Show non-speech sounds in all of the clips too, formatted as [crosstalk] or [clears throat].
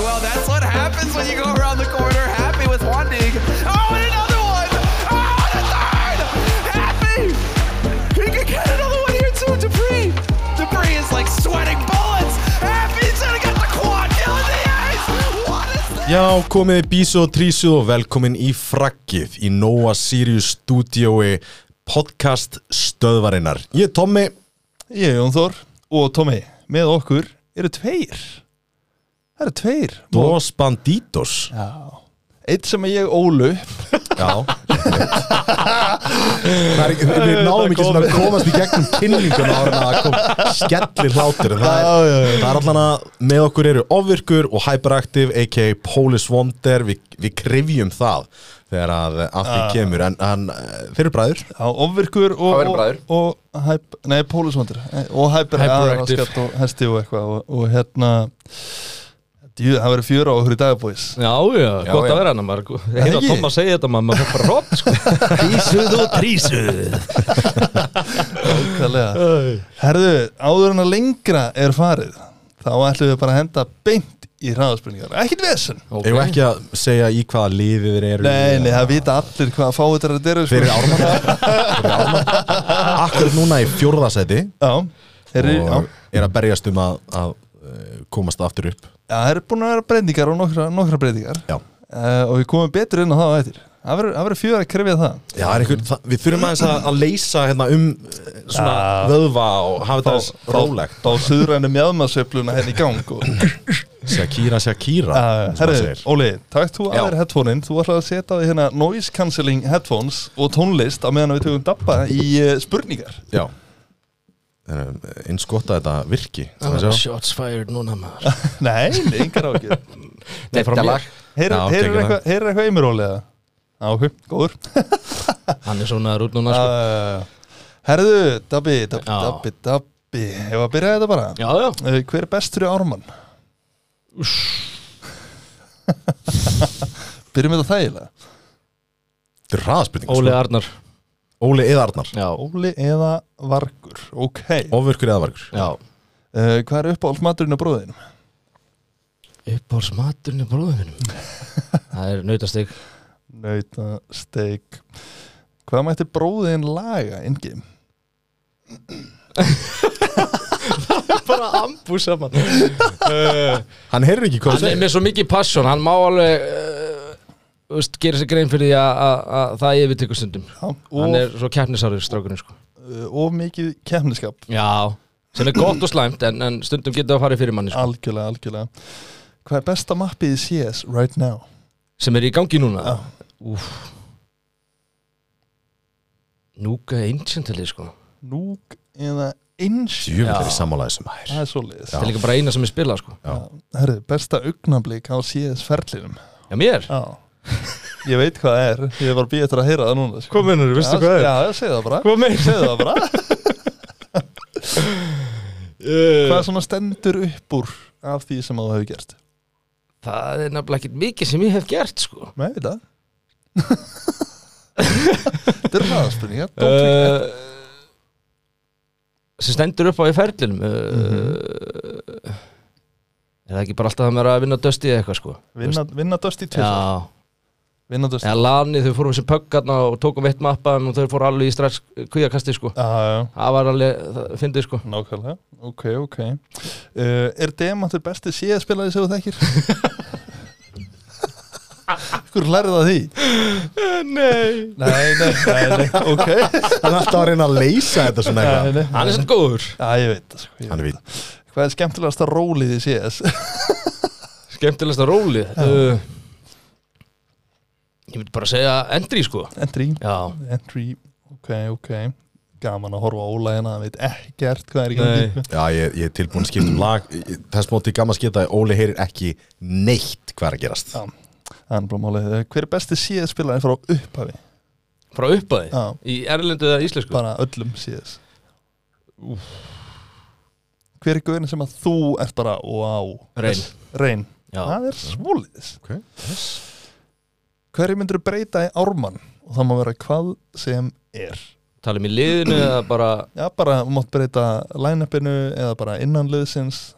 Well, that's what happens when you go around the corner happy with one dig. Oh, and another one. Oh, and a third. Happy. He could get another one here too. Dupree. Dupree is like sweating bullets. Happy's gonna get the quad kill in the ice. What is this? Já, komið í Bísu og Trísu og velkomin í frakkið í Nóa Sirius stúdiói podcast stöðvarinnar. Ég er Tommi, Ég, Jón Þór og Tómi með okkur eru tveir Það eru tveir Dos Banditos. Já Eitt sem ég ólu Já. það er ekki, við náðum ekki svona að komast í gegnum kynninguna ára en að það kom skellir hlátur. En það er, já, já. það er allan að með okkur eru ofvirkur og hyperaktiv, a.k.a. Polis Wonder, við, við krifjum það þegar að að því kemur. En, en eh, þeir eru bræður. Já, ofvirkur og Það væri bræður. Og, og hæp, nei, Pólusvandur Og hæpir Hyperactive. aðraskatt og hesti og eitthvað og, og hérna Djú, það verður fjöra á okkur í dagabóis Já, já, gott já. að vera hann maður, heila ekki? Tom að segja þetta maður, maður fyrir bara hrótt sko. [laughs] Trísuð og trísuð Kallega Herðu, áður en að lengra er farið Þá ætlum við bara að henda beint í hraðaspurningar Ekkert vesen Okay. Ef ekki að segja í hvaða liði þeir eru Nei, nei, það vita allir hvað að fá þetta að sko. dyrra Þeir eru [laughs] ármann Þeir eru ármann Akkur núna í fjórðasæti Já, þeir eru, já, Og er að berjast um að, að eh, komast aftur upp já, það eru búin að vera breytingar og nokkra, nokkra breytingar Já, uh, og við komum betur inn á það á eftir Það verður- það verður fjör að krefja það Já það er einhver, það, við þurfum aðeins að, að leysa hérna, um eh, svona Já. vöðva og hafa þetta aðeins rólegt Þá suðrænum mjöðmasveifluna henni í gang og, [laughs] Shakira, Shakira eins uh, og maður Herri, segir. Óli, takk þú Já. að þér headphonein Þú ætlaði að setja á þig hérna noise cancelling headphones og tónlist á meðan við tökum dabba í uh, spurningar [laughs] Já Eh, eins gott að þetta virki Það Sjá. var Shots fired núna maður Nei, nei, engar ágjör Nei, frá mér, Já, Heyrðu tekur það. eitthvað heyrðu eitthvað í mér, Óli? eða? Já, ok, góður hann er svona út núna sko. uh, Herðu, dabbi, dabbi, Já. dabbi, dabbi Hefur að byrja þetta bara? Já, já, Uh, hver er bestur í ármann? Byrjum við það þægilega Þetta er hraðaspurning Óli sko. Arnar Óli Eðarnar Já, Óli eða Vargur Ok uh, Ofurkur Eðavarkur já Hvað er uppáhaldsmaturinn á bróðinum? Uppáls maturinn í bróðinum [laughs] Það er nautastig Nauta, steik Hvað mætti bróðin laga inngim? Bara ambu saman Hann heyrir ekki hvað það Hann er segir með svo mikið passion, hann má alveg uh, veist, gera sér grein fyrir því að- að að það yfir tekur stundum Já, og, Hann er svo keppnisarður strákurinn sko. uh, og mikið kemniskap Já, sem er gott og slæmt en, en stundum getur það að fara fyrir manni sko. Algjörlega, algjörlega Hvað er besta mappið í CS right now? sem er í gangi núna Já. Úf Núka Ancientali sko Núk eða Inch? Jú, við Já. erum sammálaðið sem hær Það er svoleiðis Það er líka bara eina sem ég spila sko Herru, besta augnablík á CS ferlinum Já mér Já [laughs] Ég veit hvað það er, ég var býð eftir að heyra það núna sko. mennur, Já, Já, já, segðu það bara Hvað meinar? Segðu það [laughs] bara Hvað Uh, er svona stendur upp úr af því sem þú hefur gert? það er nefnilega ekkert mikið sem ég hef gert sko Nei, ég veit það [laughs] Þetta er hraðaspurningar uh, uh, sem stendur upp á í ferlinum uh, Er það ekki bara alltaf að maður er að vinna dösti eða eitthvað sko vinna, vinna döst í tvisar Já, Vinna döst í eða lani þau fórum sem pöggarna og tókum eitt mappaðum og þau fóru alveg í strax kvíakasti sko Já, já, já, Það var alveg, það fyndið sko nákvæmlega Ok, ok uh, Er demantur besti CS-spilari sem þú þekkir? [laughs] Hvor lærið það því? Nei Nei, nei, nei, nei, [laughs] ok Hann er alltaf að reyna að leysa þetta svona Nei, eitthvað nei, Hann er sann góður Já, ég veit það sko, ég Hann veit er vít það. Hvað er skemmtilegasta rólið í CS? Skemmtilegsta rólið uh, Ég myndi bara segja Endri sko [laughs] Entry Já Entry, ok, ok Gaman að horfa á Óla hérna, hann veit ekkert hvað er í Nei. gangi Já, ég, ég er tilbúin að skipta um lag Þess móti gaman að skipta að Óli heyrir ekki neitt hvað er að gerast Já. Þannig bara málið, eh, hver er besti CS-spilari frá upphafi? Frá uppæði Já, Í erlendu eða íslensku bara öllum CS Hver er guðin sem að þú ert bara, wow Reyn Reyn, Já það er svoliðis Ok, yes. Hverju myndirðu breyta í ármann? Og það má vera hvað sem er Talum um í liðinu eða bara Já, bara þú mátt breyta line-upinu eða bara innan liðsins Það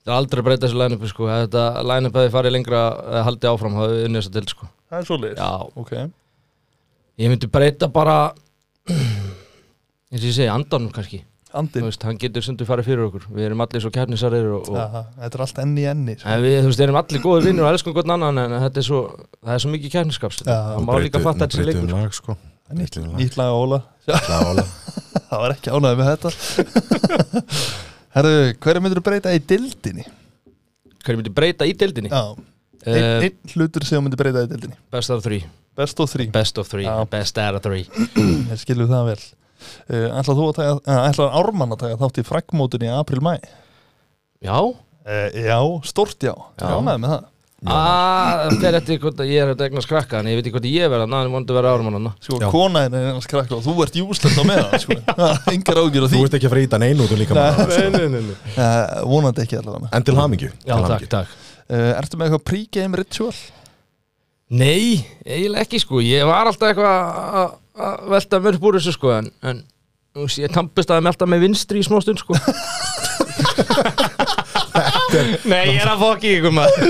Það er aldrei að breyta þessu line-upi sko Ef Þetta line-up hefði farið lengra eh, haldið áfram þá hefði unnið þess að til sko Það er svolítið Já, Ok, ég myndi breyta bara eins og ég segi andanum kannski Þú andin veist, hann getur sundur farið fyrir okkur Við erum allir svo kjarnisarir og, og Aha, Þetta er allt enni enni sko. En við, þú veist, erum allir góði vinnur og elskum hvern annan en þetta er svo, það er svo mikið kjarniskaps Já. Það má líka fatta þessi leikur lag, sko. Nýtt, Breytum lag. nýtt lag á Óla [laughs] Það var alveg- Það var ekki ánægð með þetta [laughs] Herðu, hverju myndir breyta í dildinni? Hverju myndi breyta í deildinni? Já, einn Uh, ein hlutur sem þú myndir breyta í dildinni best of three Best of three, Best of three, Já. best out of three ég skilju það vel Uh, ætlar þú að taka, uh, ætlar Ármann að taka þátt í fragmótunni í april-mæ? Já, Uh, já, stort já, já. Já. ánægð með það Ah, það fer eftir hvort að ég er að egna skrakka en ég veit ekki hvort að ég verða, ná, ég vonandi að vera árum hann sko, Já. konaðin er hans krakka og þú ert júslegt á meðan sko. [laughs] engar ágjur á því Þú ert ekki að frýta neinu út um líka maður [laughs] Nei, nei, nei, nei uh, vonandi ekki allavega uh, En til hamingju Já, til takk, hamingju. takk ertu með eitthvað pregame ritual? Nei, eiginlega ekki sko Ég var alltaf eitthvað að- að- að velta mér upp úr þessu sko En, en þú veist, ég tampist að mér alltaf með vinstri í smástund sko Nei, ég er að fokki ykkur maður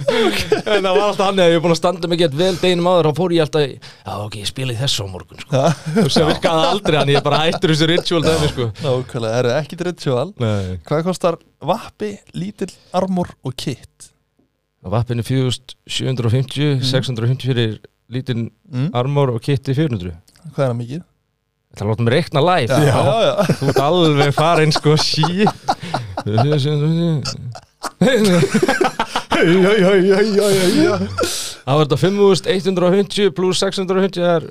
En það var alltaf hann Ég er búin að standa mig gett vel deginum áður Þá fór ég alltaf í, Já, ok, ég spila í þessu á morgun sko Og sem virkaði það aldrei Þannig ég bara hættur þessu ritual dæmi sko nákvæmlega, eru ekki ritual Nei hvað kostar vappi, lítill armor og kit? Vappinu 4750 650 fyrir lítinn Mm. armor og kitti 400 hvað er það mikið? Það látum við reikna live já, já, já. Þú ert alveg farin sko sí Það Æ, æ, æ, æ, æ, æ, æ. var þetta 5150 pluss 650 það er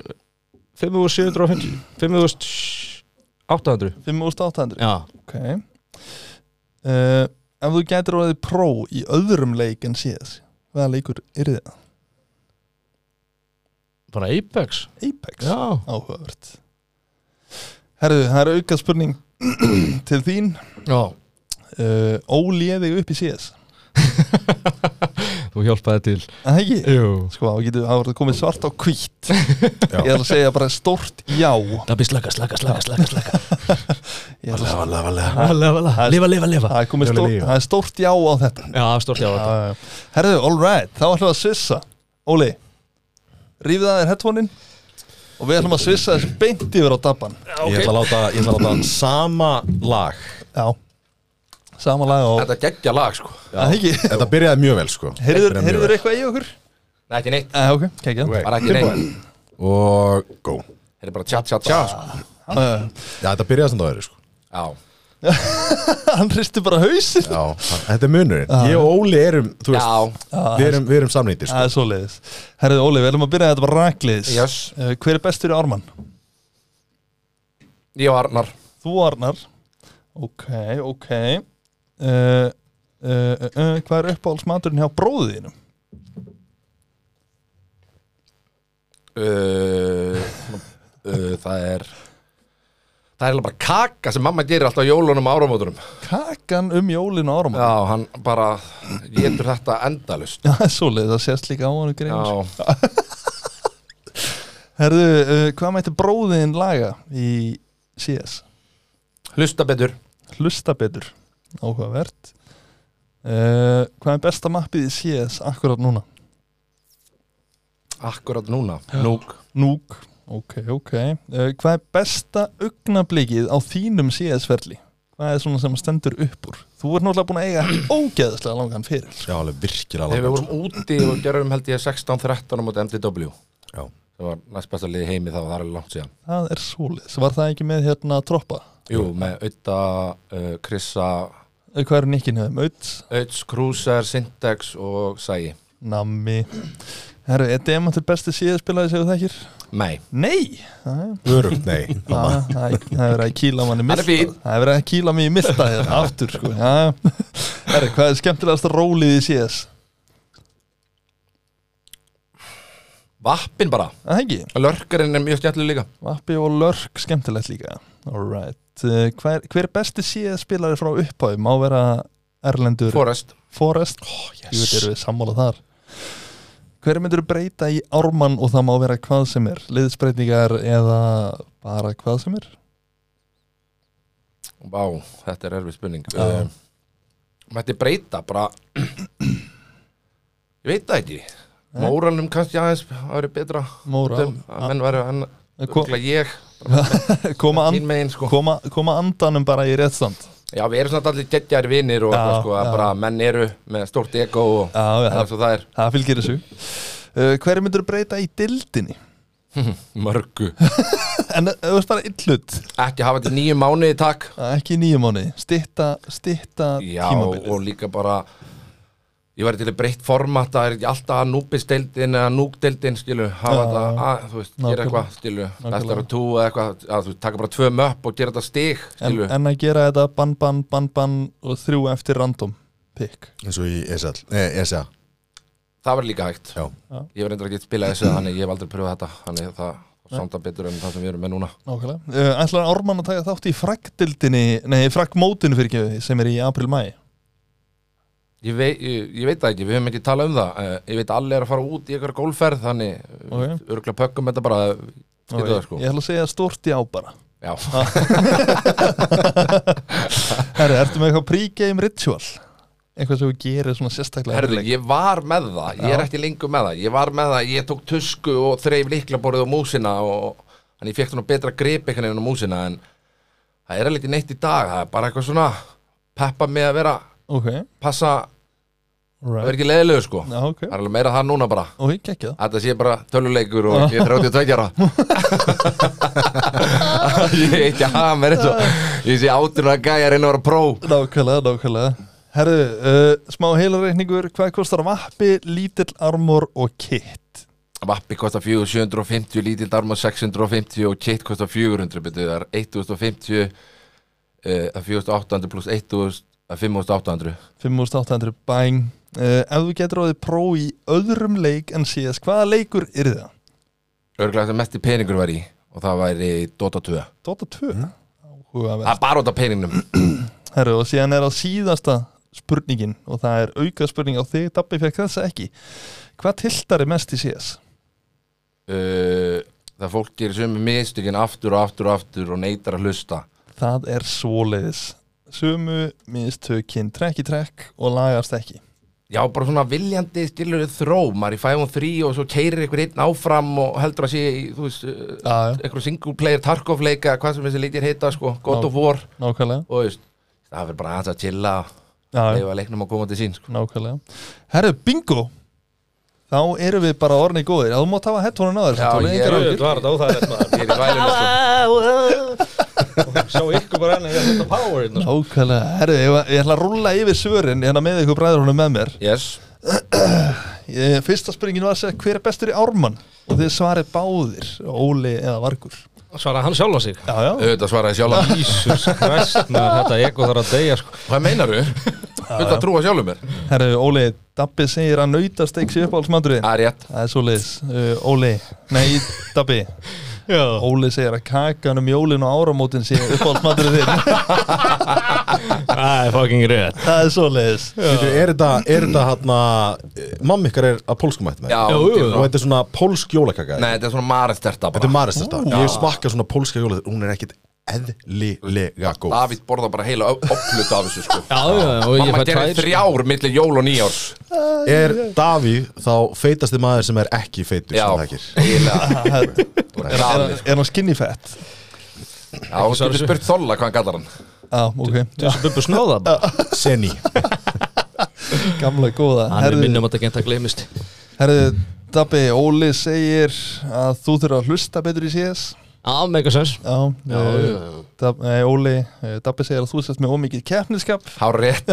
5750 5800 5800 Já ok uh, ef þú getur orðið pró í öðrum leik en síðast hvaða leikur er það? Bara Apex Apex? Já áhugavert herru, það er auka spurning [clears throat] til þín Já uh, ólið þig upp í CS Þú hjálpaði til Það ekki? Jú Sko, þá getur það voruð komið svart á [laughs] hvít Já. Ég ætla að segja bara stórt já Dabbi slaka, slaka, slaka, slaka, slaka Ég ætla Varlega, að segja- varlega, varlega. Vala, vala Lifa, lifa, lifa Það er komið Ég vil stórt, lífa. það er stórt já á þetta Já, stórt já þetta. Herðu, all right, þá ætlum við að svissa Óli, rífið að þér headphonein og við ætlum að svissa þessu beint yfir á dabban Ég ætla að láta, ég ætla að láta sama lag Já, sama lag og Þetta geggja lag sko Það ekki Þetta byrjaði mjög vel sko Heyrður Byrjaði mjög heyrður vel. eitthvað í okkur? Nei, ekki neitt Já, ok, kekja Ok. Bara ekki neitt Og go Þetta er bara tjá tjá tjá sko. eh, Já, þetta byrjaði samt á öðru sko Já Hann hristi bara hausin Já, þetta er munurinn Ég og Óli erum, þú veist Já Við erum, við erum samnýttir sko Það er svoleiðis Herðu, Óli, við ætlum að byrja þetta bara rakleiðis Yes. uh, Hver er bestur í Ármann? Ég og Arnar Þú Arnar Ok, ok uh, uh, uh, uh, Hvað er uppáhaldsmaturinn hjá bróðinu? uh, uh, Það er Það er eiginlega bara kaka sem mamma gerir alltaf á jólunum og áramótunum Kakan um jólinu árum Já, hann bara getur þetta endalust Já, svoleiðis, [laughs] það sést líka á hann greinu Já, Herðu, uh, hvað mætti bróðin laga í CS? hlusta betur Hlusta betur Áhugavert uh, Hvað er besta mappið í CS akkurat núna? Akkurat núna Núk Núk Ok, ok uh, Hvað er besta augnablikið á þínum CS-ferli? Hvað er svona sem stendur upp úr? Þú ert náttúrulega búin að eiga [clears throat] ógeðslega langan fyrir Já, alveg virkilega Þegar við langt vorum úti og gerðum held ég 16-13 á móti MDW Já. Það var næst besta liði heimi þá, það er alveg langt síðan Það er svoleiðis Var það ekki með hérna troppa? Jú, með Ötta, uh, Krissa, Eh, Hvað eru nikkin hefðum? Öts, Öts, Krúser, Syntax og Sæi Nammi Herru, er demantur besti CS-spilaði sem þú þekkir? Nei, Nei! Æ, Örugt, nei [laughs] Það það- það er verið að kýla Hann manni er milta fín. Það er verið að kýla mig í milta hérna aftur sko Já. Herru, hvað er skemmtilegasta rólið í CS? vappin bara Það er ekki? Lörkarinn er mjög skemmtileg líka Vappi og Lörk, skemmtilegt líka Alright, uh, hver, hver er besti CS spilari frá upphæði? Má vera Erlendur Forrest Forrest oh, yes. Jú, erum við sammála þar Hver myndur breyta í Ármann og það má vera hvað sem er? Liðsbreytingar eða bara hvað sem er? Vá, þetta er erfið spurning Já. uh, Ehm, mætti breyta bara [clears throat] ég veit það ekki móralnum kannski aðeins að vera betra Móral. Þeim, að menn væri hann En hva- örugglega ég, koma, mín and, megin sko koma, koma andanum bara í réttstand já, við erum svona allir geggjær vinir og Já, já, sko, að já. bara menn eru með stórt ego og Já, já. það er eins og það [laughs] er það fylgir þessu uh, hverju myndur breyta í dildinni mörgu, en ef þú veist bara einn hlut ekki hafa þetta í nýju mánuði takk ekki í nýjum mánu, stitta, stitta já, tímabilið og líka bara ég væri til að breytt format það er ekki alltaf að núbisteldin eða núkdeldin skilu, hafa Já, þetta að, þú veist, gera Nákvæmlega. eitthvað skilu, Nákvæmlega. bestara tú eða eitthvað, að þú veist, taka bara tvö möpp og gera þetta stig en, skilu, en að gera þetta bann, bann, bann, bann og þrjú eftir random pick eins og í ESL, eh, ESA það var líka hægt já. Ég verður endur ekki að spila þessu þannig ég hef aldrei pröfað þetta þannig það sonda betur en það sem við erum með núna Nákvæmlega. Uh, ætlar Ármann að taka þátt í frækdildinni, nei frækmótinu fyrir ekki sem er í april-mæ Ég, vei, ég, ég veit það ekki, við höfum ekki talað um það Eh, Ég veit að allir er að fara út í ykkur gólferð þannig okay. Ok. örgulega pökkum þetta bara getur það sko Ég ætla að segja stort já bara Já, Herri, ertu með eitthvað pregame ritual? Eitthvað sem við gerir svona sérstaklega herðu, fyrir leik? ég var með það Ég Já. er ekki lengur með það, ég var með það Ég tók tusku og þreif líklaborðið og músina og þannig ég fekk svona betra grip einhvern veginn á músina en það er að liti neitt í dag, það er bara eitthvað svona peppa mig að vera, Ok, passa að vera right ekki leiðilegu sko Já, ok, Það er alveg meira það núna bara og ég gekk það Að Þetta sé bara töluleikur og ég er 32 [laughs] ára [laughs] Ég er ekki að hafa mér eins og Ég sé átturna gæjar inn að vera pró Nákvæmlega, nákvæmlega Herri, uh, smá heilarreikningur, hvað kostar vappi, lítill armor og kit? Vappi kostar 4, 750, lítill darma 650 og kit kostar 400 betur það er 1050 uh, 4800 pluss 1000 það er 5800 5800 bæn uh, Ef þú getur áðið pró í öðrum leik en síðast, hvaða leikur er það? Örglega þetta mesti peningur var í og það væri Dota 2 Dota 2 mm. Það er bara út af peningnum Herru, og síðan er á síðasta spurningin og það er auka spurning á þig, Dabbi fekk þessa ekki Hvað tiltar er mest í CS? uh, Það fólk gerir sömu mistökin aftur og aftur og aftur og neytar að hlusta Það er svoleiðis Sumu mistökin trekk í trekk og lagast ekki Já, bara svona viljandi skilur þró, maður í 5 og 3 og svo keirir einhver einn áfram og heldur að sé í, þú veist, uh, Já, já, einhver single player Tarkov leika, hvað sem þessi leikir heita, sko, God Já. of War nákvæmlega og þú veist, það verður bara aðeins að chilla Já, já, eða leiknum að koma til sín, sko. nákvæmlega Herru, bingo Þá erum við bara orðni góðir Já, þú mátt hafa headphone á þér Já, samt, Óli, ég- engar Jú, áhyggjur. var þetta óþægilegt maður Ég er í vælinu, sko. Sjá ykkur bara enn að ég er þetta power hérna, sko. Nákvæmlega, herru, ég, var- ég ætla að rúlla yfir svörin hérna með ykkur bræður honum með mér Yes, Ég- Fyrsta spurningin var að segja hver er bestur í ármann og þið svarið báðir, Óli eða Vargur Svaraði hann sjálf á sig Já, já, auðvitað svaraði sjálf hann. sko. Jesus Christ, maður þetta ego þarf að deyja sko. Hvað meinar þú? Auðvitað að trúa sjálfum mér. herru, Óli, Dabbi segir að nautasteik sé uppáhaldsmaturinn Það er rétt. Það er svo leiðis, uh, Óli, nei, [laughs] Dabbi Óli segir að kakan um jólin og áramótin sé uppáhaldsmaturinn þinn [laughs] Það er fucking rétt Það er svo leiðis Bíddu, er þetta, er þetta hann að mamma ykkar er að pólskum ættum Já, og jú, jú. jú, þetta er svona pólsk jólakaka Nei, þetta er svona marasterta þetta er bara. marist þetta, ég smakka svona pólska jólakaka hún er ekkit eðlilega góð Davíð borða bara heila oplut af þessu, sko. Já, já, og ég Mamma fæ gerir tvær þrjár millir jól og nýjárs. er Davíð þá feitasti maður sem er ekki feitur Já, sem það ekki eiginlega. Er, er, er, er hann skinny fat? Já, þú getur þessu. spurt Þolla hvað hann kallar hann Já, ok, já, Þessu bubbu snóða bara [laughs] Senni, gamla góða Hann er Herru, minnum að þetta geta glemist Herðu, Dabbi, Óli segir að þú þurfa að hlusta betur í CS Já, megasens Já, já, Dab, nei, Óli, eh, Dabbi segir að þú sett með ómikið keppniskap Há rétt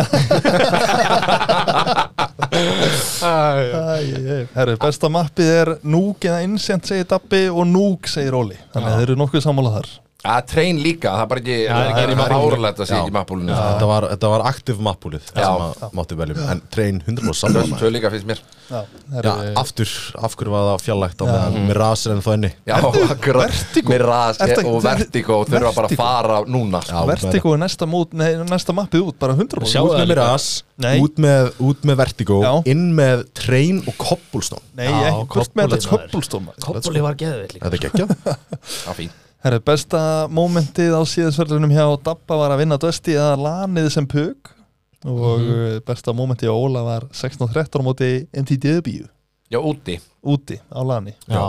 Herru, besta mappið er Núk eða Incent segir Dabbi og Núk segir Óli Þannig að þeir eru nokkuð sammála þar Að trein líka, það er bara ekki Það er ekki árlega að sé ekki sko. mappbúlinu þetta var, þetta var aktiv mappúlið Já. sem að mátti veljum, en trein 100% saman Tvö líka finnst mér Já, Já, herru, aftur, af hverju var það fjallægt á meðan mér rasir en þá enni Já, akkurat Vertigo? Miraz Ertu ekki- og Vertigo þurfa bara að Vertigo? fara núna sko. Vertigo er næsta, mót, nei, næsta mappið út, bara 100% Út Sjáðu það með líka. miras, Nei. út með, út með vertigo, Já. inn með trein og koppulstón Nei, Já, ekki, hvort með þetta kobbulið maður. koppulstóma Koppoli var geðvill Þetta er [laughs] geggjað Það er fín Herru, besta mómentið á síðansverðlunum hjá Dabba var að vinna Dösti eða lanið sem pök og Mhm. mm. besta mómenti á Óla var 16-13 á móti MTDW Já, úti úti á lani Já,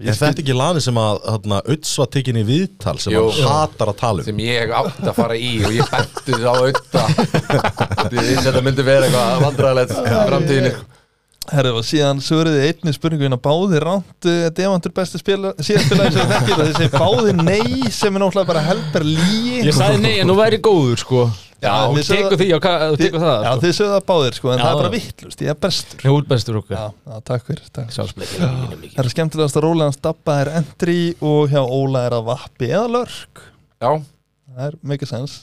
ég Er skil- þetta ekki lani sem að þarna, Uts var tekin í viðtal sem Jú. hann hatar að tala um sem ég átti að fara í og ég bætti á auðta því að þetta myndi vera eitthvað vandræðilegt í framtíðinni Herðu, og síðan svöruði einni spurninguna báði ránt uh, demantur besti spila, síðan spilaði sem þekkir það þessi báði nei sem er náttúrulega bara helber líi Ég sagði nei, en nú væri góður sko Já, Já, þú við sögðum- tekur því á ka- þú tekur það Já, sko. þið sögðu það báðir sko, en Já. það er bara vittlust, ég er bestur Ég er útbæstur okkur Já, já takk fyrir, takk fyrir Sjálfsbleikir er mikið Það er skemmtilegast að Róla hans dabba er entry og hjá Óla er að vappi eða lörk Já, Það er mikið sens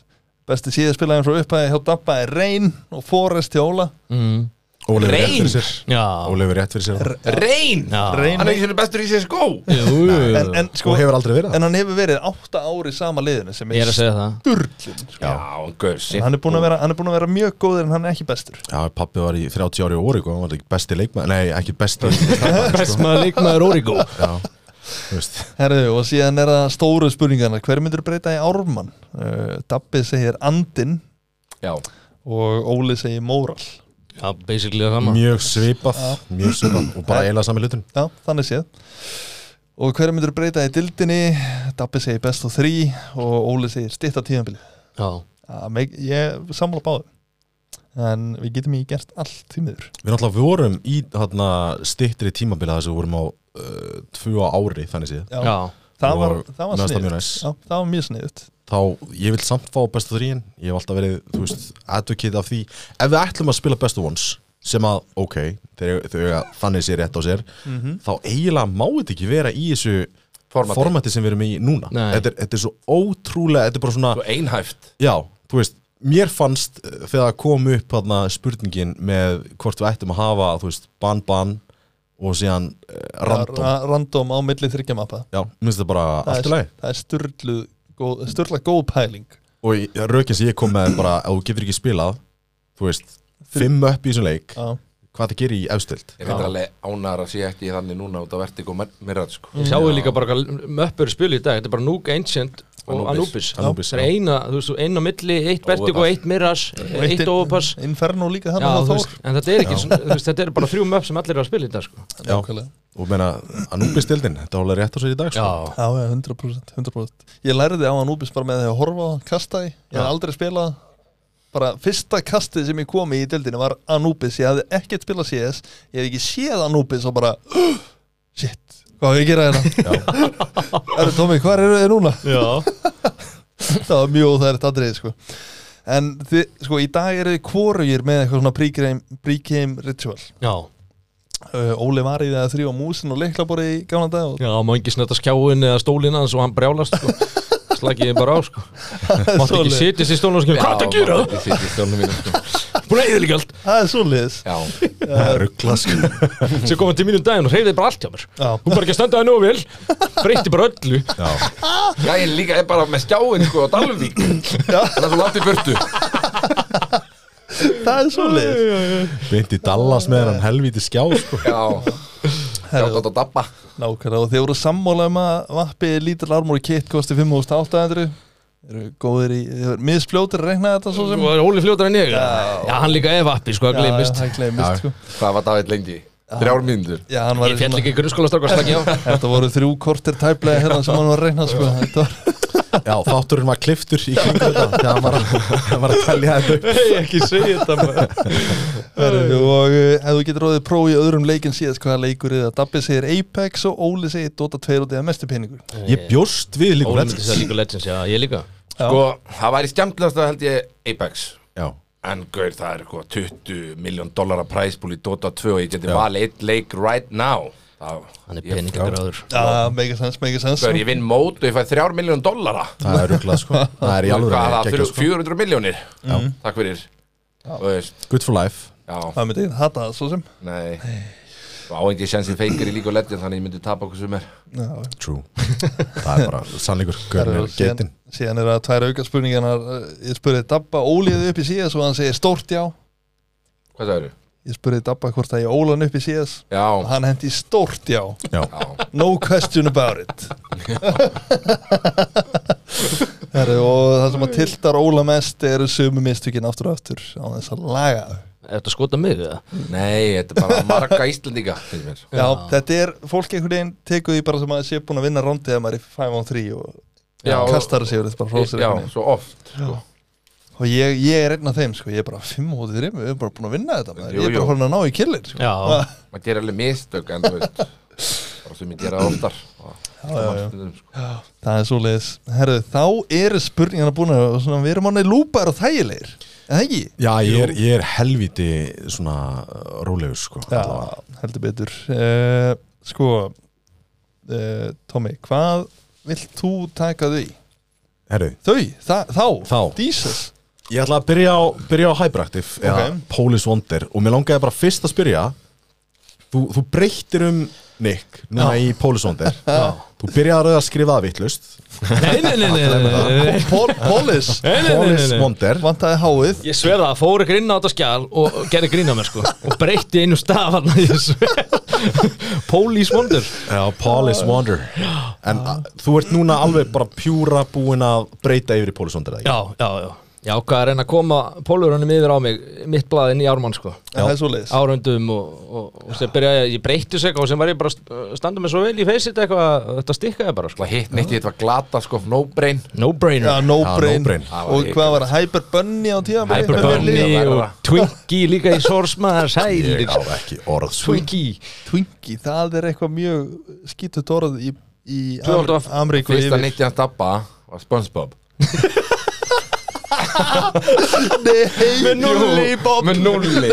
Besti síðaspilaðin frá upphæði hjá dabba er Reyn og Forrest hjá Óla mm. Ólefur rétt Reyn. fyrir sér Já, Ólefur rétt fyrir sér reyn já Reyn Hann er ekki svona bestur í sér skó Jú, jú. en, en, sko, Þú hefur aldrei verið það en hann hefur verið átta ári í sama liðinu sem Ég er að segja það sturglun sko. Já, hann gauðs hann, er búinn að vera- hann er búin að vera mjög góður en hann er ekki bestur Já, pappi var í 30 ári og orgu, hann var ekki besti leikmaður Nei, ekki [laughs] besti leikmaður, Best maður leikmaður Origo Já, þú veist Herðu, og síðan er það stóru spurningarna hver myndur breyta í Ármann? Uh, Dabbi segir Andin Já, og Óli segir Móral Já, basically það sama Mjög svipað, mjög svipað og bara eiginlega sami hlutun Já, þannig séð Og hver myndur breyta í dildinni? Dabbi segir best og þrý og Óli segir stitta tíðanbili Já, Ég samla báðu En við getum ekki gert allt því miður Við náttúrulega vorum í þarna stittri tímabila þess að við vorum á uh, tvö ári, þannig séð Já, já Það, var, Og það mér var fannst það sniðut mjög næs. Já, það var mjög sniðut Þá, ég vil samt fá bestu þríin Ég hef alltaf verið, þú veist, advocate af því Ef við ætlum að spila bestu ones sem að, ok, þegar þau eiga þannig sér rétt á sér þá eiginlega má þetta ekki vera í þessu formati, formati sem við erum í núna Nei. þetta er, þetta er svo ótrúlega, þetta er bara svona Svo einhæft Já, þú veist, mér fannst eh, þegar það kom upp þarna spurningin með hvort við ættum að hafa, þú veist, ban-ban og síðan uh, random Ra- Random á milli þryggjamappa Já, minnst það bara allt í Það lagi er, það er sturlu, góð, sturla góð pæling Og í- rökin sem ég kom með er bara, ef þú getur ekki spilað, þú veist, fimm upp í þessum leik, Já, hvað það gerir í efstild Ég veit alveg ánar að sé ekki þannig núna út á vertigo mirrað sko Ég sjáu líka bara hvað möppur spilu í dag Þetta er bara Nuke Ancient og Anubis Anubis. Anubis, Það er eina, þú veist, einn á milli, eitt vertigo, Overpass. eitt mirras, eitt in- overpass Inferno líka Já, þannig á þú Þór veist, en þetta er ekki, svona, þú veist, þetta er bara þrjú möpp sem allir eru að spila í dag sko. Já, Nákvæmlega. og meina, Anubis-dildin, þetta er alveg rétt á sér í dag sko. Já, já, 100%, 100% Ég lærði á Anubis bara með því að horfa á hann, kasta því Ég hef Já. aldrei spilað Bara fyrsta kastið sem ég kom í í deildinu var Anubis Ég hafði ekkert spilað CS Ég hef ekki séð Anubis og bara [gasps] Shit, hvað hef ég að gera hérna? [laughs] Erðu Tómi, hvað eru þið núna? [laughs] Já. það var mjög óþægilegt aðrið sko. En þið, sko, í dag eru þið kvorugir með eitthvað svona pre-game- pre-game ritual Já, uh, Óli var í það að þrýfa músin og leiklaborið í gamla dag og já, má engi snetta skjáin eða stólinn hans og hann brjálast sko. Slagið þið bara á [laughs] sko. Máttu ekki svoleiðis. sitjast í stólinn og skilja Hvað það gera? Ég sitt í stjórnum mínu sko Búin að eða líka allt það er svoleiðis Já, Ruggla, sko. Sér komið til mínum daginn og hreyfði bara allt hjá mér Já. Hún bara ekki að standa það nú vel Breytti bara öllu Já. já ég líka er bara með skjáin sko á Dalvík Það er svo langt í burtu það er svoleiðis Beint í Dallas með hann helvíti skjá sko. Já, sjátt átt að dabba nákvæmlega og þeir voru sammála um að vappi lítil armóri kit kosti 5800 eru góðir í, þeir eru misfljótir að reikna þetta svo sem Og Óli fljótar en ég Já, hann líka ef appi, sko, að gleymist Já, það gleymist sko Hvað var David lengi? Þrjár mínútur Já, hann var Ég fjall ekki grunnskóla strákar slagið á [laughs] Þetta voru þrjú kortir tæplega hérna sem hann var að reikna sko Þetta var Já, þátturinn var kliftur í kringu [laughs] þetta þegar hann var, að- hann var að telja þetta upp Nei, ekki segja þetta maður Herru, og uh, ef þú getur róðið pró í öðrum leikin síðast hvaða leikur er það Dabbi segir Apex og Óli segir Dota 2 og það er mestu peningur Ég bjóst við líka Óli myndi Legends segja líka Legends, já, ég líka Sko, það væri skemmtilegast að held ég Apex Já, En gaur, það er eitthvað 20 miljón dollara præsbúl í Dota 2 og ég geti valið eitt leik right now Það, Hann er ég- peningar áður Já, mega sens, mega sens Gaur, ég vinn mót og ég fæ þrjár miljón dollara það er rugglað sko Það er í alveg Hvað er það, ekki fyrir ekki sko 400 miljónir? Mm. Takk fyrir Þú veist, Good for life já, Það myndi ég hata það svo sem nei Og á engi sjensin feikir í líka og legend þannig ég myndi tapa okkur sem er Já, True Það er bara sannleikur Gaurin er síðan, getin síðan er það tvær auka spurningarnar uh, Ég spurði Dabba Óliðu upp í síðast og hann segir stórt já Hvað það eru? Ég spurði Dabba hvort að ég óla hann upp í síðast og Já, hann hendi stórt já Já, já [laughs] No question about it Heru, og það sem að tiltar Óla mest eru sömu mistökin aftur og aftur á þess að laga þau. Er þetta að skota mig eða? Nei, þetta er bara marga Íslendinga finnst mér. Já, þetta er, fólk einhvern veginn tekur því bara sem að sé búin að vinna rondið að maður er í 5 on 3 og Já, og- kastar sig yfir þetta bara frá sér Já, einhvern veginn. svo oft sko. og ég, ég er einn af þeim, sko, ég er bara 5 hótið 3, við erum bara búin að vinna þetta maður. Jú, ég er jú. bara horin að ná í killir sko. [laughs] Já, Maður gerir alveg mistök en þú veist bara sem ég gera oftar og, já, já. Stundum, sko. það er svo leiðis, herru, þá eru spurningana búin að, svona, við erum ánæg lúpar og þægilegir, eða ekki? Já, ég er, ég er helviti svona uh, rólegur sko allavega. Já, heldur betur uh, Sko uh, Tommy, hvað vilt þú taka þau? Herru, Þau, þa þá, Þá. Jesus ég ætla að byrja á, byrja á Hyperactive eða Police Wonder og mér langaði bara fyrst að spyrja Þú, þú breyttir um Nick núna í Police Wonder Þú byrjaði að skrifa það vittlust Nei, nei, nei, nei, nei, nei, nei. Pol Polis Nei, nei, nei, nei, Police nei. Wonder Vantaði háið Ég sverða að fór ykkur inn á þetta skjál og gerði grín á mér sko og breytti einu stafan Pólís vondur Já, Police Wonder En a, þú ert núna alveg bara pjúra búin að breyta yfir í Police Wonder eða ekki? Já, já, já Já, hvað að reyna að koma pólurunum yfir á mig mitt blaðin í ármann sko Það er svo leiðis áröndum og, og, og sem byrjaði ég breytti sér eitthvað og sem var ég bara að standa mig svo vel í feysið eitthvað að þetta stikkaði bara sko Og hitt neitt ég þetta var glata sko no brain No Já, brainer no Já, no brain, brain. Það var Og ekki- hvað var, Hyper Bunny á tíma Hyper Bunny verra. og Twinkie líka í Sorsmaðar Ég sælir á ekki orð sko. Twinkie Twinkie, það er eitthvað mjög skítut orð í, í Tvöfald Am- of- Ameríku Fyrsta yfir neitt ég hans dabba var Spongebob Nei, [laughs] Með núlli í bob. Með nulli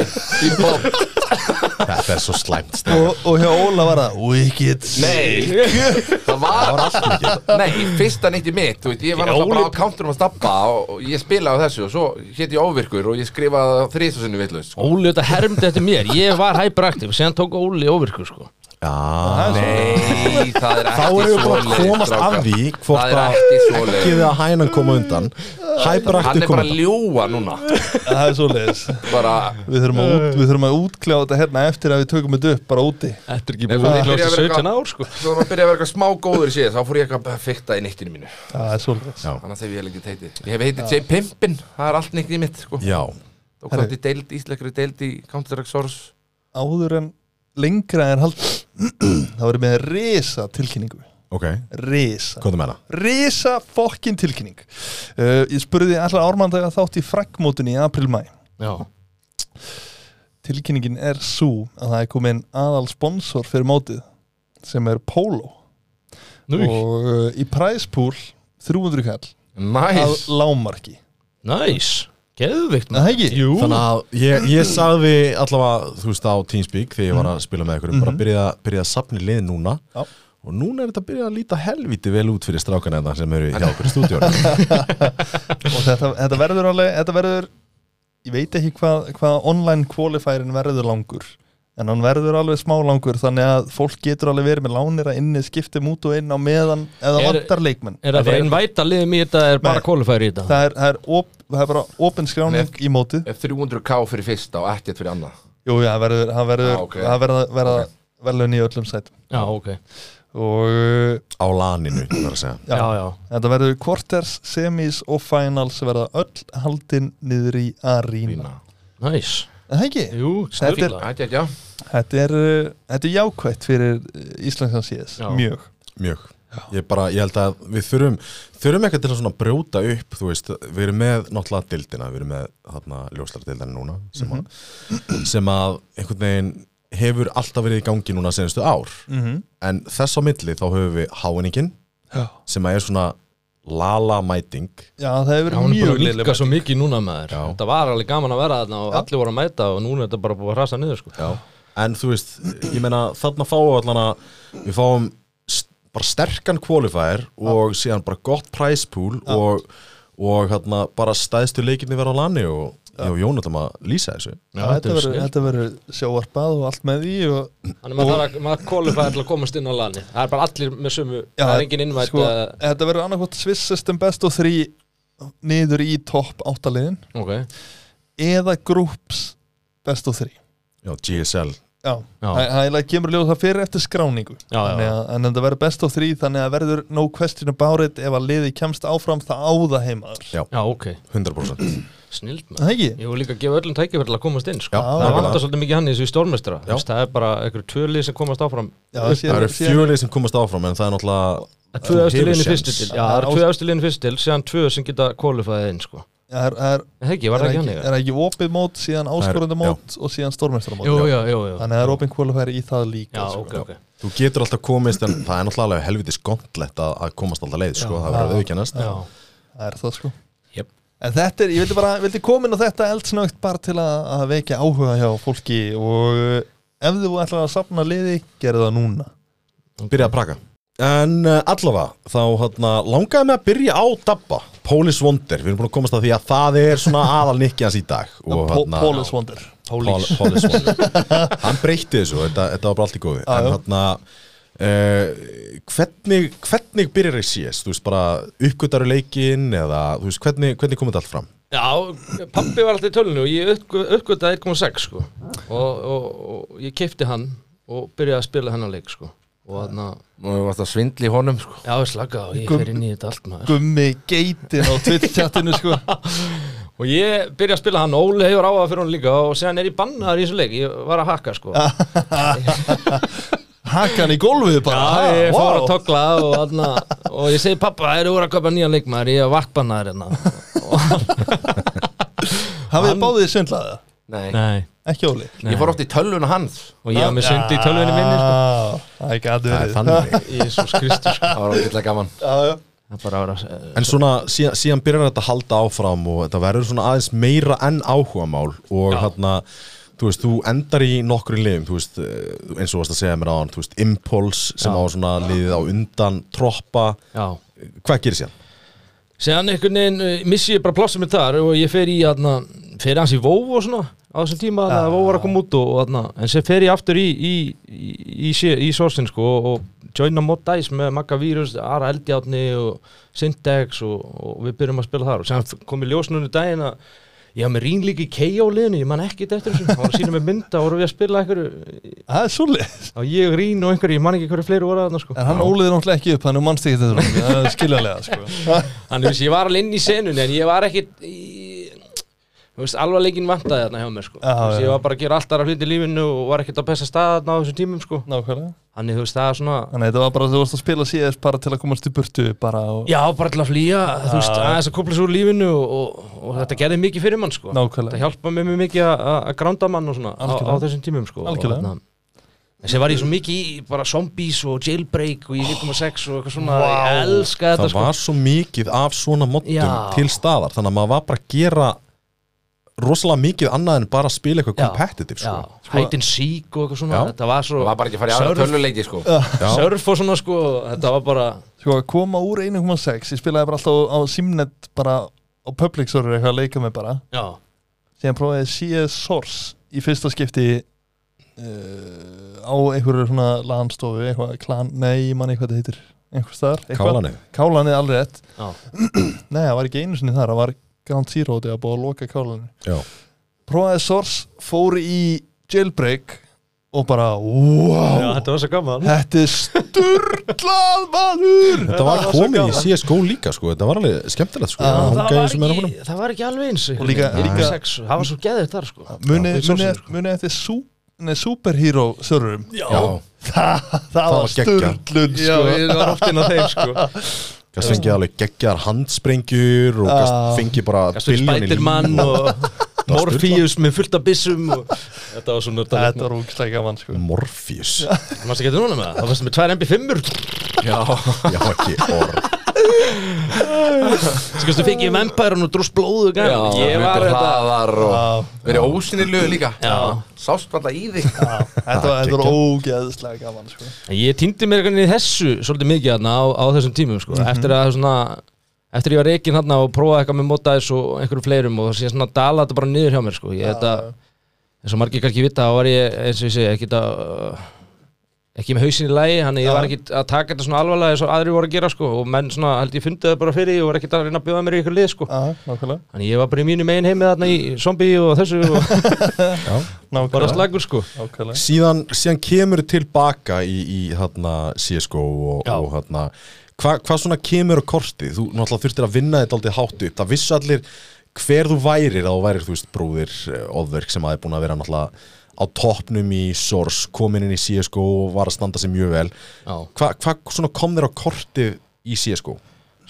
í bob Þetta er svo slæmt snill. og, og hjá Óla var það Wicked Nei Það Það var var allt mikið Nei, fyrsta neitt ég mitt Þú veit, ég var Ég náttúrulega bara óli- á counterum að stabba og og ég spilaði á þessu og svo hétt ég óvirkur og ég skrifaði þrísasinu vitlaust sko. Óli þetta hermdi eftir mér, ég var hyperaktiv síðan tók Óli óvirku sko Já, Nei, það er þá ekki erum við bara að svoleiðis, komast strákar. að því hvort Það er að ekki svoleiðis. ekki að hænan koma undan Hann Hyperaktiv er bara koma að undan ljúa núna Það er svo leiðis Bara Við þurfum að, út, við þurfum að útkljá þetta hérna eftir að við tökum þetta upp bara úti Þetta er ekki Nei, búin svo að ég byrjaði að vera hljóta 17 eitthvað- ár sko Svo maður byrjaði að vera eitthvað smá góður síðan Þá fór ég eitthvað að fykta í nittinu mínu Það er svo leiðis Já. Annars hef ég ekki teitið Ég hef heitið J. Pimpin, það er allt nittinu mitt sko. Já, Og hvað þetta deild, íslekri deild í Counter-Strike Source áður en lengra er haldið [clears throat] þá erum við risa tilkynningu ok, risa hvað þú meina? risa fokkin tilkynning uh, ég spurði allar ármandaga þátt í fraggmótunni í april-mæ Já, tilkynningin er svo að það er komin aðal sponsor fyrir mótið sem er Polo nú, og uh, í præspúl 300 kall að Næs lámarki næs, geðvikt Er það ekki? Jú, Þannig að ég, ég sagði allavega, þú veist, á Teamspeak þegar ég var að spila með ykkur, bara byrjaði að byrja að safna í lið núna Já. og núna er þetta byrjað að líta helviti vel út fyrir strákana þetta sem eru hjá okkur í stúdíónu og þetta, þetta verður alveg þetta verður, ég veit ekki hvað hvað online qualifierin verður langur en hann verður alveg smá langur þannig að fólk getur alveg verið með lánir að inni skiptum út og inn á meðan eða Er- vantar leikmenn er það bara einn væta liðum í þetta er bara Nei. kólifæri í þetta það er, það er, op, það er bara open skráning í mótið Ef 300k fyrir fyrsta og ekkert fyrir annað jú, já, það verður, það verður, Ah, ok. það verða, verða verðlaun í öllum sætum Já, ok, og uh, á laninu, það er að segja já, Já. já þetta verður quarters, semis og finals verða öll haldin niður í arína Fína. Næs, Er það ekki? jú, Þetta er- snurfíla Ætti, ætti, já Þetta er, uh, þetta er jákvætt fyrir eh, Íslandsjans CS, Já. Mhm. mjög Mjög Ég, bara, ég held að við þurfum þurfum eitthvað til að svona brjóta upp þú veist, við erum með náttúrulega dildina við erum með þarna ljóslardeildina núna sem, að, sem að einhvern veginn hefur alltaf verið í gangi núna senstu ár, en þess á milli þá höfum við háinningin Já. sem að er svona lala mæting Já, það hefur Já, verið hún er mjög bara að léleg líka svo mæting. mikið núna maður Já. Þetta var alveg gaman að vera þarna og allir voru að mæta og núna er þetta bara búið að hrasa niður sko Já. en þú veist, ég meina þarna fáum allan að við fáum st bara sterkan qualifier og síðan bara gott price pool og, og hérna bara stæðstu leikinni vera á lani og ég og Jón ætlum að lýsa þessu Já, þetta er verður- snill. Þetta verður sjóarpað og allt með því og, Þannig maður þarf að maður kólifæri til að komast inn á lani Það er bara allir með sömu, það er engin innvætt sko, að- Þetta verður annarkvæmt Swiss System Best og þrý niður í topp áttaliðin Ok, eða Groups Best og þrý Já, GSL Já, hæ- hægilega kemur ljóð það fyrir eftir skráningu Já, já, Þannig að, En þetta verður best á þrý þannig að verður no question about it ef að liði kemst áfram það áða heimaður Já. Já, ok, 100% snild Það maður ekki? Ég vil líka gefa öllum tækifæri til að komast inn sko. Já, Það nákvæmlega. vantar svolítið mikið hann í þessu stórmestara Það er bara einhverju tvölið sem komast áfram Já, það sé- Það eru sé- fjölið sem komast áfram en það er náttúrulega Tvö Þú östu hefur liðin í séns. fyrstu til Já, það eru tvö östu liðin í fyrstu til Síðan tvö sem geta kvalifæðið inn sko. Já, Það er- það er- Er Það ekki, var er það ekki ekki- hann er það ekki opið mót, síðan áskorandi já. mót og síðan stórmestarmót Jú, já, jú, jú Þannig að það er opið kvalifæri í það Já, líka sko. ok, ok Þú getur alltaf komist en það er náttúrulega alveg helviti skondlegt að, að komast alltaf leið sko, það verður auðvíkjannast Já, Það er það sko Jep. En þetta er, ég vildi bara, vildi komin á þetta eldsnögt bara til að, að vekja áhuga hjá fólki og uh, ef þú ætlar að safna liði, gerðu það núna Byrjaði að praka En uh, allavega, þá hana, langaði mig að byrja á Dabba Pólis Wonder, við erum búin að komast að því að það er svona aðal nikki hans í dag og, Pó- hana, Paulus Wonder Pól- Pólis Wonder [laughs] Hann breytti þessu, þetta, þetta var bara allt í góðu Já, En já. hérna uh, hvernig, hvernig byrjar þessi síðast? Þú veist bara uppgötaru leikinn eða þú veist, hvernig, hvernig komið þetta allt fram? Já, pappi var alltaf í tölunni og ég uppgö- uppgötaði 1,6 sko. og, og, og ég keipti hann og byrjaði að spila hennar leik sko. og þannig að, Nú hefur alltaf svindli í honum sko. já, slaka á, ég Gumm- fer inn í þetta allt maður Gummi geitin á Twitch-chattinu [laughs] sko og ég byrjaði að spila hann, Óli hefur áhuga fyrir hann líka og séðan er ég bannaður í þessu leik ég var að hakka sko. Hakan í gólfið bara Já, ah, ég fór wow. að togla og, anna, og ég segi pappa, það eru úr að köpa nýja leikmaður, ég er vaktbannaður hérna. Hafið þið báðið sundlaðið? Nei. Nei. Ekki Óli? Ég fór oft í tölvuna hans Og ég var með sundi í tölvunni minni, sko. sko Það er ekki að Það er verið þannig Jésús Kristus, sko. Það var ógeðlega gaman Já, já. Það er bara að vera, En svona síðan, síðan byrjar þetta að halda áfram og þetta verður svona aðeins meira enn áhugamál og hérna þú veist, þú endar í nokkru liðum þú veist, eh, eins og þú varst að segja mér áðan þú veist, Impulse sem á svona liðið á undan Troppa, já. hvað gerir síðan? Séðan einhvern veginn uh, missi ég bara plássum mitt þar og ég fer í, aðna, fer hans í vóv og svona á þessum tíma Ah. að vóv var að koma út og, og aðna, en sér fer ég aftur í í, í, í, sé- í sorsin sko og, og joina Modice með Magga Vírus, Ara Eldjáttni og Syntax og, og við byrjum að spila þar og séðan kom ég ljósnunni daginn að ég haf með Rín líka í K.O. liðinu, ég man ekkert eftir þessu hann var að sína með mynda, voru við að spila einhverju Það er svolítið á ég, Rín og einhverju, ég man ekki hverju fleiri voru að þarna sko En hann Ólið er náttúrulega ekki upp, hann er mannstekitt þetta Það er skiljanlega sko Þannig að ég var alveg inn í senunni en ég var ekkit í... Þú veist, alvarleikin vantaði þarna hjá mér sko. Já, Þú veist, já. Ég var bara að gera alltaf hluti í lífinu og var ekkit á besta stað þarna á þessum tímum sko. Nákvæmlega Þannig þú veist, það er svona Þannig að þetta var bara að þú varst að spila CS bara til að komast í burtu bara og Já, bara til að flýja, þú veist, Já. aðeins að kopla svo úr lífinu og, og, og þetta gerði mikið fyrir mann sko. Nákvæmlega. Þetta hjálpa mér mjög mikið að- að að gránda mann og svona á, á Algjörlega. þessum tímum sko. Algjörlega. Og þarna- Þessi var ég svo mikið í bara zombies og jailbreak og í 1.6 og eitthvað svona, ég Vá. elska þetta Það sko. var svo mikið af svona moddum Já. til staðar, þannig að maður var bara að gera rosalega mikið annað en bara að spila eitthvað Já. competitive Já, sko. hide and seek og eitthvað svona, Já. þetta var svo Það var bara ekki að fara í aðra Surf. tölvuleiki sko. Já. surf og svona sko þetta var bara Sko að koma úr 1.6 Ég spilaði bara alltaf á Simnet bara á Public Server eitthvað að leika mig bara já, Síðan prófaði ég CS Source í fyrsta skipti uh, á einhverju svona landstofu eitthvað klan, nei, ég manni hvað það heitir einhvers þar, Kálanið. Kálanið alveg rétt já. [clears throat] Nei, það var ekki einu sinni þar, það var Ground Zero þegar búið að loka Kálaninu Já. Prófaði Source, fór í jailbreak og bara, wow þetta var svo gaman Þetta er [laughs] sturglað maður Þetta var komið í CSGO líka sko. þetta var alveg skemmtilegt sko. að það, hanga í var þessum ekki, erfunum. það var ekki alveg eins Og líka- einhvern veginn, líka- 1.6, það var svo geðið þar sko Munið Já, muni, muni eftir sú, nei, superhero serverum Já, Já. [laughs] Það, það, var var geggjað. sturglun já, sko. ég var oft inn á þeim sko Gast fengið alveg geggjar handsprengjur og gast Ah. fengið bara biljónir Spiderman og Morpheus með fullt af byssum og... þetta var svona Þetta var úkslega gaman sko. Morpheus mannst ekki núna með það, það fannst með tvær MB5-ur Já, já ekki orð sko þú fengið um Empire og drúst blóðu Já, ég var hérna- hlutir þetta hraðar og Já, verið ósynilegu líka Já. Sást varla í þig já, Þetta var, þetta var ógeðslega gaman sko. Ég týndi mér einhvern veginn í þessu svolítið mikið hérna á, á þessum tímum sko. eftir að svona eftir ég var reikinn hérna og prófaði eitthvað með mótaðis og einhverju fleirum og það sé svona dala þetta bara niður hjá mér sko. ég, þetta, eins og margir kannski vita þá var ég eins og ég segi ekkert að uh, ekki með hausin í lagi hann ég var ekki að taka þetta svona alvarlega eins og aðri voru að gera sko og menn svona held ég fundið það bara fyrir því og var ekki að reyna að bjóða mér í ykkur lið sko Aha, nákvæmlega, Þannig ég var bara í mínu megin heimið þarna í zombie og þessu og bara nákvæmlega, slagur sko nákvæmlega. síðan, síðan kemur tilbaka í, í þarna CSGO og, Já. og þarna hva, hvað svona kemur á kortið, þú náttúrulega þurftir að vinna þetta aldrei hátt upp, það vissu allir hver þú værir, þá værir þú veist bróðir Óðverk sem aðeins búin að vera náttúrulega á toppnum í Source komin inn í CSGO og var að standa sig mjög vel Já. hvað hva svona kom þér á kortið í CSGO?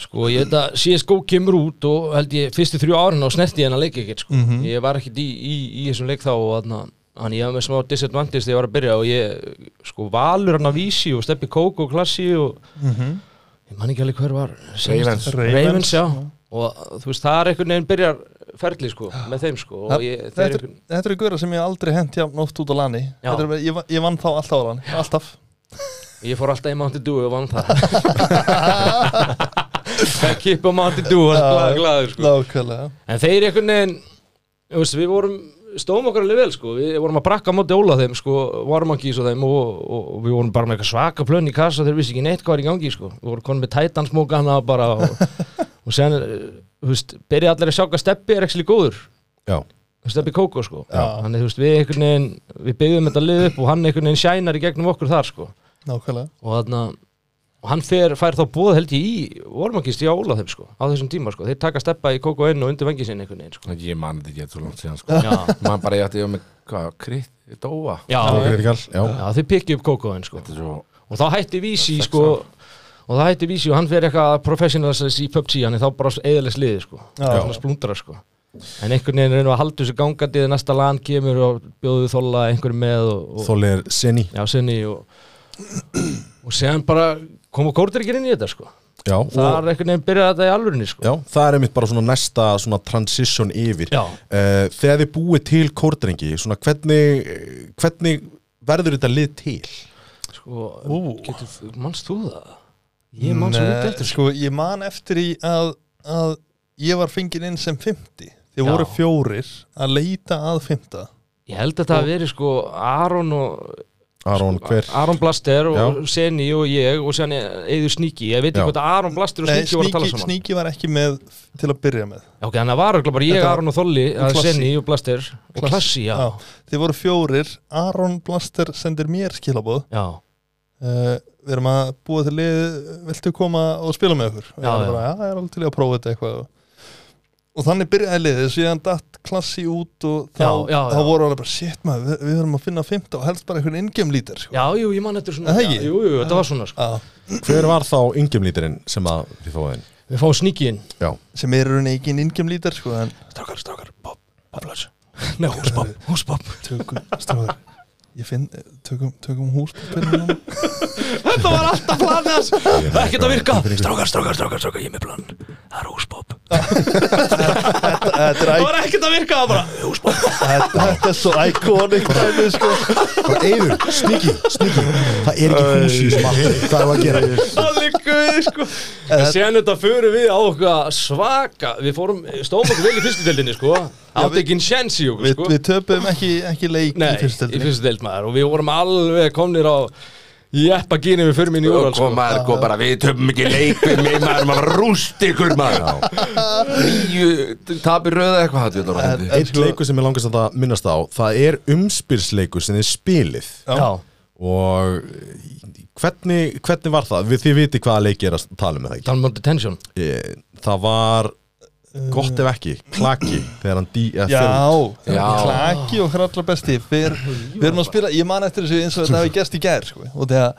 Sko ég veit að CSGO kemur út og held ég fyrstu þrjú árin og snerti ég hennar leik ekkert sko. Mhm. Ég var ekkert í, í, í þessum leik þá og þarna Þannig ég var með smá disadvantage þegar ég var að byrja og ég sko valur hann að vísi og steppi kók og klassi og ég man ekki alveg hver var Ravens. Ravens, Mhm. Ravens, já og þú veist það er einhvern veginn byrjar ferli sko með þeim sko og Það- ég, þeir Þetta einhvern- er- þetta eru góra sem ég aldrei hent jafn oft út á lani Já. Þetta er bara- ég, va- ég vann þá alltaf á lani, alltaf Ég fór alltaf í Mountain Dew og [laughs] vann það Það kippa Mountain Dew og var glæður sko. Nákvæmlega, En þeir einhvern veginn þú veist, Við vorum, stóðum okkar alveg vel sko. Við vorum að brakka á móti óla þeim sko, Varmangís og þeim og, og, og við vorum bara með eitthvað svaka plön í kassa Þeir vissi ekki neitt hvað er í gangi sko. Við vorum konum með tætansmókana bara og, og sen, þú veist, byrja allir að sjá hvað steppi er ekki góður Já, Steppi Kókó sko Þannig þú veist, við einhvern veginn, við byggðum þetta lið upp og hann einhvern veginn sjænar í gegnum okkur þar sko nákvæmlega og þarna og hann fer, fær þá bóð held ég í vormakist í ála þeim sko, á þessum tíma sko þeir taka steppa í kók og enn og undir vengi sinni [laughs] einhvern veginn sko. Ég man þetta ekki eitthvað langt síðan sko já, Man bara ég ætti ég með, hvað, kritt, dóa já, já, Critical, já. þeir pikki upp kók og enn sko Þetta er svo og þá hætti vísi sko og það hætti vísi og hann fer eitthvað professionalistis í PUBG, hann er þá bara eðalega sliði sko, Já. svona splundra sko en einhvern veginn reynum við að halda þessu gangandi þegar næsta lan kemur og bjóðu þóla einhverjum með og, og Þólir Senni já, sinni og, og séðan bara koma kórdrykkir inn í þetta sko já, og- það er einhvern veginn byrjað þetta í alvörinni sko Já, það er einmitt bara svona næsta svona transition yfir Já. Eh, Þegar þið búið til kórdrengi svona hvernig, eh, hvernig verður þetta lið til? Sko, getur, manst þú það? Ég man svo út Nei, eftir sko. sko, ég man eftir í að, að ég var fengin inn sem 50 Þið Já. voru fjórir að leita að 50 Ég held að það hafi verið sko Aron og Aron, Sko, hver? Aron Blaster og Já. Seni og ég og sér eður Sníki, ég veit Já. ekki hvað Aron Blaster og Nei, Sníki voru að tala Sníki, saman Sníki var ekki með til að byrja með Já, Ok, þannig að var örugglega bara ég, Þetta var- Aron og Þolli og að Klassi. Seni og Blaster og Klassi. Klassi, já, Þið voru fjórir, Aron Blaster sendir mér skilabóð já. uh, Við erum að búa til lið, viltu koma og spila með okkur? Og Já, ég var já. bara, já, ég er alveg til í að prófa þetta eitthvað Og þannig byrjaði liðið, síðan datt klassi út og þá, Já, já, já. þá voru alveg bara, shit maður, við, við verum að finna 50 og helst bara einhvern ingem lítir, sko. Já, jú, ég man eftir Er svona það já, ekki? Jú, jú, þetta var svona sko. Já. Hver var þá yngjumlítirinn sem að þið fóðið inn? Við fáum Sníki inn Já, sem er raunin ekki ingem lítar sko, en Strákar, strákar, bob, [laughs] boblas Nei, húsbob, húsbob tökum, stráður ég finn, tökum, tökum húspapirinn Þetta var alltaf planið hans Ekkert að virka Strákar, strákar, strákar, strákar, ég er með plan Það er [laughs] húsbob þetta er, Það æ- var ekkert að virka það bara Húsbob þetta, þetta er svo iconic dæmi, sko. bara Eifur, Sniggi, Sniggi Það er ekki húsi sem að [laughs] hvað er að gera Allir guði sko En séðan þetta fyrir við á okkar svaka Við fórum, stóðum okkur vel í fyrstudeldinni sko Átti ekki en sjens í okkur við, sko við töpum ekki, ekki leik Nei, í fyrstu í deildinni. fyrstudeld maður Og við vorum alveg komnir á Jeppa gínum við fyrir minn í Og úrval sko kom maður, kom bara, við töfum ekki leikum Mér maður, maður rúst ykkur maður Nýju, tapir röða eitthvað Þetta er orðið En- hendi en Eitt leikur sem ég langast að það minnast á það er umspilsleikur sem þið spilið Já, og hvernig, hvernig var það? Við þið viti hvaða leiki er að tala um er það ekki? talum um detention Eh, það var gott ef ekki, klaki þegar hann dí, eða, já, þegar- Já. klaki og hralla besti við, er- við erum að spila, ég man eftir þessu eins og þetta hafi gerst í gær sko, og þegar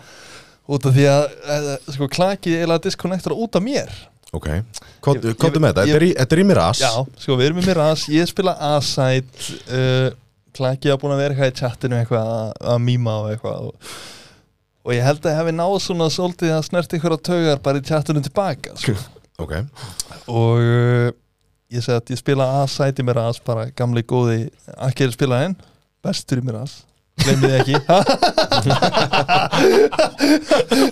út af því að eh, sko, klakið er að diskonnektora út af mér ok, Ég- komdu ég- með þetta ég- þetta er í- þetta er í mér as Já, sko við erum í mér aðs, ég spila A-side uh, Klaki að búin að vera eitthvað í chatinu eitthvað að- að mýma og eitthvað og, og ég held að ég hefði náð svona svolítið að snert ykkur að taugar bara í chatinu tilbaka sko. ok, og uh, ég segi að ég spila A-side í mér aðs bara gamli góði Akir spila henn, bestur í mér aðs Gleimið ekki [laughs]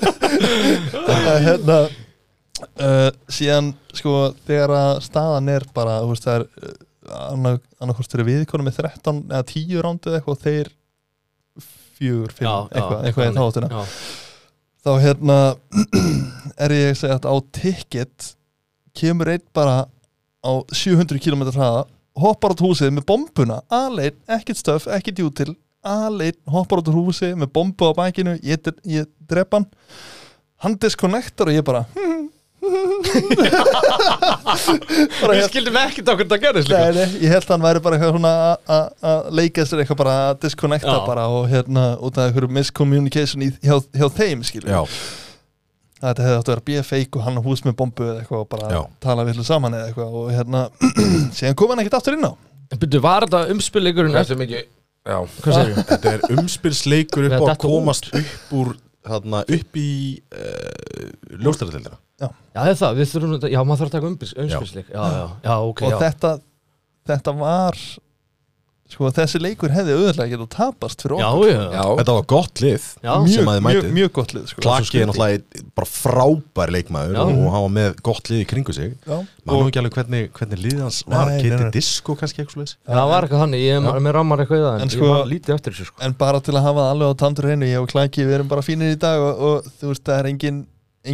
Þetta er hérna uh, Síðan sko Þegar að staðan er bara þú veist, Það er eh, uh, annað- annað hvort eru við konum með 13 eða 10 rándu eða eitthvað og Þeir fjögur, fimm, Já, eitthvað, já, eitthvað eitthvað í þá áttina Já, þá hérna [clears throat] er ég að segja að á ticket kemur einn bara á 700 km hraða hoppar át húsið með bombuna aðlein, ekkert stöf, ekkert jútil aðlein, hoppar át úr húsið með bombu á bækinu, ég, ég drep hann hann disconnectar og ég bara hm, bara Við ég, skildum ekkert okkur það gerðist líka nei, nei, ég held að hann væri bara eitthvað svona að- að- að leika sér eitthvað bara að disconnecta Já. bara og hérna út af einhverju miscommunication í, hjá, hjá þeim skilur Já, þetta hefði átt að vera bíafeik og hann á hús með bombu eða eitthvað og bara Já. tala villu saman eða eitthvað og hérna, [clears throat] síðan kom hann ekkert aftur inn á Byrju, var þetta umspilleikurinn Hversu mikið Já, Hvað segir ég? þetta er umspilsleikur upp á Þetta að datt komast upp úr þarna, upp í uh, ljóstaratildina Já, það er það, við þurfum að, já, maður þarf að taka umbils, umspilsleik Já, já, já, ok, og já þetta, þetta var sko þessi leikur hefði auðvitað getað tapast fyrir Já, okkur já, já, já Þetta var gott lið Já. sem að mjög, þið mjög, mætið mjög gott lið sko. Klaki er náttúrulega bara frábær leikmaður Já. og hann var með gott lið í kringu sig Já. maður ekki alveg hvernig, hvernig lið hans var Nei, nei, Kitty nei. Disco kannski eitthvað svoleiðis? það var eitthvað þannig, ég er með rammar eitthvað í það En En sko- ég var lítið eftir þessu, sko en bara til að hafa það alveg á tandur hreinu ég og Klaki, við erum bara fínir í dag og, og þú veist, það er engin,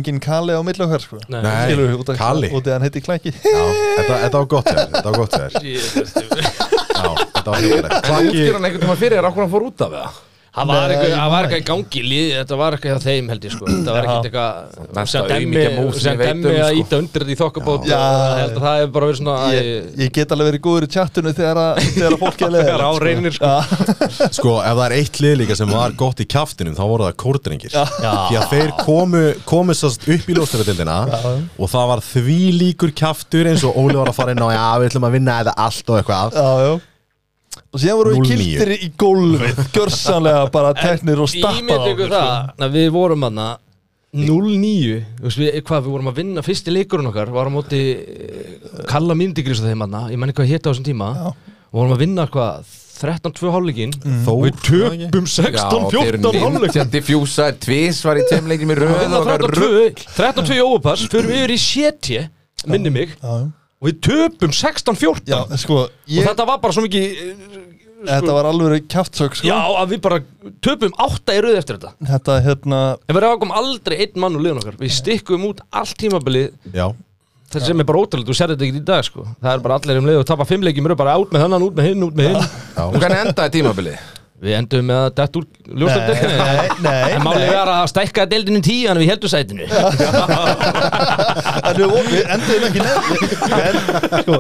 engin Kali á milli okkar sko Nei. Skilur, út af- Kali. út af hann heiti Klaki Já, þetta, þetta var gott þér Þetta var gott þér Já, þetta var hrigalegt Klaki Útskýr hann einhvern tíma fyrir þér Akkur hann fór út af það Það var eitthvað, það var eitthvað í gangi í liði, þetta var eitthvað hjá þeim held ég sko Þetta var ekkert eitthvað Mesta sem demmi, aumingja mús sem sem ég veit demmi um, að sko. íta undir þetta í þokkabót Já. Ég held að það hefur bara verið svona æ, ég, ég get alveg verið góður í chatinu þegar, að, þegar að fólk er leðið Þegar á reynir, sko. Sko, ef það er eitt lið líka sem var gott í kjaftinum þá voru það kórdrengir því að þeir komu, komu sást upp í ljóstaratildina og það var því líkur kjaftur eins og Óli var að fara inn á já, við ætlum að vinna þetta allt og eitthvað Já, já Og síðan voru við 09. kiltir í gólfið Gjörsanlega bara teknir og stappað Ímynd ykkur það að Við vorum aðna 0-9 Þú veist, við- Hvað, við vorum að vinna fyrsti leikurinn okkar Var á móti eh, Kalla míndigris á þeim aðna Ég menn hvað hétta á þessum tíma Já. Og vorum að vinna hvað 13-2 hálfleikin Þór, Við töpum Já, 16-14 þeir eru hálfleikin nýtt Diffjúsar, tvís var í tveim leikin í röð og okkar rugl. 13-2 óupass Förum yfir í 70 Minni mig Já, Og við töpum 16-14 já, sko Og ég, þetta, þetta var bara svo mikið eh, var alveg kjaftsök sko. Já, að við bara töpum 8 í rauð eftir þetta Þetta hérna En við rákum aldrei einn mann úr liðun okkar Við stikkum út allt tímabilið já, það sem er bara ótrúlega, þú sér þetta ekki í dag sko. það er bara allir um leið og tapa fimm leikjum eru bara út með hennan, út með hinn, út með hinn Og hvernig endaði tímabili? við endum með að dætt úr ljóstadeldinu Nei, nei, en málið nei er að stækka deldinu tíu en við heldum sætinu En við, við enduðum ekki nefn en, sko,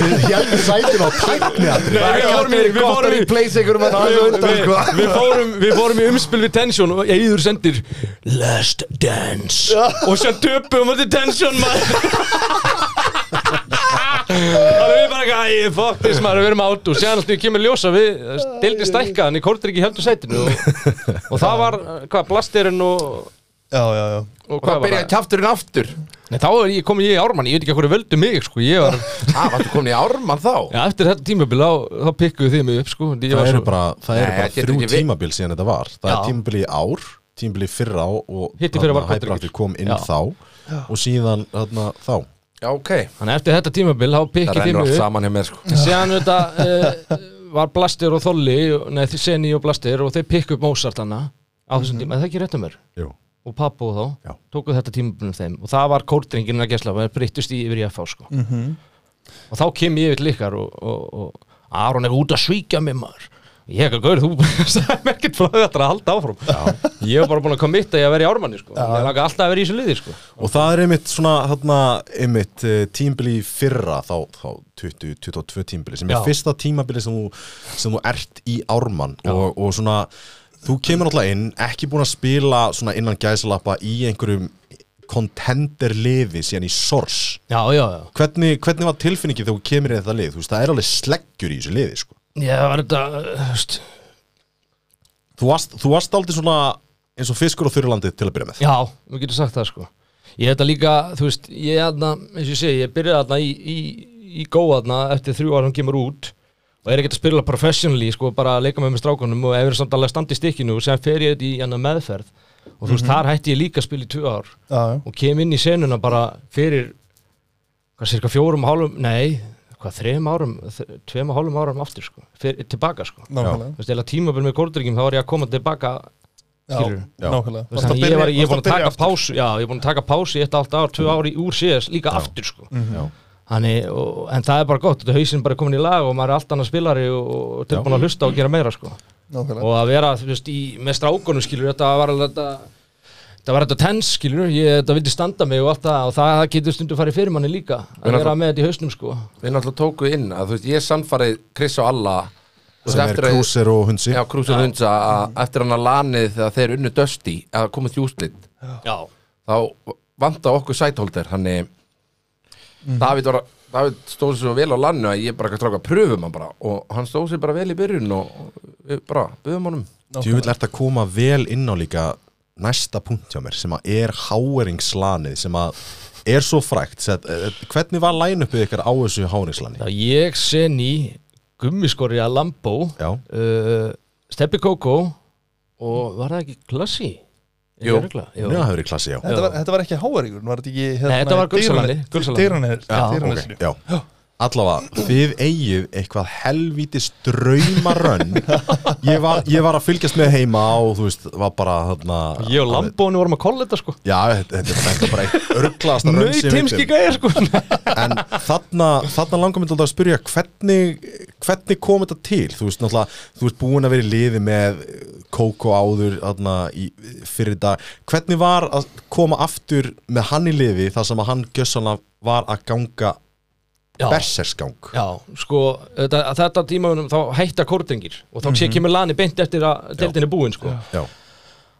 Við heldum sætin á tækni atriði. við fórum í- við fórum í- place ykkur um hann við, við, fórum, við fórum í umspil við Tension og Eður sendir Last Dance og sér töpum við Tension maður Það er bara eitthvað, æ, fuck this maður, við erum átt og séðan alltaf ég kemur ljósa við eh, deildi stækka, en ég kortir ekki heldur sætinu og, og það var, eh, hvað, blastirinn og, Já, já, já og Og það hvað var byrjaði það? kjafturinn aftur Nei, þá er ég, kom ég í ármann, ég veit ekki hvað völdu mig, sko, ég var Hæ, varstu komin í ármann þá? Já, eftir þetta tímabil, þá, þá pikkuðu þið mig upp, sko ég var Það eru svo- bara, það eru Nei, bara þetta er þrjú ekki við- tímabil síðan þetta var Það er Já. tímabil í ár, tímabil í fyrra á og Hitt í fyrra var þarna Patrik. Hyperactive kom inn Já. þá og síðan þarna, þá Já, ok Þannig að eftir þetta tímabil, þá Það pikkið þið rennur mig allt upp saman hjá mér sko Síðan þetta uh, var Blastir og Þolli Nei, þið Seni og Blastir og þeir pikku upp Mozart hana á þessum tíma, er það ekki rétt um mér Jú. og pappu og þá, Já. tóku þetta tímabilum þeim og það var kórdringin að gesla, það breyttust í yfir í FH sko. og þá kem ég yfir til ykkar og, og, og Aron er út að svíkja mig maður ég ekki að gauður, þú [laughs] sagði mér ekkert frá þetta að halda áfram Já. ég var bara búin að komitta ég að vera í ármanni sko. ég laka alltaf að vera í þessu liði sko. Og það er einmitt svona, þarna, einmitt eh, tímabil í fyrra þá, þá 20-22 tímabili sem er Já. fyrsta tímabili sem þú, sem þú ert í ármann og, og svona, þú kemur náttúrulega inn ekki búin að spila svona innan gæsalappa í einhverjum contender liði síðan í sors já, já, já hvernig, hvernig var tilfinningið þegar þú kemur í þetta lið þú veist, það er alveg sleggjur í þessu liði sko. ég var þetta, þú veist þú, varst, þú varst aldrei svona eins og fiskur á þurrlandið til að byrja með Já, við getum sagt það sko Ég þetta líka, þú veist, ég aðna eins og ég segi, ég byrjaði aðna í, í, í góðaðna eftir þrjú ára hann kemur út og er ekkert að spila professionally sko, bara að leika með með strákunum og ef er samt alveg að standa í stikkinu og sem fer ég þetta í hana meðferð og þú veist, þar hætti ég líka að spila í tvö ár Já, já og kem inn í senuna bara fyrir hvað, cirka fjórum og hálfum, nei hvað, hvað, þreim árum, þ- tveim og hálfum árum aftur sko, fyr, tilbaka sko nákvæmlega þú veist, eða tímabil með kóldryggjum þá var ég að koma tilbaka Já, skilurðu. Já. nákvæmlega þú Varstu veist, að þannig ég byrja- var, ég er varstu búin að taka byrja aftur? pásu já, ég er búin að taka pásu í eitt allt ár, tvö ár í úr síðast líka aftur sko já, Mm. Þannig, og, en það er bara gott, þetta hausinn bara komin í lag og maður er allt annað spilari og, og tilbúin að hlusta og gera meira sko Nákvæmlega og að vera þú veist, í, með strákunum skilur þetta var alveg þetta þetta var þetta tens skilur ég, þetta vildi standa mig og allt það og það getur stundu farið fyrir manni líka að Meina vera það- með þetta í hausnum sko Við náttúrulega tóku inn að þú veist, ég sannfarið Chris og Alla þú veist, sem er Mm. eftir að- krúsir og hundsi Já, Krúsir Hundsa að eftir hann að lanið þegar þeir unnu Dusty að komast í úslit já, þá vanda okkur sætholder hann er Mm. David, var, David stóð sér svo vel á lannu að ég bara kannski ráka pröfum hann bara og hann stóð sér bara vel í byrjun og og við bara buðum honum djúvill ert að koma vel inn á líka næsta punkt hjá mér sem að er háeringslanið sem að er svo frækt sem að, eh, hvernig var line-upið ykkar á þessu háeringslanið? þá ég sen í gummiskori að Lambó Já, uh, Steppi Kókó og var það ekki Klassi? Er Jú. ég örugglega? já. það hefur verið klassi, já Þetta Já. var, þetta var ekki háaríkur, var þetta ekki hérna, Nei, þetta var Gulsalandi, Gulsalandi. Já, Gulsalandi Já. Allavega, þið eigið eitthvað helvítis draumarönn ég, var- ég var að fylgjast með heima og þú veist, var bara þarna, ég og Lambóni vorum að kolla þetta sko Já, þetta þetta- þetta er bara eitt örglaðasta rönn nöyt sem ég veit heimski um. gæðir sko En þarna, þarna langar mér alltaf að spyrja hvernig, hvernig kom þetta til? Þú veist náttúrulega, þú veist búin að vera í liði með Kókó áður þarna, í, fyrir dag Hvernig var að koma aftur með hann í liði þar sem að hann gjössanlega var að ganga [laughs] Já. bersersgang? Já, sko, þetta, að þetta tímaunum þá hætta kórdengir og þá sé kemur lani beint eftir að deildin er búin sko. Mhm. Já,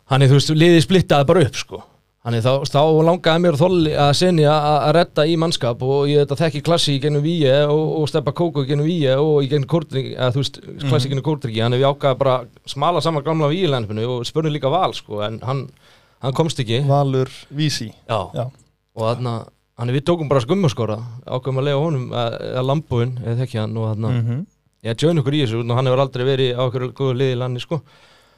Þannig þú veist, liðið splittaði bara upp sko Þannig þá, þá langaði mér þolli að senni að að redda í mannskap og ég þetta þekki klassi í genum víi og, og steppa kóku í genum víi og í genum kórtryggi, að þú veist, klassi í genum kórtryggi Þannig við ákvaði bara að smala saman gamla víilandinu og spurning líka val sko en hann, hann komst ekki Valur Vísi Já, Já, og þarna, þannig við tókum bara skummaskora ákvaðum að lega honum að, að lambúin, eða þekki hann og þarna ég join okkur í þessu og hann hefur aldrei verið á okkur góðu liði í landi sko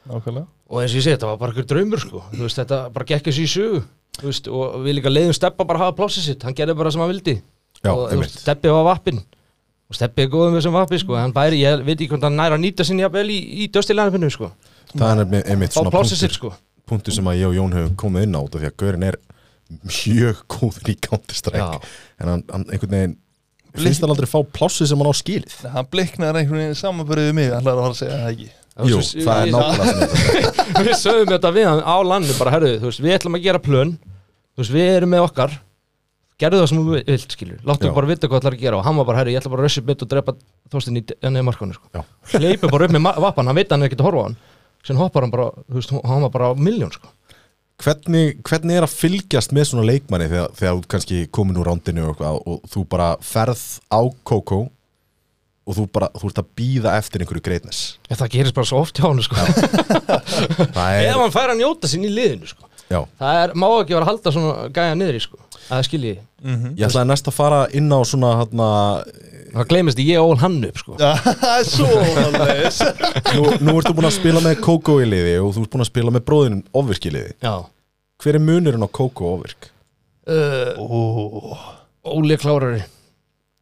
nákvæmlega og eins og ég segi þetta var bara okkur draumur sko þú veist þetta bara gekk þessu í sögu þú veist og við líka leiðum Steppa bara að hafa plásið sitt hann gerði bara sem hann vildi Já, og þú einmitt. veist, Steppi var vappin og Steppi er góðum við sem vappi sko hann væri, ég veit ekki hvort hann næra að nýta sinni jafnvel í, í döstilæðanfinu sko það er nefnir einmitt á svona plásið sitt punktur, sko punktur sem að ég og Jón hefum komið inn á út af því að Gaurin er mjög góður í Já. counterstrike en hann, hann einhvern veginn finnst hann aldrei fá plássið sem hann á skilið Nei, Hann bliknaði einhvern veginn samanbörðið við mig Það ætlaði að fara að segja [laughs] það ekki Það Jú, var svo- það er ég- [laughs] nákvæmlega sem þetta við sögum þetta við hann á landu bara herðu þú veist við ætlum að gera plön þú veist við erum með okkar gerðu það sem þú vilt skilur láttu Já. bara vita hvað ætlar að gera og hann var bara herru ég ætla bara að rössi bytt og drepa þóstin í enni markonu Já. sko. hleypi bara upp með ma- vappan hann veit að hann er ekkert að horfa á hann sen hoppar hann bara þú veist hann var bara á miljón sko. hvernig, hvernig er að fylgjast með svona leikmanni þegar, þegar þú ert kannski komin úr rándinu og, eitthvað og þú bara ferð á Kókó og þú bara, þú ert að býða eftir einhverju greitness Ef það gerist bara svo oft hjá hann sko. það [laughs] ef er, hann fær að njóta sín í liðinu sko. já, það er, má ekki vera að halda svona gæja niðri sko. að skilji ég ætlaði næst að fara inn á svona hérna, það gleymist ég ól hann upp sko. Það er svo leis nú, nú ertu búin að spila með Kókó í liði og þú ert búin að spila með bróðinum ofvirk í liði, já hver er munurinn á Kókó og ofvirk? uh, Óli er klárari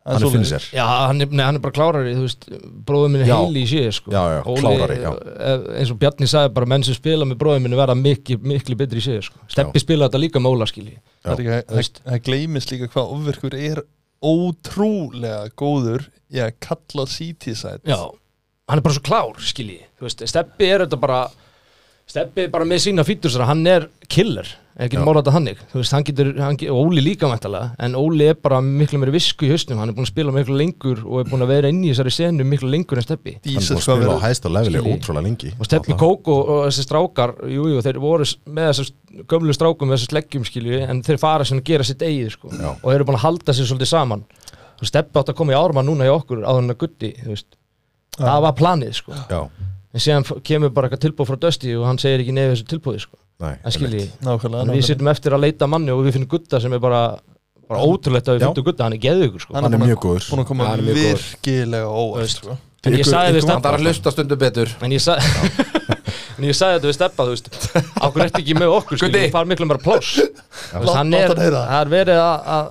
hann er finnir Já, hann er, nei, hann er bara klárari, þú veist, bróður minn er Já. heili í síðu, sko. Já, já, klárari, já. eh, Eins og Bjarni sagði bara, menn sem spila með bróður minn verða mikli, mikli betri í síðu, sko. Steppi spilaði þetta líka með Óla, skilji. Það er ekki- Það það gleymist líka hvað ofverkur er ótrúlega góður í að kalla CT-sæt Já, hann er bara svo klár, skilji. Þú veist, Steppi er þetta bara, Steppi er bara með sína fítursra, hann er killer, ef getur málað þetta hannig. Þú veist, hann getur, hann getur, Óli líka mæntalega, en Óli er bara miklu meiri visku í hausnum, hann er búin að spila miklu lengur og er búin að vera inn í þessari senu miklu lengur en Steppi. hann er búin Dísir að hvað spila á verður hæsta leveli Skilji. ótrúlega lengi og Steppi Kók og, og þessi strákar jújú, jú, þeir voru s- með þessar gömlu strákum með þessar sleggjum skilju, en þeir fara sem að gera sitt eigið sko, Já. og þeir eru búin að halda sér svolítið saman og Steppi átt að koma í ármann núna hjá okkur á þennan gutti, þú veist það var planið, sko, já, en síðan f- kemur bara eitthvað tilbúð frá Dusty og hann segir ekki nefið þessu tilbúði, sko, nei, það skilji Nákvæmlega en við nákvæmlega. sittum eftir að leita manni og við finnum gutta sem er bara, bara ótrúlegt að við Já. finnum gutta, hann er geðugur, sko hann er búinn að- mjög góður. Búinn að koma Hann er mjög góður. virkilega óvart Veist. sko. en ég Ykkur- sagði við ykkur Steppa Það er að hlusta stundum betur En ég, sa... [laughs] en ég sagði þetta við steppa, þú veist Ákveð ertu ekki með okkur, skilur Gutti. við fara miklu meira pláss Þú veist, Lát- Hann lát er, hann heyra það. það er verið að- að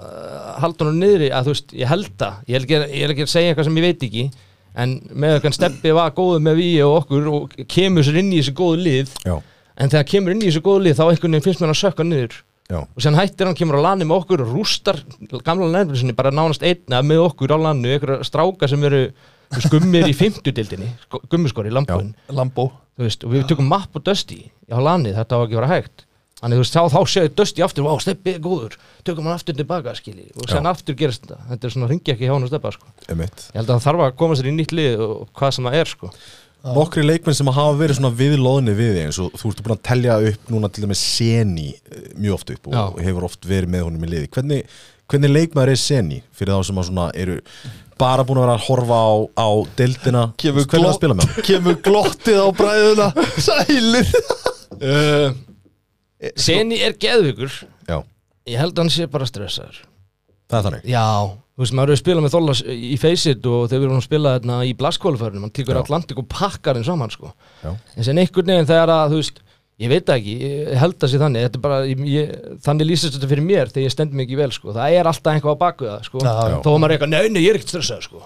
halda hún niðri að þú veist, ég held að ég er ekki, ég er ekki að segja eitthvað sem ég veit ekki en með okkar steppi var góður með við og okkur og kemur sér inn í þessu góðu lið já, en þegar kemur inn í þessu góðu lið þá einhvern veginn finnst mér hann að sökka niður já, og sen hættir hann kemur á lani með okkur og rústar gamla nefnisinni bara nánast einna með okkur á lanu, einhverja stráka sem eru þú veist, gummir í fimmtudildinni gummiskori í lambóin Lambo þú veist, og við tökum mapp og Dusty á lanið, þetta var ekki að vera hægt þannig þú veist, þá, þá séu Dusty aftur, vá, steppi er góður tökum hann aftur tilbaka, skilji og sen Já. aftur gerist þetta, þetta er svona ringi ekki hjá hann og steppa, sko emitt ég held að það þarf að koma sér í nýtt lið og hvað sem það er, sko Nokkri leikmenn sem hafa verið svona viðlóðinni við þig eins og þú ert búin að telja upp núna til dæmis Seni eh, mjög oft upp og Já. hefur oft verið með honum í liði hvernig, hvernig leikmaður er Seni fyrir þá sem að svona eru bara búin að vera að horfa á, á deildina Kemur hvernig er að spila með hann? Kemur glottið á [laughs] bræðuna Sælið Seni er geðvíkur, Já, ég held að hann sé bara stressaður það er þannig Já, þú veist, maður eru að spila með Þólas í Faceit og þegar við erum að spila þarna í blaskólförnum, hann tekur Já. Atlantik og pakkar þeim saman, sko. Já. En sem einhvern veginn þegar að, þú veist, ég veit það ekki, ég held það sé þannig, þetta er bara, ég- ég, þannig lýsast þetta fyrir mér þegar ég stend mig ekki vel, sko. Það er alltaf einhvað á baku það, sko. Já. Þó að maður er eitthvað, nei, nei, ég er ekkert stressað, sko.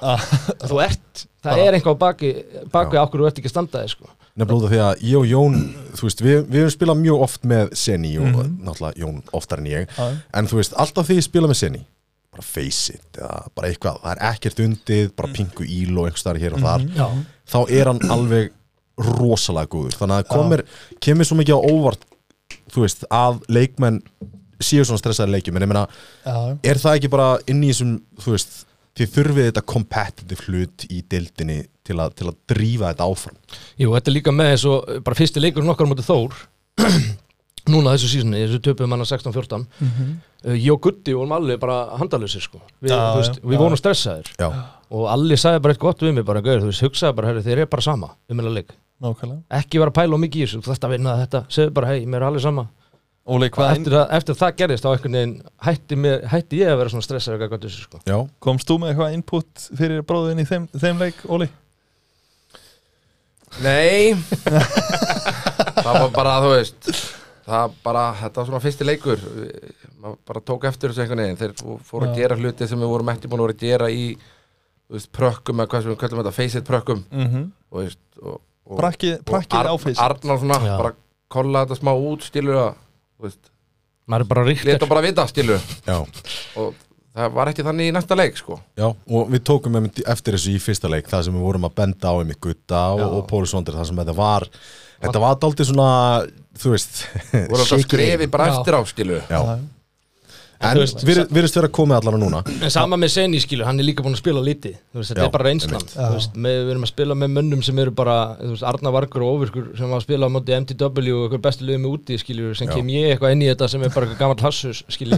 Þú ert, það er einhvað á baku, baku Já. á hverju þú ert ekki að standa þig, sko. Nefnilega út af því að ég og Jón, þú veist, við, við höfum spilað mjög oft með Seni og náttúrulega Jón oftar en ég Já. En þú veist, alltaf því ég spila með Seni bara face it, eða bara eitthvað það er ekkert undið, bara pingu íl og einhvers staðar hér og þar Já. þá er hann alveg rosalega góður þannig að það komir, kemur svo mikið á óvart þú veist, að leikmenn séu svona stressaði leikjum en ég meina, Já. er það ekki bara inn í þessum, þú veist þið þurfið þetta competitive hlut í deildinni til að, til að drífa þetta áfram Jú, þetta er líka með eins og bara fyrsti leikurinn okkar mútið Þór [clears throat] núna þessu sísunni, þessu töpum hann að 16-14 uh, ég og Gutti vorum allir bara handalösir sko við, Já, þú veist, já, við já. vorum stressaðir Já, og allir sagði bara eitthvað gott við mig bara, gauður, þú veist, hugsaði bara, herri, þeir eru bara sama um minna leik, Nákvæmlega ekki vera að pæla of mikið í þessu, þetta vinna þetta, segðu bara, hei, mér er allir sama Óli, hvað eftir, að, eftir það gerðist á einhvern veginn hætti, mér, hætti ég að vera svona stressaður gagnvart þessu sko já komst þú með eitthvað input fyrir bróðin í þeim, þeim leik, Óli? Nei [laughs] Það var bara, þú veist Það bara, þetta var svona fyrsti leikur Við- maður bara tók eftir þessu einhvern veginn þeir fóru að Já. gera hluti sem við vorum ekki búin að vera að gera í þú veist, prökkum eða hvað sem við kallum þetta, face it prökkum Mm -hmm. Mhm. og, þú veist, og, og, Prakkið prakki Arn- áfis Arnar svona, Já. bara kolla þetta smá út stílu að, þú veist, maður er bara ríktir, leta bara vita stílu Já, og það var ekki þannig í næsta leik sko. já, og við tókum einmitt eftir þessu í fyrsta leik það sem við vorum að benda á einmitt gutta og, Já. og Póli Svondir, það sem þetta var þetta var daldið svona, þú veist voru alltaf shaky. skrefi bara Já. eftir á stílu Já, En þú en veist, við erum stöður að koma allavega núna en sama með Seni skilu, hann er líka búin að spila lítið þú veist, þetta Já, er bara reynslan einmitt. Þú veist, með, við erum að spila með mönnum sem eru bara þú veist, Arna Vargur og Óvirkur sem var að spila á móti MTW og ykkur bestu liðum í úti skilu, sem Já. kem ég eitthvað inn í þetta sem er bara eitthvað gammal hassus skilu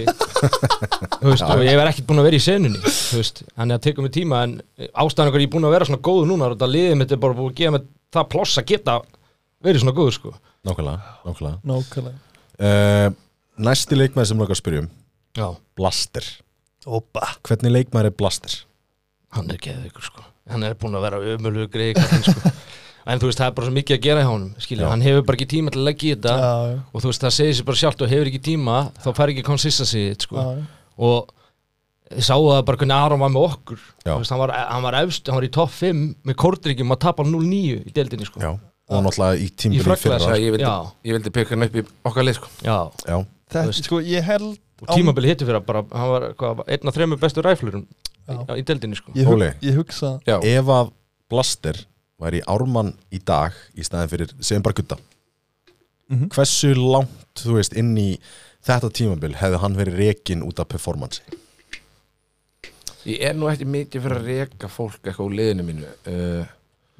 [laughs] veist, og ég er ekkert búin að vera í senunni þú veist, hann er að teka mig tíma en ástæðan okkur ég er búin að vera svona góð núna og þetta liðið mitt er bara búin að gefa mig það ploss að geta verið svona góð sko Nákvæmlega, nákvæmlega Nákvæmlega Uh, næsti leikmaður sem langar að spyrjum Já. Blaster, Opa hvernig leikmaður er Blaster? hann er geðið ykkur sko hann er búin að vera ömulug greið kallinn sko en þú veist það er bara svo mikið að gera hjá honum skilja, Já. hann hefur bara ekki tíma til að leggja í þetta Já, og þú veist það segir sér bara sjálft og hefur ekki tíma þá fær ekki consistency í þetta, sko. já, já. og ég sá það bara hvernig Aron var með okkur Já. Þú veist, hann, var, hann var efst, hann var í topp 5 með kórdryggjum að tapa 0-9 í deildinni sko. Já, og náttúrulega í Í tímbili Frakklands, fyrir það það ég vildi, Já. ég vildi peka hann upp í okkar leik sko. Já. Já, Þú Þetta, veist. sko, ég held og tímabili hittu fyrir að bara, hann var hvað, einn af þremur bestu ræflurum Já. í, í deildinni sko. ég, hug, Óli. ég hugsa [laughs] Já. ef að Blaster væri í ármann í dag í staðin fyrir, segjum bara gutta Mhm. hversu langt, þú veist, inn í þetta tímabil hefði hann verið rekin út af performance ég er nú ekki mikið fyrir að reka fólk eitthvað úr liðinu mínu uh,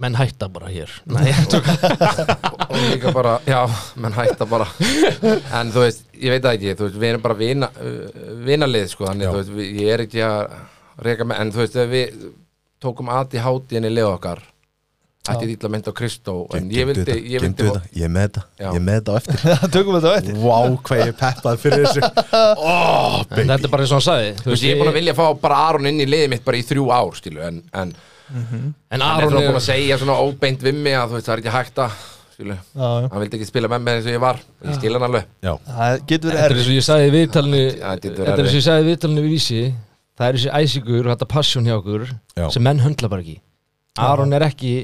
menn hætta bara hér Nei, ég tók- og líka bara, já, menn hætta bara en þú veist, ég veit það ekki þú veist, við erum bara vina, uh, vinalið sko, þannig, Já. þú veist, við- ég er ekki að reka með, en þú veist, þegar við tókum aðti hátíðinni lið okkar ætti dýtla mynd á Kristó en ég Geymdu vildi, þetta, ég geymdu vildi þetta, ég er með þetta, Já. ég er með þetta á eftir Tökum við þetta á eftir Vá, hvað ég peppaði fyrir þessu oh, baby en þetta er bara eins og hann sagði þú þú veist, ég er búin að vilja fá bara Aron inn í liðið mitt bara í þrjú ár, skilu, en, en en hann er Aron svona búin er að segja svona óbeint við mig að þú veist, það er ekki hægt að skilu, Já, já hann vildi ekki spila með mér eins og ég var og ég skil hann alveg Já, Það getur verið Þetta er erfið eins og ég sagði í viðtalinu Já, þetta er Þetta er eins og ég sagði í viðtalinu við vísi það er þessi æsingur og þetta passion hjá okkur Já. sem menn höndla bara ekki Aron er ekki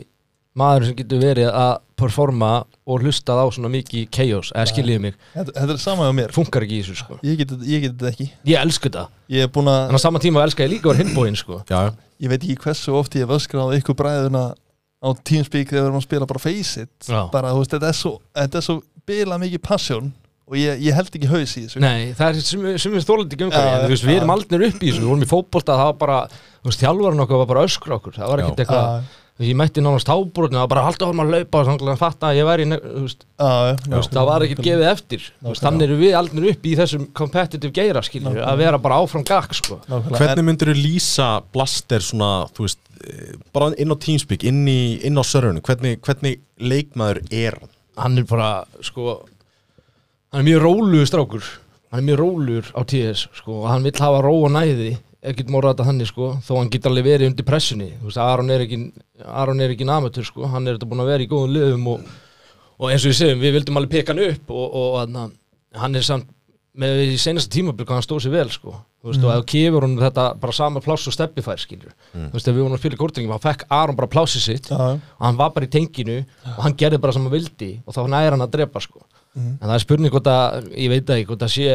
maður sem getur verið að performa og hlustað á svona mikið chaos eða skiljiði mig, Þetta þetta er sama hjá mér funkar ekki í þessu sko Ég get, ég get þetta ekki ég elsku þetta, Ég er búin að en á sama tíma elska ég líka var hinbóin sko já, já. Ég veit ekki hversu oft ég hef öskrað á ykkur bræðuna á Teamspeak þegar við erum að spila bara Face It Já. bara, þú veist, þetta er svo, þetta er svo bila mikið passion og ég, ég held ekki haus í þessu Nei, það er sem, sem við þólandi ekki Já, umhverju en þú veist, við já. erum aldrei upp í þessu, við vorum í fótbolta það var bara, þú veist, þjálfarinn okkar var bara að öskra okkur, það var ekkert Já. eitthvað ég mætti nánast hábrotni, það var bara að halda áfram að laupa og þannig að fatta að ég væri, í ne- þú veist, Já, já, sko, Þú veist, það var ekkert gefið eftir Þú veist, þannig eru við aldrei upp í þessum competitive geira skiljur, að vera bara áfram gakk sko. nákvæmlega. Hvernig myndir þú lýsa Blaster svona, þú veist, eh, bara inn á Teamspeak, inn, í, inn á sörunum, hvernig, hvernig leikmaður er hann? hann er bara sko, hann er mjög rólugur strákur hann er mjög rólugur á TS sko, og hann vill hafa ró og næði ekkert morða þetta þannig sko, þó hann getur alveg verið undir pressunni, þú veist, Aron er ekki Aron er ekki namatur sko, hann er þetta búin að vera í góðum löfum og, og eins og við segjum, við vildum alveg peka hann upp og, og, hann, hann er samt með í senasta tímabil hvað hann stóð sér vel sko, þú veist, og ef þú kefur hann þetta bara sama pláss og steppi fær skilur þú veist, ef við vorum að spila í kórtingum, hann fekk Aron bara plássi sitt Já, já. og hann var bara í tenginu og hann gerði bara sem hann vildi og þá næri hann að drepa sko. en það er spurning hvort að, ég veit það ekki hvort að sé,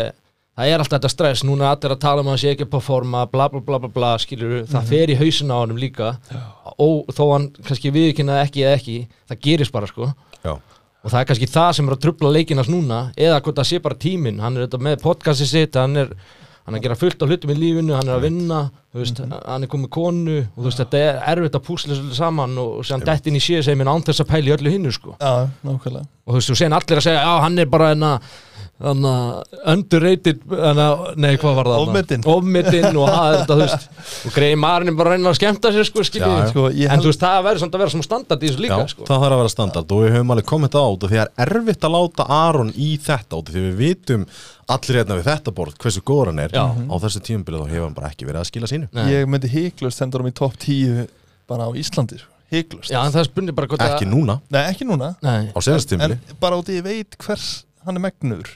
það er alltaf þetta stress núna er allir að tala um að hann sé ekki að performa bla bla bla bla bla, skilur það fer í hausin á honum líka og þó hann kannski viðkynnaði ekki eða ekki það gerist bara sko Já, og það er kannski það sem er að trubla leikinas núna eða hvort það sé bara tíminn, hann er þetta með podcasti sitt, hann er hann er að gera fullt á hlutum í lífinu, hann er að vinna þú veist, Mhm. hann er komið konu og þú veist, þetta er erfitt að púsla svolítið saman og og sé hann dætt inn í síða segja minn án þess að pæla í öllu hinnu sko. já, nákvæmlega og þú veist, þú segir allir að segja, já, hann er bara enna Þannig underrated hana, Nei, hvað var það? Ofmetinn. Ofmitinn og það er þetta, þú veist [laughs] Og greiði maðurinn er bara að reyna að skemmta sér, sko, Já, já. skiljið Sko, ég En held- þú veist, það verður samt að vera smá standard í þessu líka, já sko það þarf að vera standard og við höfum alveg komið þetta át og því það er erfitt að láta Aron í þetta át því við vitum allir hérna við þetta borð hversu góður hann er Já. Mhm. á þessu tímabilið þá hefur hann bara ekki verið að skila sínu Nei. Ég myndi hygglust hendur um í topp 10 bara á Íslandi, sko. hygglust Já, en það spurning bara hvort að- Ekki núna, Nei, ekki núna Nei, á senastímili en bara út í ég veit hvers hann er megnur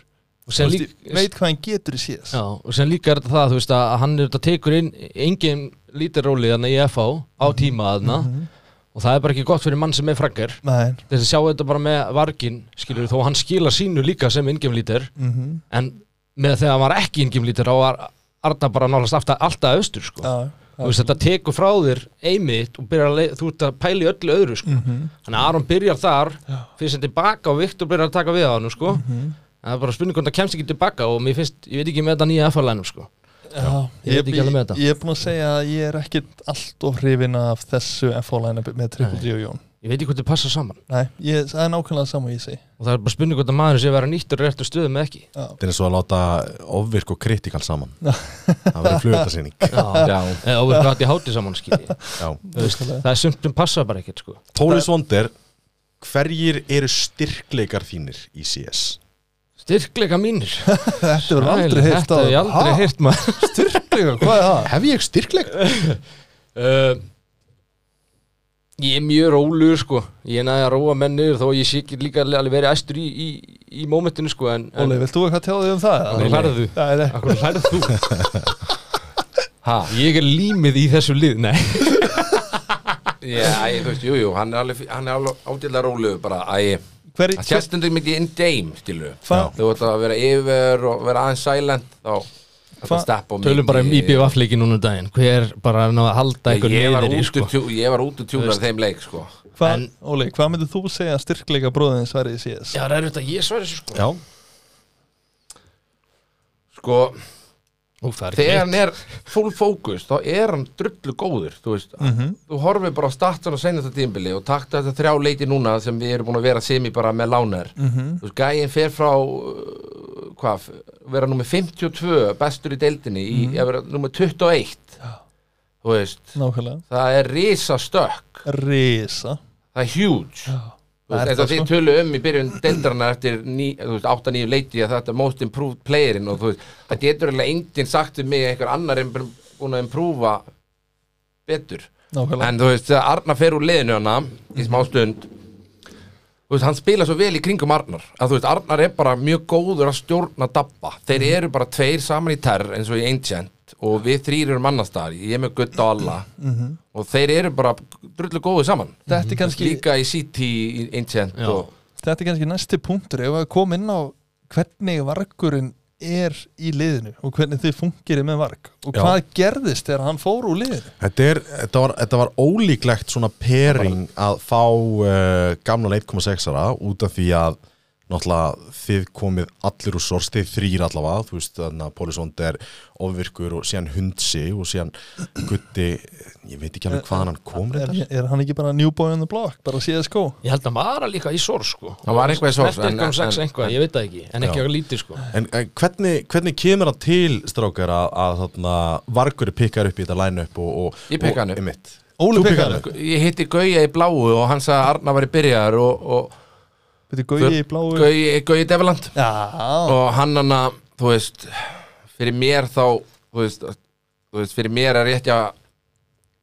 og sem, lík, veit hvað hann getur í síðast já, og sem líka er þetta það þú veist, að hann er þetta tekur inn engin lítið róli þannig í FH á Mhm. tíma þarna og það er bara ekki gott fyrir mann sem er frakkar Nei, þess að sjá þetta bara með vargin skilur þó hann skila sínu líka sem ingem lítir mhm, en með þegar hann var ekki ingem lítir þá var Arna bara nálast alltaf, alltaf austur sko. já, já. þú veist þetta tekur frá þér einmitt og byrjar að leið, þú ert að pæli öllu öðru sko. Mhm. þannig að Aron byrjar þar fyrir sem tilbaka og Viktor byrjar að taka við á hann sko. Mhm. en það er bara spurning hvort það kemst ekki tilbaka og mér finnst, ég veit ekki með þetta nýja FL-lænum sko. Já, Ég veit ekki alveg með þetta. Ég er búin að segja að ég er ekkit allt of hrifin af þessu FO line-up með Triple G og Jón ég veit ekki hvort þið passa saman Nei, ég, það er nákvæmlega sama ég segi og það er bara spurning hvort að maður sé að vera nýttur réttu stöðum eða ekki Þetta er eins og að láta ofvirk og kritikal saman Það verður flugutarsýning Já. eða og við pratum í háti saman [laughs] skilji [laughs] Þú veist, það er sumt sem passa bara ekkert sko. Tólis Wonder, hverjir eru styrkleikar þínir í CS? styrkleika mínir [laughs] Þetta verður aldrei Sæl, heyrt á þetta hef ég aldrei heyrt maður [laughs] Styrkleika, [laughs] hvað er það? Hef ég styrkleik? uh, ég er mjög rólugur sko. ég næði að róa mennur þó ég sé ekki líka alveg verið æstur í, í, í mómentinu sko, en, en Óli, vilt þú eitthvað tjáðið um það? Nei, hlærðu. Nei, nei. Akkur hlærðu þú? ha, ég er límið í þessu lið Nei, Já, ég, þú veist, jú, jú, hann er alveg, fí- hann er alveg ádýrlega rólegur bara, æ, Hver, það hver, sést undir mikið in game, skilu Hva- Þú ert að vera yfir og vera aðeins silent þá þetta Hva- steppa á mikið. tölum bara um IBF-leiki núna um daginn Hver bara að ná að halda ykkur Ég var niður í út sko. úr tjú- Ég var út úr tjúnar þeim leik, sko hva, en- Óli, hvað myndir þú segja styrkleika bróðin sverið í CS? Já, það er auðvitað, ég sværi þessu sko Já, Sko, Ú, það er þegar ekki hann er full fókus þá er hann drullu góður þú veist, Mm. Mhm, þú horfir bara á statsan og senast að tímbili og takta þetta þrjá leiki núna sem við erum búin að vera semi bara með lánar mhm, þú veist, gæin fer frá uh, hvað, vera nummer 52 bestur í deildinni í Mhm. að vera nummer 21 þú veist, Nákvæmlega það er risa stökk Risa það er huge Þú Það veist, er það, þetta þið sko. tölu um í byrjun deildarana eftir ní- þú veist, 8-9 leiti að þetta er most improved playerin og þú veist, það getur eiginlega enginn sagt um mig að einhver annar er búin að improva betur Nákvæmlega en þú veist, þegar Arnar fer úr liðinu hana í smá stund þú veist, hann spila svo vel í kringum Arnar að þú veist, Mhm. Arnar er bara mjög góður að stjórna dabba þeir eru bara tveir saman í terr eins og í Ancient mitt og við þrýr erum annars staðar, ég er með Gutta og Alla Mhm. og þeir eru bara drullu góðu saman Þetta er kannski, líka í City, í Ancient Já. og þetta er kannski næsti punktur ef að koma inn á hvernig vargurinn er í liðinu og hvernig þið fungir með varg og Já. hvað gerðist þegar hann fór úr liðinu Þetta, er, þetta, var, þetta var ólíklegt svona pering að fá uh, gamla 1.6-ara út af því að náttúrulega þið komið allir úr sors, þið þrýr allavega þú veist þannig að Pólisond er ofvirkur og síðan hundsi og síðan gutti, ég veit ekki alveg hvaðan hann kom er, reyndar. er hann ekki bara new boy on the block bara CSGO Ég held að maður líka í sór sko Það var eitthvað í Sors, Snerti en- eitthvað um sex en- eitthvað, ég veit það ekki En ekki okkar lítið sko en, en hvernig, hvernig kemur hann til strákar að, að þarna, vargur pikkar upp í þetta line-up og, og, Ég pikkaði hann og, upp. einmitt. Óli Þú pikkaðir Pekar hann upp. ég hitti Gauja í bláu og hann sagði að Arna var í byrjar og, og Þetta er Gauji í bláu Gauji, Gauji Develand Já, og hann hann að, þú veist fyrir mér þá þú veist, þú veist fyrir mér er rétt að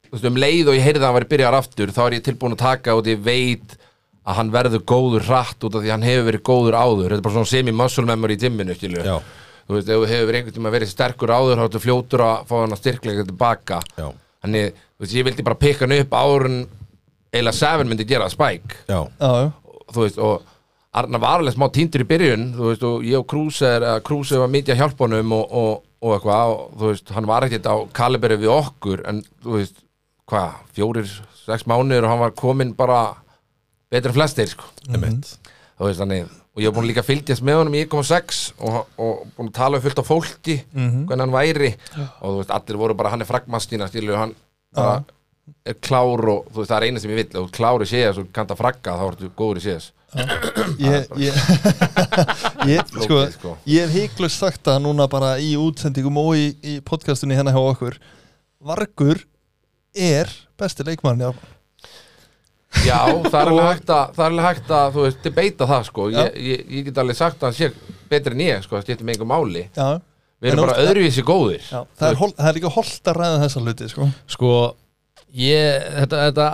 þú veist, um leið og ég heyrði að hann var í byrjar aftur þá er ég tilbúin að taka út ég veit að hann verður góður hratt út af því að hann hefur verið góður áður þetta er bara svona semi-muscle memory í timminu skilur Já. þú veist, ef þú hefur einhvern tíma verið sterkur áður þá ertu fljótur að fá hann að styrkleika tilbaka Já. þannig, þú veist, ég vildi bara pikka hann upp árun eila 7 myndi gera spæk Já, já, já þú veist, og Arna var alveg smá tindur í byrjun, þú veist, og ég og Krúse er að Krúse var mikið að hjálpa honum og, og, og eitthvað, og þú veist, hann var ekkert á kaliberi við okkur, en þú veist, hvað, fjórir, sex mánuður og hann var komin bara betri en flestir, sko, einmitt Mhm. þú veist, þannig og ég var búin líka að fylgjast með honum í 1.6 og, og búin að tala um fullt á fólki hvernig hann væri, og þú veist, allir voru bara, hann er fragmastína, stílu, hann bara er klár og, þú veist, það er eina sem ég vill, ef þú ert klár í séðas og kannt að fragga, þá ertu góður í séðas ég, ég, [laughs] ég, sko, flókið, sko. ég hef heiklust sagt það núna bara í útsendingum og í, í podcastunni hérna hjá okkur Vargur er besti leikmann já. Já, það er alveg hægt að, það er alveg hægt að, þú veist, debeita það, sko. Ég, ég, ég get alveg sagt að hann sé betri en ég, sko, það skiptir með einhver máli. Já, Við En erum bara þú- öðruvísi góðir. já. Það, er hol, það er líka holdt að ræða þessa hluti sko. Sko, ég, þetta, þetta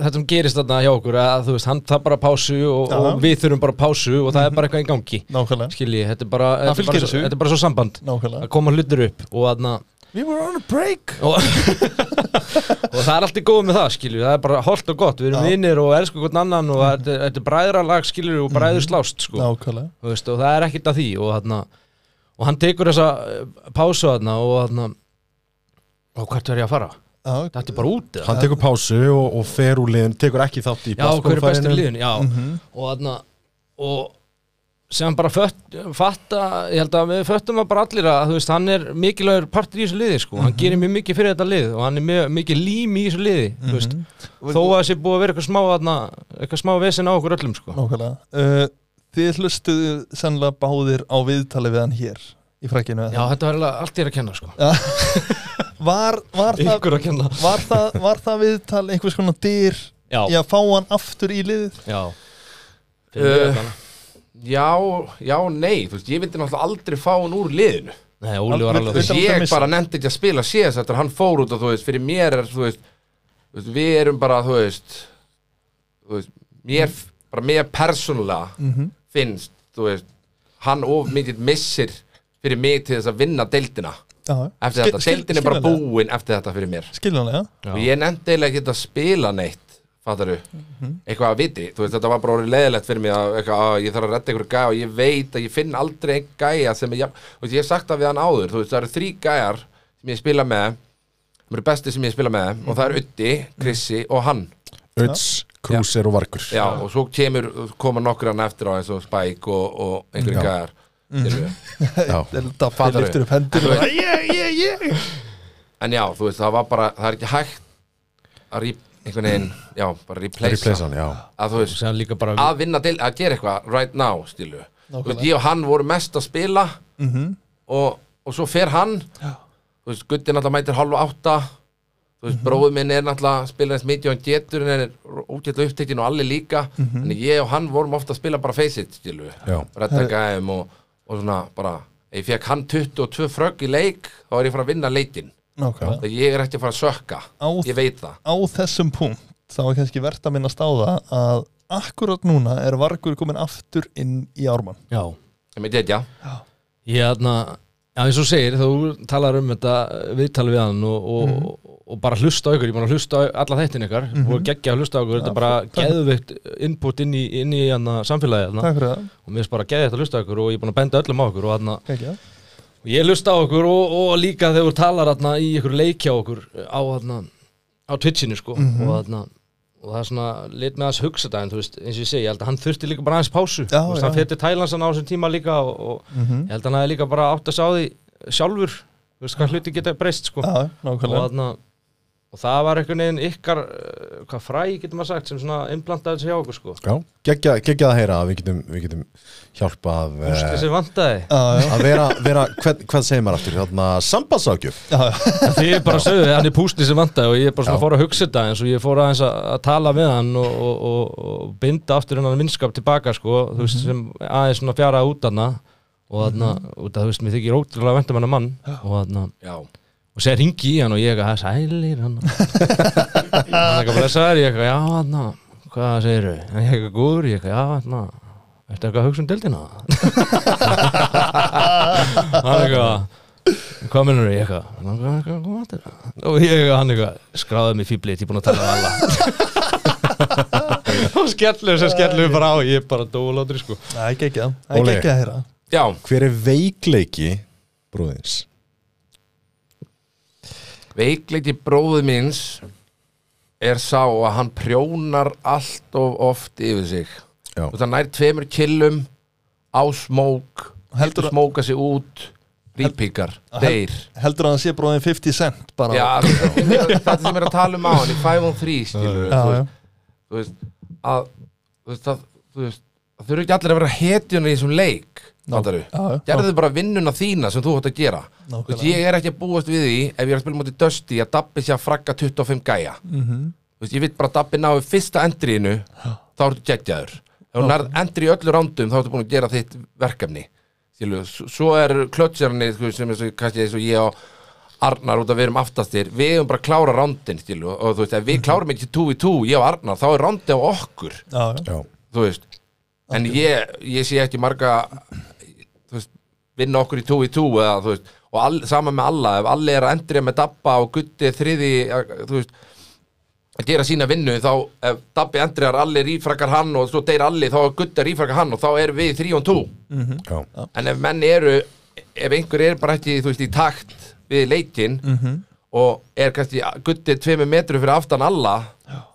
Þetta sem gerist þarna hjá okkur að þú veist, hann það bara pásu og, Já. og við þurfum bara pásu og það er Mhm. bara eitthvað í gangi Nákvæmlega Skilji, þetta er bara, þetta er fylgir bara, svo, þessu. þetta er bara svo samband að Nákvæmlega koma hlutur upp og þarna We were on a break og, [laughs] og það er alltaf góð með það skilju, það er bara holdt og gott, við erum Já. vinnir og elskum hvort annan og þetta er- þetta er bræðralag skilju og bræður slást sko, Nákvæmlega Þú veist, og það er ekkert að því og, þarna, og hann tekur þessa eh, pásu þarna og þarna og hvert verð ég að fara? já, Þetta er bara út eða? Hann tekur pásu og, og fer úr liðin, tekur ekki þátt í Já, hver er bestur í plastgólffærinu. liðun, já Mhm. og þarna og sem bara fött, fatta ég held að við föttum að bara allir að þú veist, hann er mikilvægur partur í þessu liði sko. hann gerir mjög mikið fyrir þetta lið og hann er mjög mikið lím í þessu liði þú veist, þó að það sé búið að vera eitthvað smá þarna, eitthvað smá vesen á okkur öllum sko. Nákvæmlega uh, Þið hlustuðu sennilega báðir á viðtali við hann hér í frækinu eða? já, þetta var alveg allt ég er að kenna sko. var, var, það, ykkur að kenna var, það, var það viðtal einhvers konar dyr já, í já, að fá hann aftur í liðið Fyrir mig Eh, allavega. Já, já, nei, þú veist, ég vildi náttúrulega aldrei fá hann úr liðinu. nei, Óli var Þú alveg veist, Utan að ég missa. bara nefndi ekki að spila CS eftir að hann fór út og þú veist, fyrir mér er, þú veist, þú veist, við erum bara, þú veist, þú veist, mér, bara mér persónulega Mhm. finnst, þú veist, hann of mikið missir fyrir mig til þess að vinna deildina eftir þetta, deildin er bara búin eftir þetta fyrir mér Skiljanlega, Já. og ég nefndi eiginlega ekki að spila neitt fattaru, eitthvað að viti þú veist, þetta var bara orðið leðilegt fyrir mig að, eitthvað, að ég þarf að redda einhverju gæja og ég veit að ég finn aldrei einn gæja sem er, jafn- þú veist, ég hef sagt það við hann áður, þú veist, það eru þrý gæjar sem ég spila með, sem eru besti sem ég spila með og það eru Uddi, Krissi og hann Öts, Krúser og Vargur já, og svo kemur, koma nokkur hann eftir á eins og Spike og, og einhverju gæjar mm. Já. þetta Fattar fyrir liftur við. upp hendur Þú og veist- En já, þú veist, það var bara, það er ekki hægt að rip, einhvern veginn, já, bara Replace replacea hann, já að þú veist, sem líka bara að vinna til, að gera eitthvað right now, stilu Nákvæmlega. veist, ég og hann voru mest að spila Mhm. og, og svo fer hann já. þú veist, Gutti náttúrulega mætir halva átta þú Mhm. veist, bróður minn er náttúrulega að spila eins mikið og hann getur en er útgætla upptekinn og allir líka Mhm. en ég og hann vorum ofta að spila bara face it, stilu Já. redda gæðum og, og svona bara, ef ég fekk hann 22 frögg í leik, þá er ég fara að vinna leikinn Nákvæmlega. Þegar ég er ekki að fara að sökka Á- Ég veit það Á þessum punkt þá er kannski verðt að minnast á það að akkurat núna er Vargur komin aftur inn í Ármann já, Ég veit þetta, ég, þarna, já, Já, eins og þú segir, þú talar um þetta viðtalið við hann og, og, Mhm. og, bara hlusta á ykkur, ég er búin að hlusta á alla þættin ykkar og geggja að hlusta á ykkur, þetta er bara geðveikt input inn í, inn í hana, samfélagi hana. Takk fyrir það, og mér er bara geðveikt að hlusta á ykkur og ég er búin að benda öllum á ykkur og hana, ekki það ég hlusta á ykkur og, og líka þegar þú talar hana, í ykkur leikja okkur á, hana, á Twitchinu sko Mhm. og, hana, og það er svona, lit með hans hugsa daginn, þú veist, eins og ég segi, ég held að hann þurfti líka bara aðeins pásu, Já, þú veist, já. Mhm. hann fyrir til Tælansan á þessum tíma líka og, og ég held að hann hafi líka bara átt að sá því sjálfur, þú veist, hvað hluti geta breyst sko Já, og, nákvæmlega þarna, og það var einhvern veginn ykkar eh, hvað fræ, getur maður sagt, sem svona implantaði sig á okkur sko, Já, geggja geggja að heyra að við getum, við getum hjálpa að, hústu eh, sem vantaði Já, já, að vera, vera hvern, hvað segir maður aftur, þarna sambandsákjöf já, já, því ég bara sögðu, hann er pústi sem vantaði og ég bara svona fór að hugsa þetta eins og ég fór aðeins að, að tala við hann og, og, og, og binda aftur hennan vinskap tilbaka sko, þú veist, sem aðeins svona fjaraði út hana og þarna, út að þú veist, mér þykir ótrúlega vendum hennar mann og þarna, Já, og segja ringi í hann og ég eitthvað, "Ha, sælir hann [laughs] hann eitthvað blessaður, ég eitthvað, já hann hvað segirðu, hann ég eitthvað góður ég eitthvað, já hann ertu eitthvað að hugsa um deildina [laughs] hann eitthvað hvað minnur ég eitthvað hann eitthvað, eitthvað, koma aftur og ég eitthvað, hann eitthvað, skráðið mig fýblið ég er búin að tala um alla [laughs] og skellum sem skellum bara á ég er bara dólátri sko já, ekki ekki það Það er Óli. ekki að heyra já, Hver er veikleiki brúðins? veikleiti bróðu minns er sá að hann prjónar allt of oft yfir sig Já. Þú veist, hann nær tveimur killum á smók Heldur heldur að- að smóka sig út rýpíkar, deyr Heldur að hann sé bróðin 50 cent bara Já, þetta sem er að tala um á hann í 5 on 3 skilur já, já. þú veist að þú veist að þú veist að þurfi ekki allir að vera hetjunni í þessum leik Náttúru, já, já. gerðu bara vinnuna þína sem þú hótt að gera Nákvæmlega. Þú veist, Ég er ekki að búast við því ef ég er að spila mútið Dusty að Dabbi sé að fragga 25 gæja mm Mhm. veist, Ég veit bara að Dabbi náu fyrsta endriðinu þá ertu geggjaður Ef hún nærð endri í öllu rándum þá ertu búin að gera þitt verkefni Skilu, Svo er klötsjarni sko, sem er svo, kannski eins og ég og Arnar út að við erum aftastir, við erum bara að klára rándin skilu, og þú veist, ef Mhm. við klárum ekki 2v2, ég og Arnar, þá er rándi á okkur já, já. Já, þú veist en ég, ég sé ekki marga þú veist, vinna okkur í 2v2 eða þú veist, og all, sama með alla ef allir er að endrið með Dabba og Gutti þriði, að, þú veist að gera sína vinnu, þá ef Dabbi endriðar allir rífrakar hann og svo deyr allir þá er Gutti að rífrakar hann og þá erum við 3 on 2 Mhm. já, en ef menn eru ef einhver er bara ekki, þú veist, í takt við leikinn og er kannski Gutti tveimur metru fyrir aftan alla,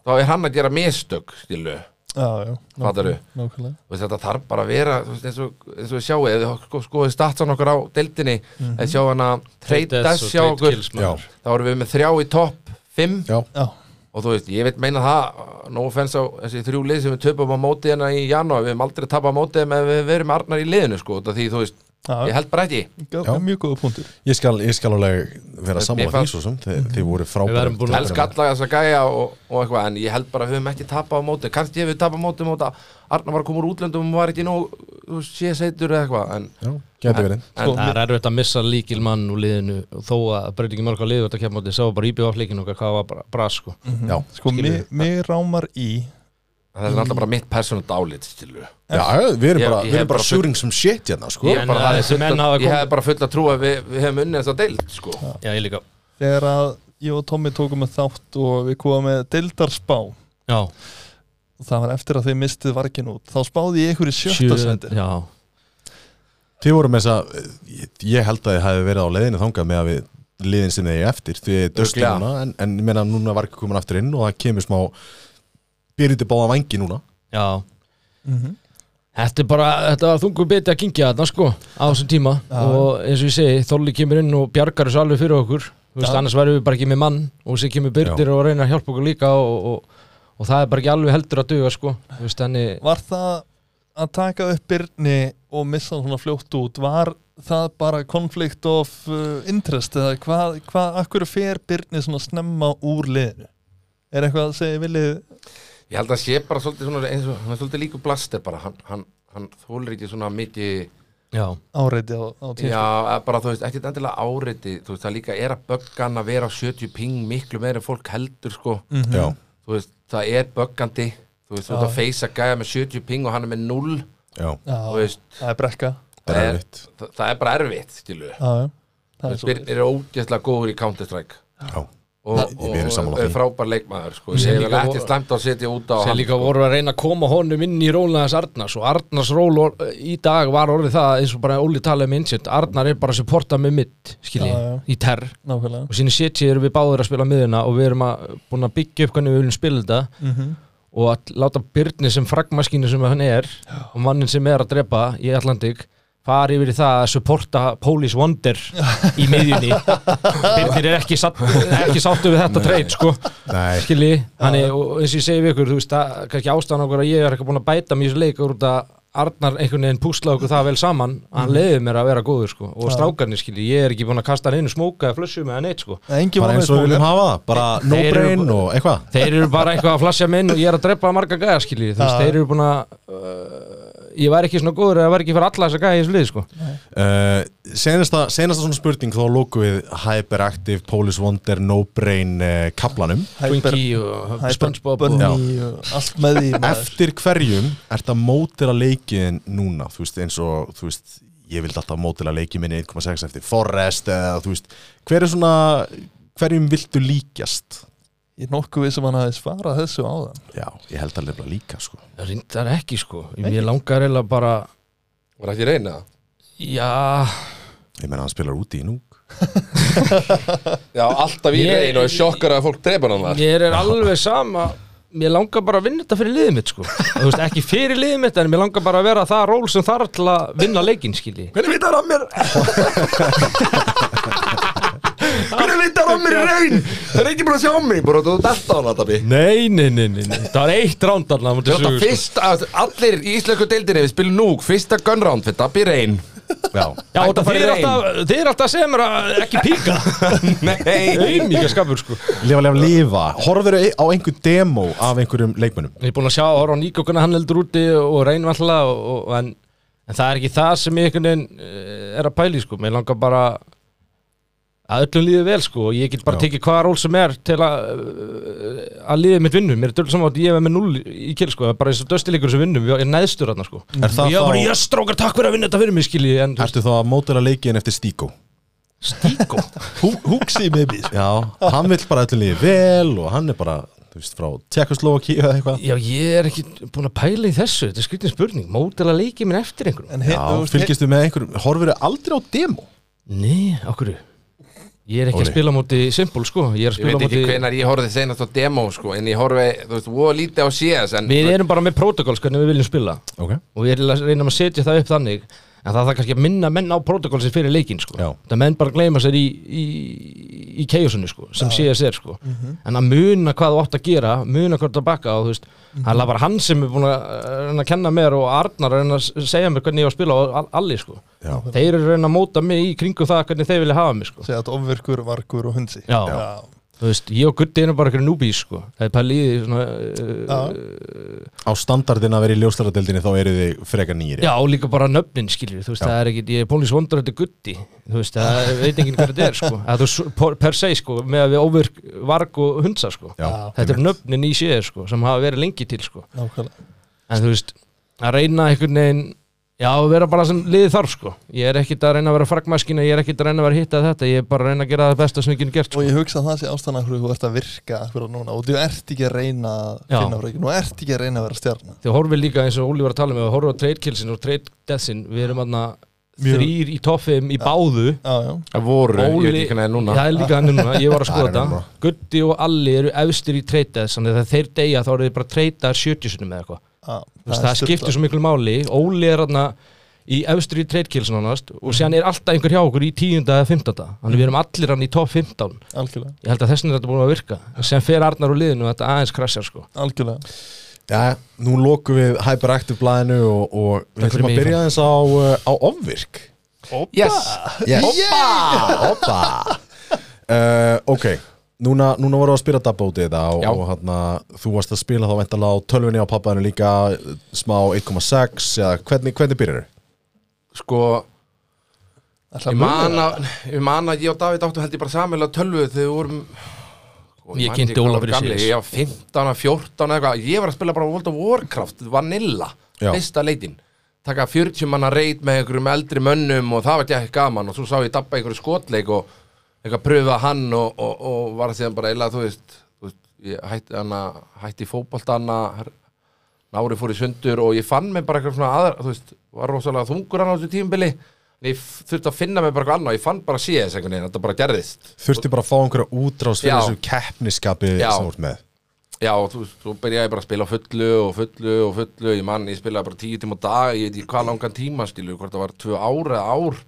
þá er hann að gera mistök, skilu, já, já. fattar du Nákvæmlega Þú veist, þetta þarf bara að vera þú veist, eins, og, eins og við sjáum, ef við sko, skoðum statsan okkur á deildinni, mm -hmm. en sjá hana treytas og hjá Mhm. trade okkur, kills, já, maður. þá erum við með þrjá í topp fimm, já, Já, og þú veist, ég veit meina það no offense á þessi þrjú lið sem við töpum á móti hérna í janúar, við hefum aldrei tapað á móti þeim ef við verum arnar í liðinu, sko, út af því, þú veist já, ég held bara ekki, já. Já. mjög góða punktur ég skal, ég skal alveg vera Mér sammála því fannst- svo sem þið, þið voru Mhm. Við verðum búin frábæri að- elsk alla þessa gæja og, og eitthvað, en ég held bara að við höfum ekki tapað á móti, kannski ef við tapað á móti móta, Arnar var að koma úr útlöndum og var ekki nóg, þú veist, sé seitur eða eitthvað, en, Já, geti verið en Það er erfitt að missa líkil mann úr liðinu og þó að breytingi mörg á liðu þetta kemur átti, sá bara íbjöð á fleikinu okkar hvað var bara bras sko Já, Sko, mig, mig rámar í Það er náttúrulega bara mitt persónult álit, skilu já, við erum Ég- bara, ég við erum hef bara bara full- sjúring sem shit hérna, sko Ég, En, bara, eh, hafði þessi full menn að- hafa ég kom- hefði bara full að trúa að við, við hefum unnið þess að deild, sko Já, ég líka Þegar að ég og Tommy tókum með þátt og við komum með deildarspá og Já, það var eftir að þið mistið vargin út þá spáði ég ykkur í sjötta sendi Já, Þið voru með þess að, ég- ég held að þið hafi verið á leiðinu þangað með að við liðin sem þið er eftir, því þið döstu Örugglega. núna en, en ég meina núna var ekki komin aftur inn og það kemur smá byrjuti báða vangi núna já Mhm. Þetta er bara, þetta var þungur beti að kynkja þarna sko á þessum tíma og eins og ég segi, Þorli kemur inn og bjargar þessu alveg fyrir okkur Þú veist, annars verðum við bara ekki með mann og sér kemur byrdir Já. og reyna að hjálpa okkur líka og, og, og það er bara ekki alveg heldur að duga sko Þú veist, þannig Var það að taka upp Byrni og missa hann svona fljótt út var það bara konflikt of uh, interest eða hvað, hvað akkur fer Byrni svona snemma úr liðinu? Er eitthvað að segja viljið? Ég held að sé bara svolítið svona eins og Hann er svolítið líku blaster bara Hann, hann, hann þólir ekki svona mikið Já, áreiti á, á Já, tíma eða bara þú veist, ekkert endilega áreiti Þú veist, það líka er að böggan að vera á 70 ping Miklu meira en fólk heldur, sko Mhm. Já, Þú veist, það er böggandi Þú veist, þú veist að feysa gæja með 70 ping og hann er með 0 já, Þú veist, það er brekka Það er erfitt það, það er bara erfitt, skilu Já, já. Það er svo Birnir er ógeðslega góður í Counter-Strike Já, og, Ég- ég er sammála og því. er frábær leikmaður sko. Sem ég hef líka ekki vor- slæmt að setja út á sem hann líka voru að reyna að koma honum inn í rólina þess Arnars og Arnars ról or- í dag var orðið það eins og bara Óli talaði um innsett Arnar er bara að supporta með mitt skilji, Já, já. í terr nákvæmlega og síðan setji erum við báður að spila miðuna og við erum að búin að byggja upp hvernig við viljum spila þetta Mhm. og að láta Byrni sem fragmaskínu sem hann er og mannin sem er að drepa í Atlantik fari yfir í það að supporta Police Wonder [laughs] í miðjunni Byrnir er ekki, satt, ekki sáttu við þetta treyt sko Nei. skilji, hann er, og eins og ég segi við ykkur þú veist, það er kannski ástæðan okkur að ég er ekki búin að bæta mjög leik úr út að Arnar einhvern veginn púsla okkur það vel saman að Mhm. hann leiði mér að vera góður sko og strákarnir skilji, ég er ekki búin að kasta hann einu smóka eða flössu með hann eitt sko Engi var bara með eins og við smókar viljum hafa það Bara no Þeir eru brain bara- og eitthvað þeir eru bara eitthvað að flasja minn og ég er að drepa marga gæja skilji, þú veist, Já. þeir eru búin að uh, ég væri ekki svona góður eða væri ekki fyrir alla þessa gæja í þessu lið sko uh, senasta, senasta svona spurning Þá lóku við Hyperactive, Police Wonder, no brain uh, kaplanum Twinkie og Spongebob og Bunny og allt með því maður. Eftir hverjum ert að mótila leikin núna, þú veist, eins og þú veist, ég vildi alltaf mótila leikin minni 1.6 eftir Forrest eða þú veist hver er svona, hverjum viltu líkjast? Ég er nokkuð við sem hann hafi svarað þessu áðan Já, ég held að lefla líka, sko rindar ekki sko, ég langar eiginlega bara var ekki reyna það? já, Ég menna hann spilar úti í núk já, alltaf í Ég- reyn og er sjokkar að fólk drepa hann þar mér er alveg sama mér langar bara að vinna þetta fyrir liðið mitt sko þú veist, ekki fyrir liðið mitt en mér langar bara að vera það ról sem þarf til að vinna leikinn skilji hvernig vitar hann mér? hvernig vitar hann mér í reyn? það er ekki búin að sjá mig bara þú dætt á hann að það nei, nei, nei, nei, nei. það var eitt rándarna Þetta fyrst að allir í íslensku deildinni við spilum núk, fyrsta gunround fyrir Dabbi Reyn Já, Já, Hættu þetta að fara í þið er reyn. alltaf, þið er alltaf sem er að ekki píka [laughs] Nei Auðmíka skapur sko Ég lifa, lifa, lifa Horfður á einhver demo af einhverjum leikmönnum er búin að sjá að horfa á Níko hvernig hann heldur úti og reynum alltaf og, og, en, en það er ekki það sem ég einhvern veginn eh, er að pæli sko Mér langar bara að öllum líði vel sko og ég get bara Já. tekið hvaða ról sem er til að eh, að liðið mitt vinnum Mér er dörl saman að ég er með null í kill sko það er bara eins og döstileikur sem vinnum, ég er neðstur hann sko Er Og það Ég var bara, þá, ég strókar takk fyrir að vinna þetta fyrir mig skilji en ertu þá að mótila leikin eftir Stíko? stíko Húksi með bís Já, hann vill bara öllum lífi vel og hann er bara, þú veist, frá Tjekkoslovaki eða eitthvað Já, ég er ekki búin að pæla í þessu, þetta er skritin spurning, mótala leikið minn eftir einhverjum En Já, hefur fylgistu með einhverjum, horfur aldrei á demo Nei, okkur Ég er ekki Óli. að spila á móti Simple sko Ég Ég er að spila á veit móti ekki hvenar ég horfði seinast á demo sko, en ég horfi, þú veist, voða lítið á CS en Við erum bara með protokoll hvernig við viljum spila okay. og við reynum að setja það upp þannig en það þarf kannski að minna menn á protokoll sem fyrir leikinn sko Já. Það menn bara gleyma sér í, í, í keiosinu sko sem CS er sko en að muna hvað þú átt að gera muna hvað þú átt að bakka og þú veist það er bara hann sem er búin að eh, reyna að kenna mér og Arnar að reyna að segja mér hvernig ég á að spila og al- allir sko Já. Þeir eru að reyna að móta mig í kringum það hvernig þeir vilja hafa mig sko Segja að ofvirkur, vargur og hundsi Já. þú veist, ég og Gutti erum bara einhverjum núbís sko. það er bara líði svona, uh, Á standardin að vera í ljóstaradeldinni þá eru þið frekar nýri eh, já, og líka bara nöfnin skilur, þú veist, það er ekki, ég er bólis vondur þetta er Gutti, þú veist, það er- veit enginn hvað þetta er sko, að þú, s- por- per se sko með að við óvirk, varg og hundsa sko Já, þetta er nöfnin í séð sko, sem hafa verið lengi til sko, nákvæmlega en þú veist að reyna einhvern veginn Já, að vera bara sem liði þarf sko Ég er ekkit að reyna að vera fragmaskina, ég er ekkit að reyna að vera hitta þetta Ég er bara að reyna að gera það besta sem ég get gert sko. Og ég hugsa að það sé ástæðan af hverju þú ert að virka akkur núna og þú ert ekki að reyna að Já. finna frækir, nú ert ekki að reyna að vera stjarnar þegar horfið líka eins og Óli var að tala um, með að horfið á trade killsin og trade deathsin við erum aðna Mjög- þrýr í toffum í báðu Já, já, Það voru, ég veit Óli, ekki hvernig það er núna það er líka hann núna, ég var Það að er skoða þetta núna. Gutti og Alli eru efstir í trade deaths þannig að þegar þeir deyja þá eru þeir bara treytaðar 70 sinum eða eitthvað, já Þú veist, það sturlað. skiptir svo miklu máli, Óli er aðna í efstir í trade killsin ánast og séðan er alltaf einhver hjá okkur í 10. eða 15. þannig við erum allir hann í topp 15 Algjörlega, ég held að þessin er þetta búin að virka sem fer Arnar úr liðinu og þetta aðeins krasjar sko. algjörlega Já, nú lokum við Hyperactive blæðinu og, og við Takk fyrir ætlum að mig, byrja aðeins á, uh, á ofvirk Yes, yes. Oppa, oppa. [laughs] Uh, Ok, núna, núna voru að spila dabba út í þetta og, Já. og hana, þú varst að spila þá veintalega á tölvunni á pappaðinu líka uh, smá 1,6 eða hvernig, hvernig byrjar þau? sko, Ætla ég að man muna að ég man að ég og Davíð áttu held ég bara samilega tölvu þegar við vorum Sko, Ég man kynnti ekki hvað Ólaf var fyrir gamlir, síðast. Ég var 15, 14 eða eitthvað, ég var að spila bara World of Warcraft, Vanilla, Já. fyrsta leitin taka 40 manna reit með einhverjum eldri mönnum og það var ekki gaman og svo sá ég dabba einhverju skotleik og eitthvað pröfa hann og, og, og var síðan bara eila, þú veist, þú veist ég hætti hana, hætti fótbolt hana Nári fór í sundur og ég fann mig bara eitthvað svona aðra, þú veist, var rosalega þungur hann á þessu tímbili en ég f- þurfti að finna mig bara eitthvað annað, ég fann bara CS einhvern veginn, þetta bara gerðist Þurfti bara að fá einhverja útrás fyrir Já. þessu keppniskapi Já. sem þú ert með Já, og þú veist, svo byrjaði ég bara að spila á fullu og fullu og fullu, ég mann, ég spilaði bara tíu tíma á dag, ég veit ekki hvað langan tíma, skilu, hvort það var tvö ár eða ár,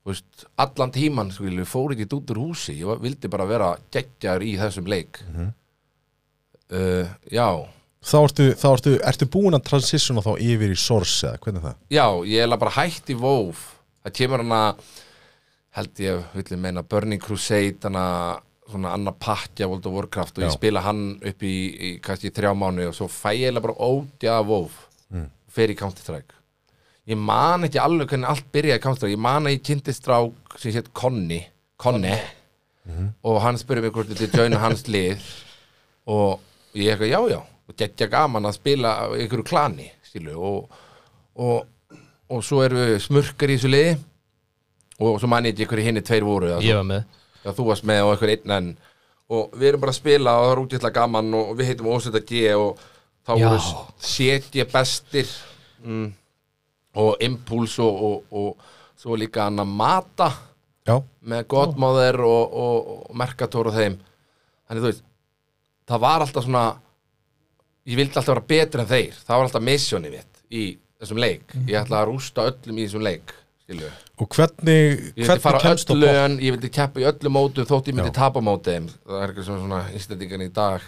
þú veist, allan tíman, skilu, fór ekki út úr húsi, ég var- vildi bara vera geggjar í þessum leik. uh, já, Þá ertu, þá ertu, ertu búin að transitiona þá yfir í source eða hvernig er það? Já, ég er eiginlega bara hætt í vóf Það kemur hana held ég, villi meina, Burning Crusade hana, svona annar pakkja World of Warcraft og ég Já. spila hann upp í, í kannski í þrjá mánu og svo fæ ég eiginlega bara ódja af vóf mm. fer í Counter-Strike Ég man ekki alveg hvernig allt byrjaði í Counter-Strike Ég man að ég kynnti strák sem hétt Conny Conny og hann spurði mig hvort þetta joina hans lið og ég eitthvað, já, já og geggja gaman að spila í einhverju klani skilu, og, og, og svo eru smurkar í þessu liði og svo manni ekki hverju hinni tveir voru eða Ég var með Já, þú varst með og einhver einn en og við erum bara að spila og það er útjöfla gaman og við heitum Ósetta G og þá Já. voru setja bestir mm, og Impuls og, og, og svo líka hann að mata Já, með Godmother og, og, og Mercator og þeim þannig þú veist það var alltaf svona ég vildi alltaf vera betur en þeir það var alltaf missioni mitt í þessum leik ég ætla að rústa öllum í þessum leik skilju og hvernig, ég vildi fara hvernig á kemst öll þú bort? lögn, ég vildi keppa í öllu mótum þótt ég myndi Já. tapa mótum það er eitthvað sem svona íslendingan í dag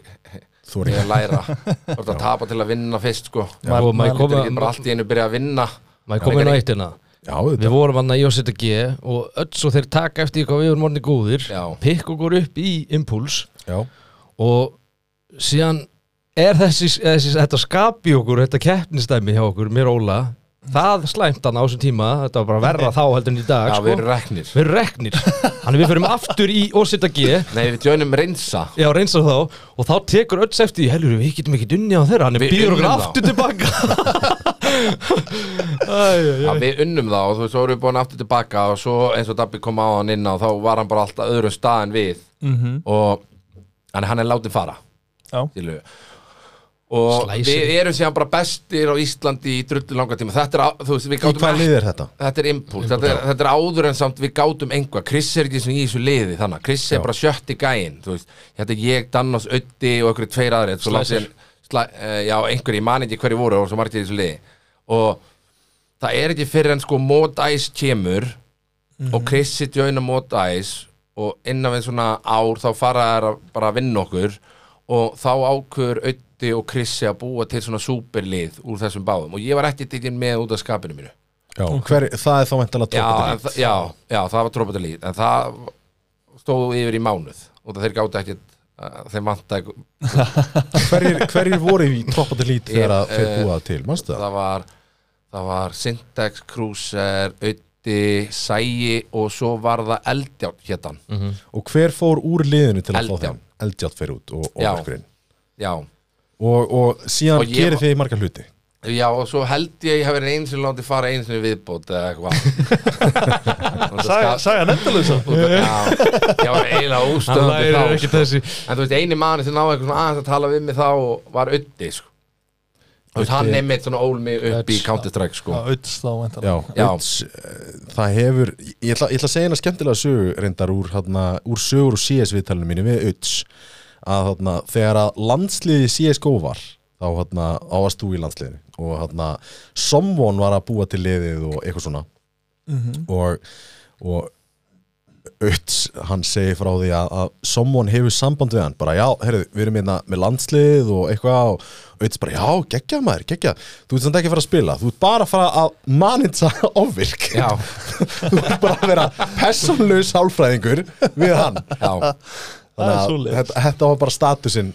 Þú ég er er að [laughs] læra þú ert að tapa til að vinna fyrst sko Já, og þetta maður er ekki koma- bara allt í einu byrja að vinna Maður komið nú eitt hérna Já, þetta Við vorum hann í OCTG og öll svo þeir taka eftir því hvað við vorum orðin góðir Já. Pikk okkur upp í impuls Já, og síðan er þessi, þessi þetta skapi okkur, þetta keppnistæmi hjá okkur, mér og Óla það slæmt hann á þessum tíma, þetta var bara verra þá heldur en í dag, já sko við erum reknir við erum reknir, hann við förum aftur í Ósita G, nei við tjónum reynsa já reynsar þá og þá tekur öll eftir, því, heldur við getum ekki dunni á þeirra, hann Við býður okkur unnum þá. aftur tilbaka Æ, æ, æ. Já, við unnum það og þú veist, svo erum við búin aftur tilbaka og svo eins og Dabbi kom á hann inn á þá var hann bara alltaf öðru stað en við Mhm. -hmm. og hann, hann er látið fara Já. Skilu. og Slæsir. við erum síðan bara bestir á Íslandi í drullu langa tíma þetta er, á- þú veist, við í hvað gátum lið er þetta? Þetta er impuls, þetta, er- þetta er áður en samt við gátum einhvað, Chris er ekki sem í þessu liði þannig, Chris er bara sjötti gæinn þú veist, þetta er ég, Dannos, Öddi og einhverju tveir aðri, svo langt sér sla, uh, já, einhverju, ég man ekki hverju voru og svo margir í þessu liði og það er ekki fyrir en sko Mót Ice kemur og Chris sitt jöna Mót Ice og innan við svona ár þá fara þær að bara að vinna okkur og þá ákveður Öddi og Chrissi að búa til svona superlið úr þessum báðum og ég var ekki tekinn með út af skapinu mínu Já, hver, það er þá veintalega já, en tópatilít það- já, já, það var trópatalít en það stóðu yfir í mánuð og það þeir gáta ekkit uh, þeir vanta ekki, hverjir, hverjir voru í trópatilít þegar að þeir eh, búa til, manstu það? það var það var Syntax, Cruiser Ötti, Sæi og svo var það Eldján hétan Og hver fór úr liðinu til að Eldján. fá þeim? Eldjátt fyrir út og Já. orkurinn já, og, og síðan Og og ég gerir var- þið marga hluti já og svo held ég ég hef verið einu sinni látið fara einu sinni í viðbót eða eitthvað Og það Saga, skap- saga nefndalösa og það- já, ég var eiginlega hann óstöðandi lærir þá, ekki sko. þessi En þú veist, eini manni sem náði eitthvað svona aðeins að tala við mig þá var Öddi, sko. Þú veist, hann nefnir svona ól mig upp í Ödds, Counter-Strike, sko. Öds þá Já, væntanlega Já. Uts, eh, það hefur ég ætla, ég ætla að segja hérna skemmtilega sögu reyndar úr, hana, úr sögur og CS viðtalinu mínu við Uts að hana, þegar að landsliði CSGO var þá hana, áast þú í landsliðinu og hana, someone var að búa til liðið og eitthvað svona og, og Uts, hann segir frá því að, að someone hefur samband við hann bara já, heyrðu, við erum hérna með landslið og eitthvað og Uts bara já, geggja maður, geggja þú ert samt ekki að fara að spila, þú ert bara að fara að manitsa [laughs] ofvirk Já, þú ert bara að vera personlaus hálfræðingur við hann já. þannig Það er að svoleiðis. þetta, þetta var bara statusinn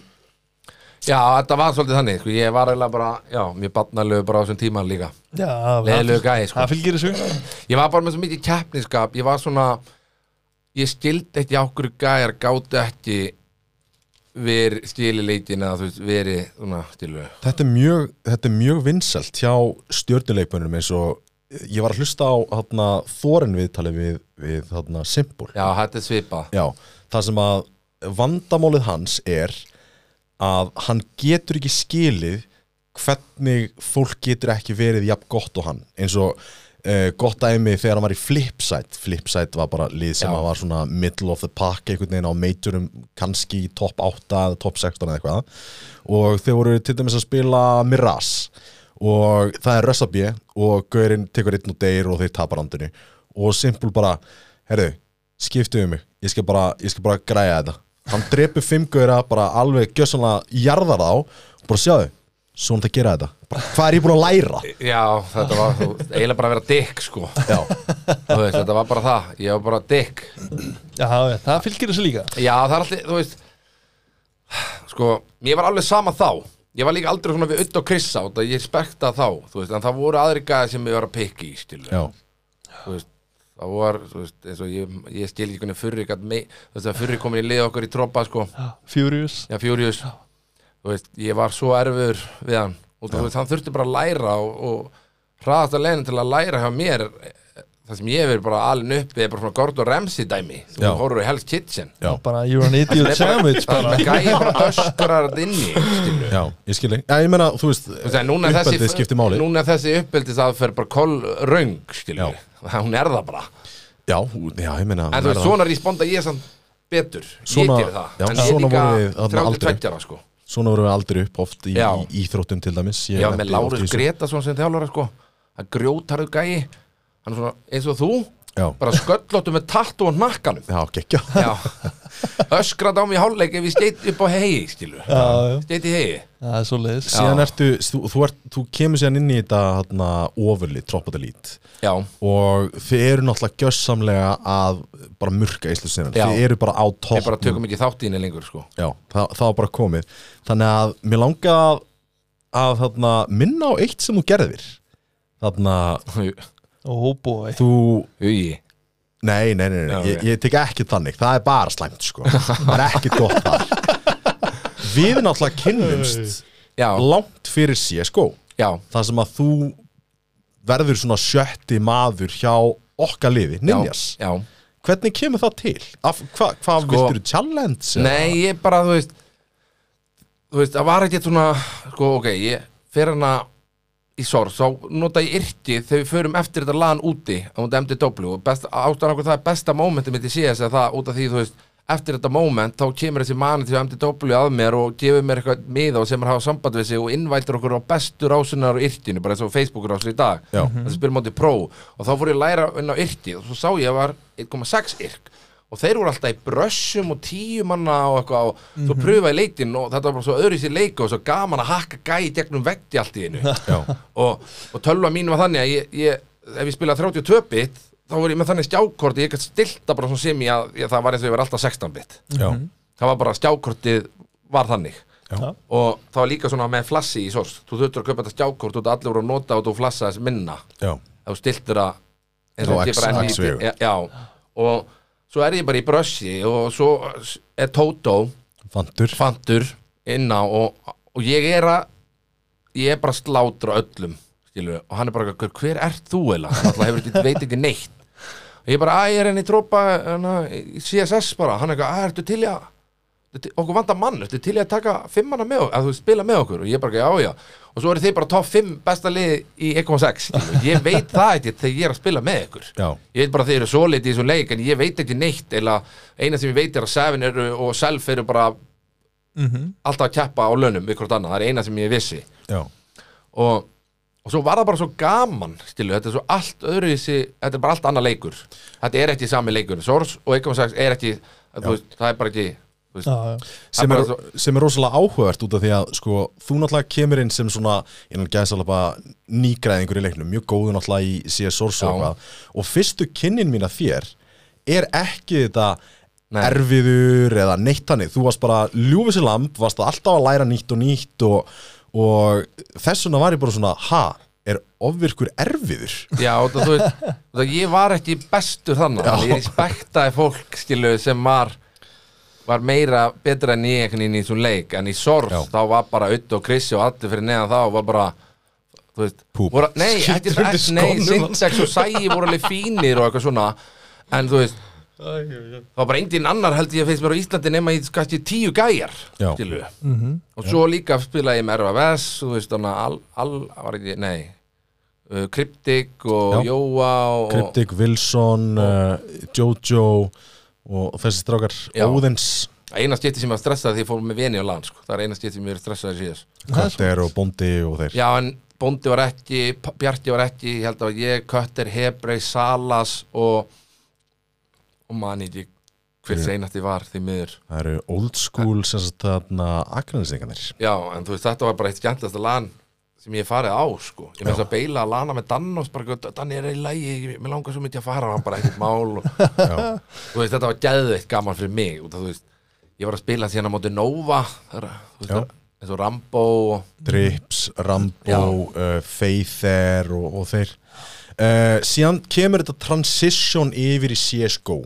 Já, þetta var svolítið þannig, sko. Ég var eiginlega bara, já, mjög barnalegu bara á þessum tíma líka. Já, það- Leðilegu gæði, sko. Það fylgir þessu Ég var bara með svo mikið keppniskap, ég var svona, ég skildi ekki á hverju gæjar gátu ekki ver, skili leitin að þú veist, veri svona, skilur við Þetta er mjög, þetta er mjög vinsalt hjá stjörnuleikmönnum eins og ég var að hlusta á þarna, Þorin viðtalið við, við þarna, Simpul Já, þetta er svipað Já, það sem að vandamálið hans er að hann getur ekki skilið hvernig fólk getur ekki verið jafn gott og hann eins og uh, gott æmi þegar hann var í Flipside Flipside var bara lið sem Já. að var svona middle of the pack einhvern veginn á majorum kannski í topp 8 eða topp 16 eða eitthvað og þeir voru til dæmis að spila Mirage og það er Rössabé og Gaurinn tekur einn og deyr og þeir tapar andinu og Simple bara, herru, skiptu um mig ég skal bara, ég skal bara græja þetta hann drepur fimm gauðra, bara alveg gjössanlega jarðar þá og bara sjáðu, svona það gera þetta bara, hvað er ég búin að læra? Já, þetta var þú, eiginlega bara að vera dikk, sko Já, Þú veist, þetta var bara það, ég var bara dikk Já, já, það fylgir þessu líka Já, það er alltaf, þú veist Sko, ég var alveg sama þá Ég var líka aldrei svona við Udd og Krissa og það ég spekta þá, þú veist, en það voru aðri gæði sem ég var að pikki í, skilur já, þú veist, það var þú veist, eins og ég, ég skil ekki hvernig furri gat mei, þú veist, að furri komin í lið okkar í troppa sko, Furious já, fjúrius þú veist, ég var svo erfur við hann og þú veist, hann þurfti bara að læra og, og hraðast að leiðin til að læra hjá mér eh, það sem ég hef verið bara alin uppi er bara svona Gordon Ramsay dæmi sem Já. þú horfur í Hell's Kitchen já, Bara, you're an idiot sandwich það bara er gæði bara öskrar þarna inni skilur. já, ég skil ekki Já, ég meina, þú veist, Þú veist, en núna er uppeldið þessi, skiptir máli núna er þessi uppeldisaðferð bara kolröng skilur, hún er það bara Já, já, ég meina En þú veist, það- svona responda ég samt betur Svona- Ég ger það já, En ég svona líka vorum við þarna 32 ára sko svona vorum við aldrei upp oft í, Já. í íþróttum til dæmis Ég var lenti oft með í Lárus þessu. Gretason sem þjálfara sko Það grjótarðu gæi Hann er svona eins og þú Já, Bara sköllóttu með tattu og nakkanum [laughs] já, gekkja Já Öskrat á mig í hálfleik ef ég steit upp á hegi skilu Já, já, Steit í hegi það er svo leiðis síðan ertu, þú, þú, ert, þú kemur síðan inn í þetta hérna, ofurlið, troppatalít Já og þið eru náttúrulega gjössamlega að bara murka íslusinnan, Já. þið eru bara á topp Við bara tökum ekki þátt í henni lengur sko Já, það, það var bara komið þannig að mér langa að, að þarna, minna á eitt sem þú gerðir þarna, Oh boy þú Hugi Nei, nei, nei, nei. Já, ok. Ég, ég tek ekki þannig Það er bara slæmt, sko Það er ekki gott [laughs] þar Við náttúrulega kynnumst Já, langt fyrir CSGO já, það sem að þú verður svona sjötti maður hjá okkar liði, já, Ninjas já. hvernig kemur það til? Af, hva, hvað sko, Sko- viltur challenge? eða? Nei, ég bara, þú veist Þú veist, það var ekkert svona Sko, ok, ég fer hana í sorg, þá nota ég yrti þegar við förum eftir þetta lagan úti á móti MDW og best, ástæðan okkur það er besta momentið mitt í CS að það út af því, þú veist eftir þetta moment, þá kemur þessi mani til MDW að mér og gefur mér eitthvað miða og sem er að hafa samband við sig og innvældur okkur á bestu rásunar og yrtinu, bara eins og Facebook rásun í dag, Já. þessi spyrir móti pró og þá fór ég að læra inn á yrti og svo sá ég að var 1,6 yrk og þeir voru alltaf í brössum og tíu manna og eitthvað og svo pröfaði leitin og þetta var bara svo öðru sér leika og svo gaman að hakka gæi í gegnum veggi allt í einu Já, [laughs] og, og tölva mín var þannig að ég, ég, ef ég spilaði 32 bit þá var ég með þannig stjákorti, ég gætt stilta bara svona sem ég að ég, það var eins og ég var alltaf 16 bit já, það var bara stjákortið var þannig Já. og það var líka svona með flassi í sors þú þurftur að kaupa þetta stjákort og allir voru að nota og þú flassa þess minna já, ef þú stiltir að eins Á og þetta X- er bara X-vegu. NVIDIA- já, og svo er ég bara í brössi og svo er Tótó fantur fantur inn á og, og ég er að ég er bara að slátra öllum skilur, og hann er bara, hver, hver ert þú eða hann alltaf hefur ekki, veit ekki neitt og ég bara, að ég er henni í trópa hana, í CSS bara, hann er eitthvað, að ertu til í að ertu til- okkur vantar mann, ertu til í að taka fimmana með okkur, að þú spila með okkur og ég bara, já, já, og svo eru þið bara top 5 besta liði í 1.6 skilur. ég veit það ekki þegar ég er að spila með ykkur Já, Ég veit bara að þeir eru svo litið í þessum leik en ég veit ekki neitt eða eina sem ég veit er að Seven eru og Self eru bara alltaf að keppa á launum við hvort annað, það er eina sem ég vissi já, og, og svo var það bara svo gaman stilu, þetta er svo allt öðru þetta er bara allt annað leikur þetta er ekki sami leikur, Sors og eitthvað sagt er ekki, þú veist, það er bara ekki þú veist, Já, já. er sem er, bara svo- sem er rosalega áhugavert út af því að sko, þú náttúrulega kemur inn sem svona innan gæðsalapa nýgræðingur í leiknum mjög góður náttúrulega í CS Source og, Já. eitthvað. og fyrstu kynnin mín að þér er ekki þetta Nei. erfiður eða neitt hannig þú varst bara ljúfið sér lamb varst alltaf að læra nýtt og nýtt og, og þess vegna var ég bara svona ha, er ofvirkur erfiður Já, og það, þú veist, og það, ég var ekki bestur þannig, þannig ég respektaði fólk skilu sem var var meira betra en ég einhvern veginn í þessum leik en í sorg Já. þá var bara Utt og Krissi og allir fyrir neðan þá var bara þú veist Púp. voru, nei, ekki, undir nei, skónum hans. Syntax og Sæi voru alveg fínir og eitthvað svona en þú veist þá var bara enginn annar held ég að finnst mér á Íslandi nema í kannski tíu gæjar Já. skilurðu. og svo líka spilaði ég með RFS þú veist þannig að al, al, var ekki, nei uh, Kryptik og Já. Jóa og, Kryptik, Wilson, uh, Jojo og þessi strákar Já. Óðins, eina skipti sem ég var stressað því ég fór með vini á land sko. það er eina skipti sem ég er stressað síðast Kötter og Bondi og þeir já en Bóndi var ekki P- Bjarki var ekki, ég held að ég Kötter, Hebrei, Salas og og mani ekki hver seinasti var því miður Það eru old school sem sagt þarna akranistingarnir já en þú veist þetta var bara eitt skemmtasta lan sem ég hef farið á sko ég með þess að beila að lana með Dannos bara, Danni er í lægi, mér langar svo mikið að fara hann bara ekkert mál og, Já, þú veist, þetta var gæðveitt gaman fyrir mig út af, þú veist, ég var að spila síðan á móti Nova þar, þú Já. veist, eins og Rambo og, Drips, Já. Rambo, uh, Faither og, og þeir uh, Síðan kemur þetta transition yfir í CSGO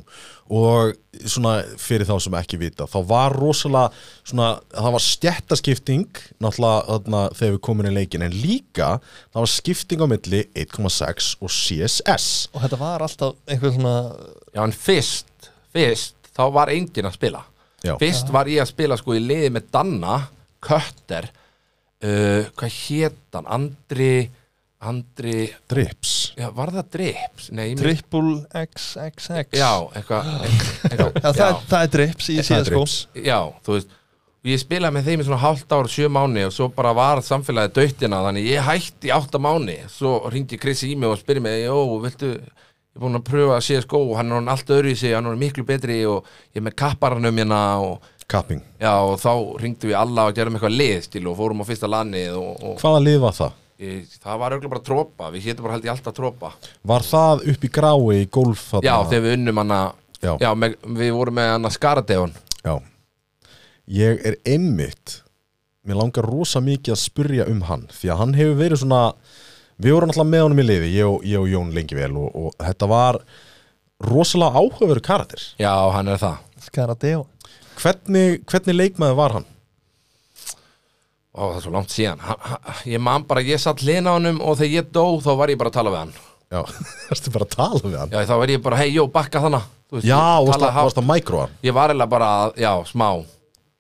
og svona fyrir þá sem ekki vita þá var rosalega svona, það var stjættaskipting náttúrulega þarna, þegar við komum inn í leikin en líka það var skipting á milli 1.6 og CSS og þetta var alltaf einhver svona já en fyrst fyrst, þá var enginn að spila Já. fyrst var ég að spila sko í liði með Danna, Kötter uh, hvað hét hann Andri, Andri Drips já, var það Drips? Nei, ég mynd- triple XXX já, eitthvað eitthva, Já, það, er, það er drips í sko. Það er CSGO Drips. já, þú veist og ég spilaði með þeim í svona hálft ár, sjö mánu og svo bara var samfélagið dautina þannig ég hætti í átta mánu svo ringdi Chris í mig og spyrir mig jó, viltu, ég er búinn að pröfa að CSGO og hann er hann allt öðru í sig, hann er orðinn miklu betri og ég er með kapparanum hérna og, Capping já, og þá ringdu við alla og gerum eitthvað lið til og fórum á fyrsta lannið og, og Hvaða lið var það? ég, það var auðvitað bara trópa, við hétum bara held ég alltaf trópa Var það upp í grái í golf? þarna? já, þegar við unnum hana Já. Já, með, við vorum með hana Skaradeon Já Ég er einmitt Mér langar rosa mikið að spurja um hann Því að hann hefur verið svona Við vorum alltaf með honum í liði Ég og, ég og Jón lengi vel og, og þetta var rosalega áhugaveru karatir Já, hann er það Skaradeo hvernig, hvernig leikmaður var hann? Ó, það er svo langt síðan ha, ha, Ég man bara, ég satt hlina á honum og þegar ég dó þá var ég bara að tala við hann Já, [laughs] varstu bara að tala við hann Já, þá var ég bara, hei, jó, bakka þannig Já, og varst varstu- varstu að mikroa hann Ég var eiginlega bara, að- já, smá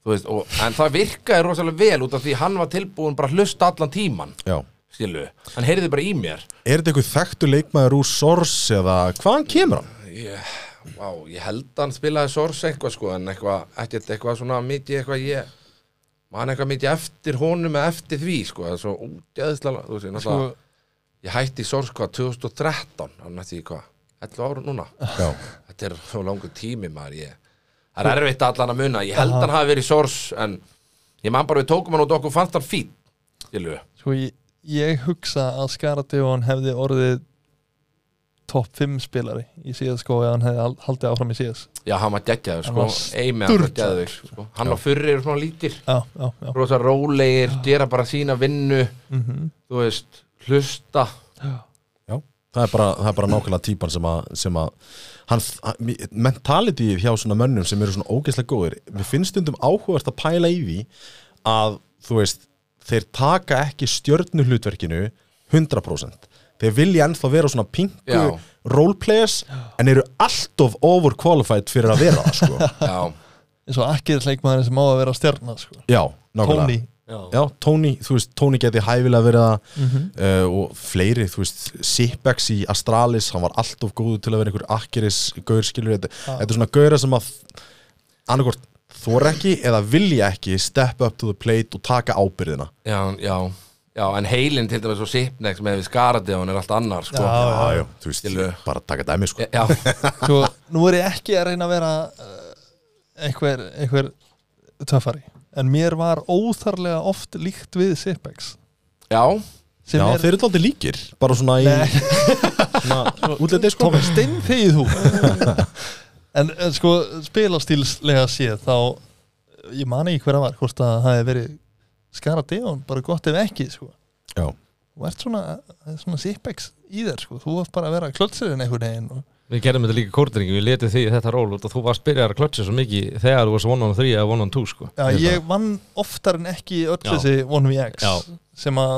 Þú veist, og, En það virkaði rosalega vel út af því hann var tilbúin bara að hlusta allan tíman Já Skilu, hann heyrði bara í mér Er þetta einhver þekktu leikmaður úr Sors eða hvaðan kemur hann? ég, Vá, ég held að hann spilaði sors eitthvað sko En eitthvað, ekkert eitthvað svona mikið eitthvað ég Man eitthvað mikið eftir honum eða eftir því sko Það er svo útjæðislega, þú veist, ég sko, náttúrulega Ég hætti í Sors hvað 2013 á nætti hvað, 11 ára núna Já, Þetta er svo langur tími maður ég. Það er erfitt allan að muna Ég held hann hafi verið í Sors en ég man bara við tókum hann út og okkur fannst hann fín Skilu, sko ég, ég hugsa að Skaradeon hefði orðið top 5 spilari í CSGO eða hann hefði al- haldið áfram í CS já hann var geggjaður Hann sko, var Eimi hann var sturlaður. geggjaður sko. Hann var fyrrir og svona lítir já, já, já, Rosa rólegir, gera bara sína vinnu mm Þú veist, hlusta Já, það er bara, það er bara nákvæmlega típan sem að, sem að hann, hann, mentalityið hjá svona mönnum sem eru svona ógeðslega góðir mér finnst stundum áhugavert að pæla í því að þú veist þeir taka ekki stjörnuhlutverkinu 100% þeir vilja ennþá vera svona pinku Já. roleplayers en eru alltof overqualified fyrir að vera það sko [laughs] Já, eins og akkir leikmaðurinn sem á að vera stjarnar sko. Já, nákvæmlega Tony Já, Tony, þú veist, Tony geti hæfilega verið það Mhm. uh, og fleiri, þú veist, Sippex í Astralis, hann var alltof góðu til að vera einhver akkeris gaurskilur, þetta, þetta er svona gauðra sem að annarkort þor ekki eða vilja ekki step up to the plate og taka ábyrðina já, já Já, en heilin til dæmis og sipnex með við skaradeðan er allt annar sko. Já. já, já, þú veist, Skilurðu. bara taka dæmi sko. já, sko, nú er ég ekki að reyna að vera uh, einhver, einhver töffari en mér var óþarlega oft líkt við Sipex já. sem Já, er þeir eru alltaf líkir, bara svona í Nei. svona, [laughs] útlitið sko Tómi, steinþegið þú [laughs] en, en sko, spilastílslega séð þá, ég man ekki hver að var hvort að það hefði verið skara deon, bara gott ef ekki sko. Já, þú ert svona, það er svona sipex í þér, sko. þú ert bara að vera klötsirinn einhvern veginn og Við gerðum þetta líka kórdringi, við letum því þetta ról út og þú varst byrjar að klötsa svo mikið þegar þú varst 1 on 3 eða 1 on 2 sko. Já, Ég ég vann oftar en ekki öll Já. þessi 1vx Já. sem að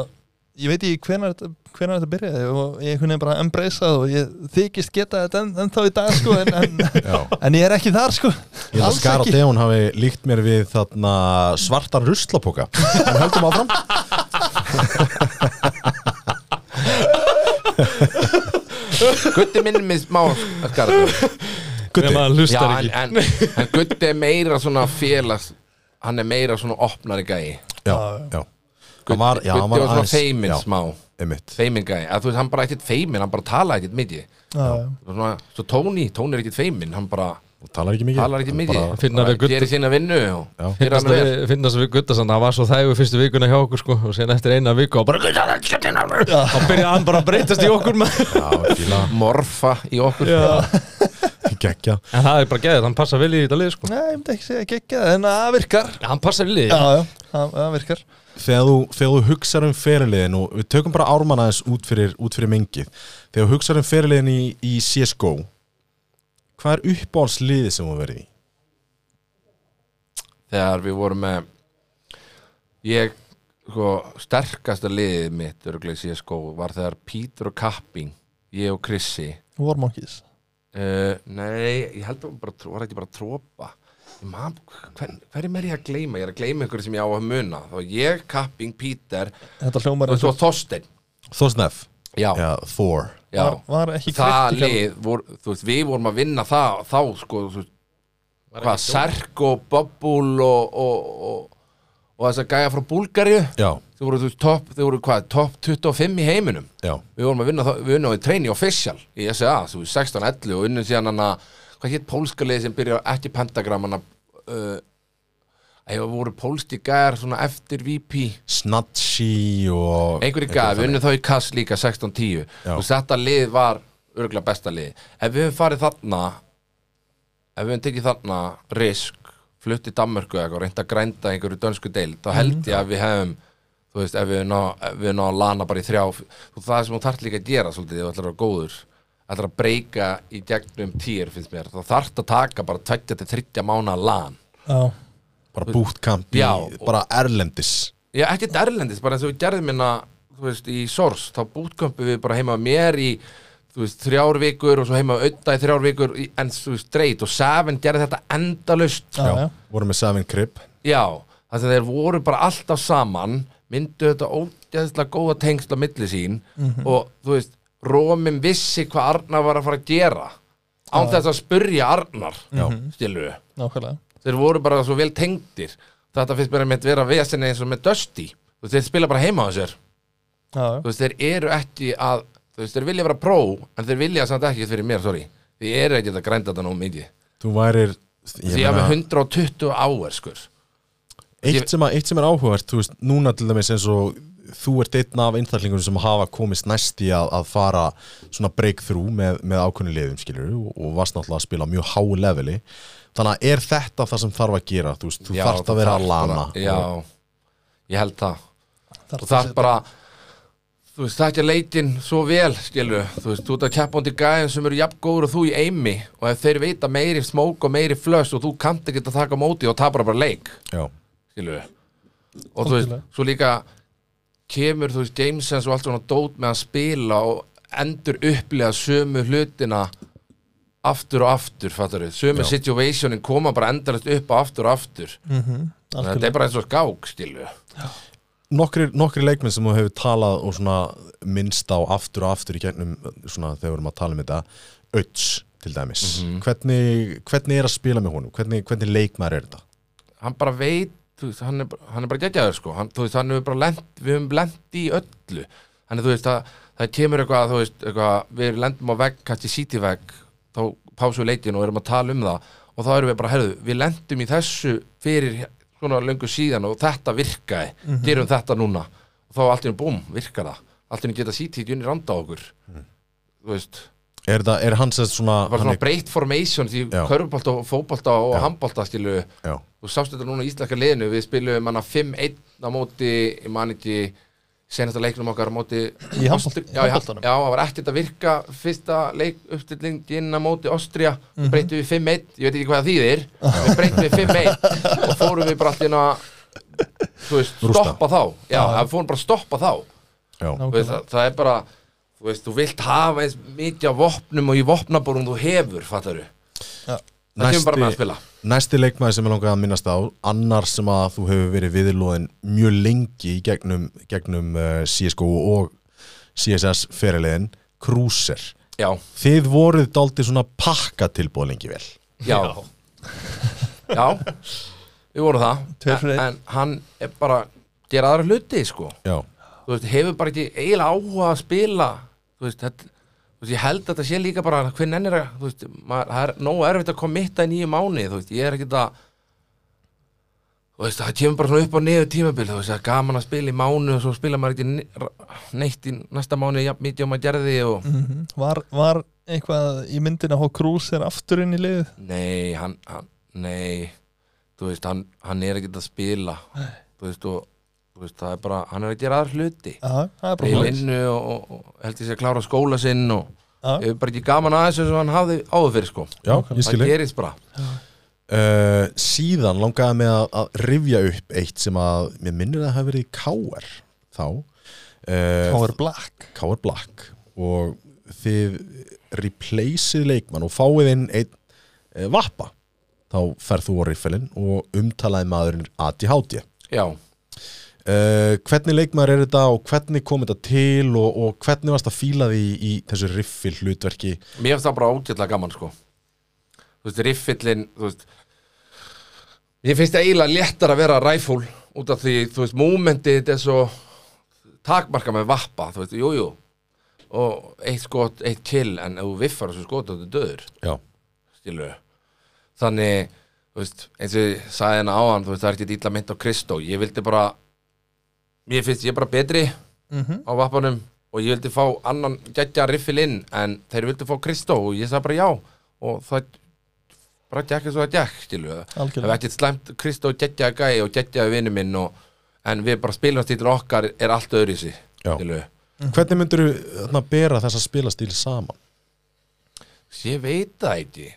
ég veit ekki hvenar, þetta- hvenar þetta byrjaði og ég kunni bara embraceað og ég þykist geta þetta en, en þá í dag sko en, en, [laughs] Já. en ég er ekki þar sko Ég held að Alls Skara ekki. Deon hafi líkt mér við þarna svartan ruslapoka En höldum áfram Gutti minn með smá skara Gutti. maður Já, hlustar en, ekki. en, en Gutti er meira svona félags Hann er meira svona opnari gæi Já, já Hann var, já, hann var Gutti var svona aðeins- feimin já, smá Einmitt Feimin gæi, að þú veist, hann bara ekkert feimin Hann bara talaði ekkert mikið Já. Og svona, Svo Tony, Tony er ekkert feimin Hann bara Og talar ekki mikið talar ekkert Hann mikið bara- Finna Bara við Gutti. Gerir sína vinnu Já. og Fyrir Finnast hann vel við, finnast við Guttasand, hann var svo þægu fyrstu vikuna hjá okkur sko og sen eftir eina viku og bara Guttasand, þá byrjaði hann bara að breytast í okkur maður. Já, [laughs] fíla, Morfa í okkur geggja En það er bara geðið, hann passa vel í þetta lið sko. Nei, ég myndi ekki segja ekki ekki en það virkar Hann passa vel í Já, þetta. já, það það virkar þegar þú, þegar þú hugsar um feriliðin og við tökum bara ármann aðeins út fyrir, út fyrir mengið þegar þú hugsar um feriliðin í, í CSGO hvað er uppáhaldsliðið sem þú hefur verið í? þegar við vorum með ég sko, sterkasta liðið mitt örgleik síðan sko var þegar Pítur og Kapping, ég og Krissi Warmonkeys uh, nei, ég held að var bara, var ekki bara trópa ég man, hver, hverjum er ég að gleyma ég er að gleyma ykkur sem ég á að muna þá ég, Kapping, Pítur Þetta hljómar og eins svo og Þorstein Þorsnef? já, Já, Thor já, var, var ekki hérna? það critical. lið vor, þú veist, við vorum að vinna það þá sko, þú veist hvað, Serk og Bobbul og, og, og, og þess að gæja frá Búlgarju Já, þau voru, þú veist, topp, þau voru hvað, topp 25 í heiminum já, við vorum að vinna, þá- við unnum við treyni official í SA, þú veist, 16-11 og unnum síðan hana, hvað hétt pólska liði sem byrjar ekki pentagram hana uh, að ég voru pólski gæjar svona eftir VP Snatchy og einhverju gæjar, við unnum þá í Kass líka 16-10 Já. og þetta lið var örgulega besta lið, ef við höfum farið þarna ef við höfum tekið þarna risk, flutt í Danmörku eða eitthvað, reynd að grænda einhverju dönsku deil þá held Mhm. ég að við hefum þú veist, ef við ná, ef við ná að lana bara í þrjá þú það sem þú þarft líka að gera svolítið, ef þú ætlar að vera góður ætlar að breyka í gegnum týr finnst mér, þá þarft að taka bara 20-30 mánu lan Já, bara bootcamp í, Já. bara erlendis Já, ekkert erlendis, bara eins og við gerðum hérna, þú veist, í Sors, þá bútkömpu við bara heima á mér í, þú veist, þrjár vikur og svo heima á Ödda í þrjár vikur, í- en þú veist, dreit og Seven gerði þetta endalaust. sko. já, já. vorum með Savin Krip Já, þannig að þeir voru bara alltaf saman, myndu þetta ógeðslega góða tengsla milli sín og, þú veist, Rómin vissi hvað Arnar var að fara að gera án þess að spurja Arnar, skilur við nákvæmlega þeir voru bara svo vel tengdir þetta finnst mér að vera vesinni eins og með Dusty Þú veist, þeir spila bara heima á sér Já, Þú veist, þeir eru ekki að þú veist, þeir vilja vera pró en þeir vilja samt ekki fyrir mér, sorry þeir eru ekki að grænda þetta nóg mikið þú værir ég því ég hafi meina- 120 áver skur eitt sem, að, eitt sem er áhugavert, þú veist, núna til dæmis eins og þú ert einn af einstaklingunum sem hafa komist næst í að, að fara svona breakthrough með, með ákunni liðum skilur og, og varst náttúrulega að spila á mjög háu leveli þannig að er þetta það sem þarf að gera þú veist, þú þarft að vera að lana já, ég held það þarf og það er bara þú veist, það er ekki að leitin svo vel skilu, þú veist, þú ert að keppa undir gæðin sem eru jafn góður og þú í eimi og ef þeir veita meiri smók og meiri flöss og þú kannt ekki að taka á móti og tapar bara leik já, skilur og þú veist, Algjörlega. svo líka kemur þú veist Jamesons og allt svona dót með að spila og endur upplega sömu hlutina aftur og aftur, fattar við sömu Já. situationin koma bara endalast upp og aftur og aftur Mhm, þannig að þetta er bara eins og skák, skilur nokkri, nokkri leikmenn sem þú hefur talað og svona minnst á aftur og aftur í gegnum svona þegar við erum að tala um þetta Öts til dæmis Mhm. hvernig, hvernig er að spila með honum, hvernig, hvernig leikmæður er þetta hann bara veit, þú veist, hann er, bara- hann er bara geggjaður sko, hann, þú veist, hann hefur bara lent við höfum lent í öllu þannig þú veist, það, það kemur eitthvað, þú veist eitthvað, við lendum á vegg, kannski síti vegg þá pásum við leitin og erum að tala um það og þá erum við bara, herðu, við lendum í þessu fyrir svona löngu síðan og þetta virkaði, gerum þetta núna og þá allt í einu búm, virkar það allt í einu geta síti í unni randa á okkur þú veist, er, það, er hans svona, það var hann svona er, breytt formation því Já. körfubolta og fótbolta og handbolta skilu já, þú sást þetta núna í íslenska liðinu við spilum hann að 5-1 á móti ég man ekki senasta leiknum okkar á móti Í handbolt- já, já, já, handboltanum. það var ekkert að virka fyrsta leik uppstillingin á móti Ástria Mhm. breytum við 5-1, ég veit ekki hvað það þýðir við breytum við 5-1 og fórum við bara allir að þú veist, Rústa. stoppa þá já, við fórum bara að stoppa þá Já, Ná. Þú veist, það, það er bara, þú veist, þú vilt hafa eins mikið af vopnum og í vopnaborum þú hefur, fattaru það kemur bara með að næsti, spila næsti leikmaði sem ég langaði að minnast á annar sem að þú hefur verið viðlóðin mjög lengi í gegnum, gegnum uh, CSGO og CSS fyrirlegin, Cruiser já, Þið voruð daldið svona pakka tilbúið lengi vel já já, við vorum það Tveir fyrir en, einn. en hann er bara gera aðra hluti, sko Já, þú veist, hefur bara ekki eiginlega áhuga að spila þú veist, þetta, þú veist, ég held að þetta sé líka bara hvern ennir að, þú veist, maður, það er nógu erfitt að kommitta í nýju mánu, þú veist, ég er ekkert að þú veist, það kemur bara svona upp og niður tímabil, þú veist, það er gaman að spila í mánu og svo spila maður ekki ne- ra- neitt í næsta mánu, jafn mikið og maður gerði og Mhm. var, var eitthvað í myndina hvað Krús er aftur inn í liðið nei, hann, hann nei, þú veist, hann, hann er ekkert að spila, þú veist, og þú veist, það er bara, hann er að gera aðra hluti Aha, það er í bara vinnu og, og, og held ég sé að klára skóla sinn og Já. ég hef bara ekki gaman að þessu sem hann hafði áður fyrir sko já, ég skil þig. það gerist bara Uh, síðan langaði mig að, að rifja upp eitt sem að mér minnir að það hafi verið í KR þá uh, Power Black KR Black og þið replaceið leikmann og fáið inn einn uh, vappa þá ferð þú á riffilinn og umtalaði maðurinn ADHD já, uh, hvernig leikmaður er þetta og hvernig kom þetta til og, og hvernig varst að fíla því í þessu riffil hlutverki mér finnst það bara ógætlega gaman sko þú veist, riffillin þú veist ég finnst það eiginlega léttar að vera ræfúl út af því, þú veist, mómentið þetta er svo takmarka með vappa þú veist, jújú jú. og eitt skot, eitt kill en ef þú viffar þessu skot þá er döður já, skilu þannig, þú veist, eins og ég sagði henni á hann, þú veist, það er ekki illa mynd á Kristó ég vildi bara mér finnst ég bara betri á vappanum og ég vildi fá annan gætja riffil inn, en þeir vildi fá Kristó og ég sagði bara já og það bara gekk eins og það gekk, skilu það Algjörlega. var ekkert slæmt Kristó gætja gæi og gætja vinnu minn og, en við bara spilastýttir okkar er allt öðru í sig, Já. skilu hvernig myndur þú bera þessa spilastíl saman ég veit það ekki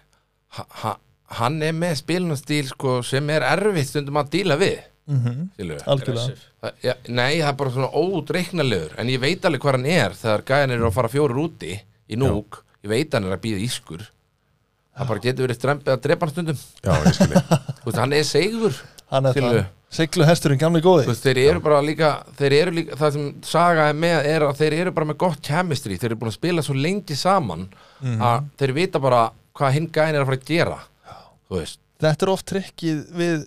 ha, ha, hann er með spilunastíl sko, sem er erfitt stundum að díla við mm Mhm, algjörlega ja, nei, það er bara svona ódreiknalegur en ég veit alveg hvað hann er þegar gæðan eru að fara fjórir úti í núk ég veit hann er að býða ískur það bara getur verið strempið að drepa hann stundum já, ég [laughs] skilji Þú veist, hann er segur hann er Skilju. það seglu hesturinn gamli góði veist, þeir eru bara líka, þeir eru líka það sem Saga er með er að þeir eru bara með gott chemistry, þeir eru búin að spila svo lengi saman að þeir vita bara hvað hinn gæðin er að fara að gera þú veist þetta er oft trikkið við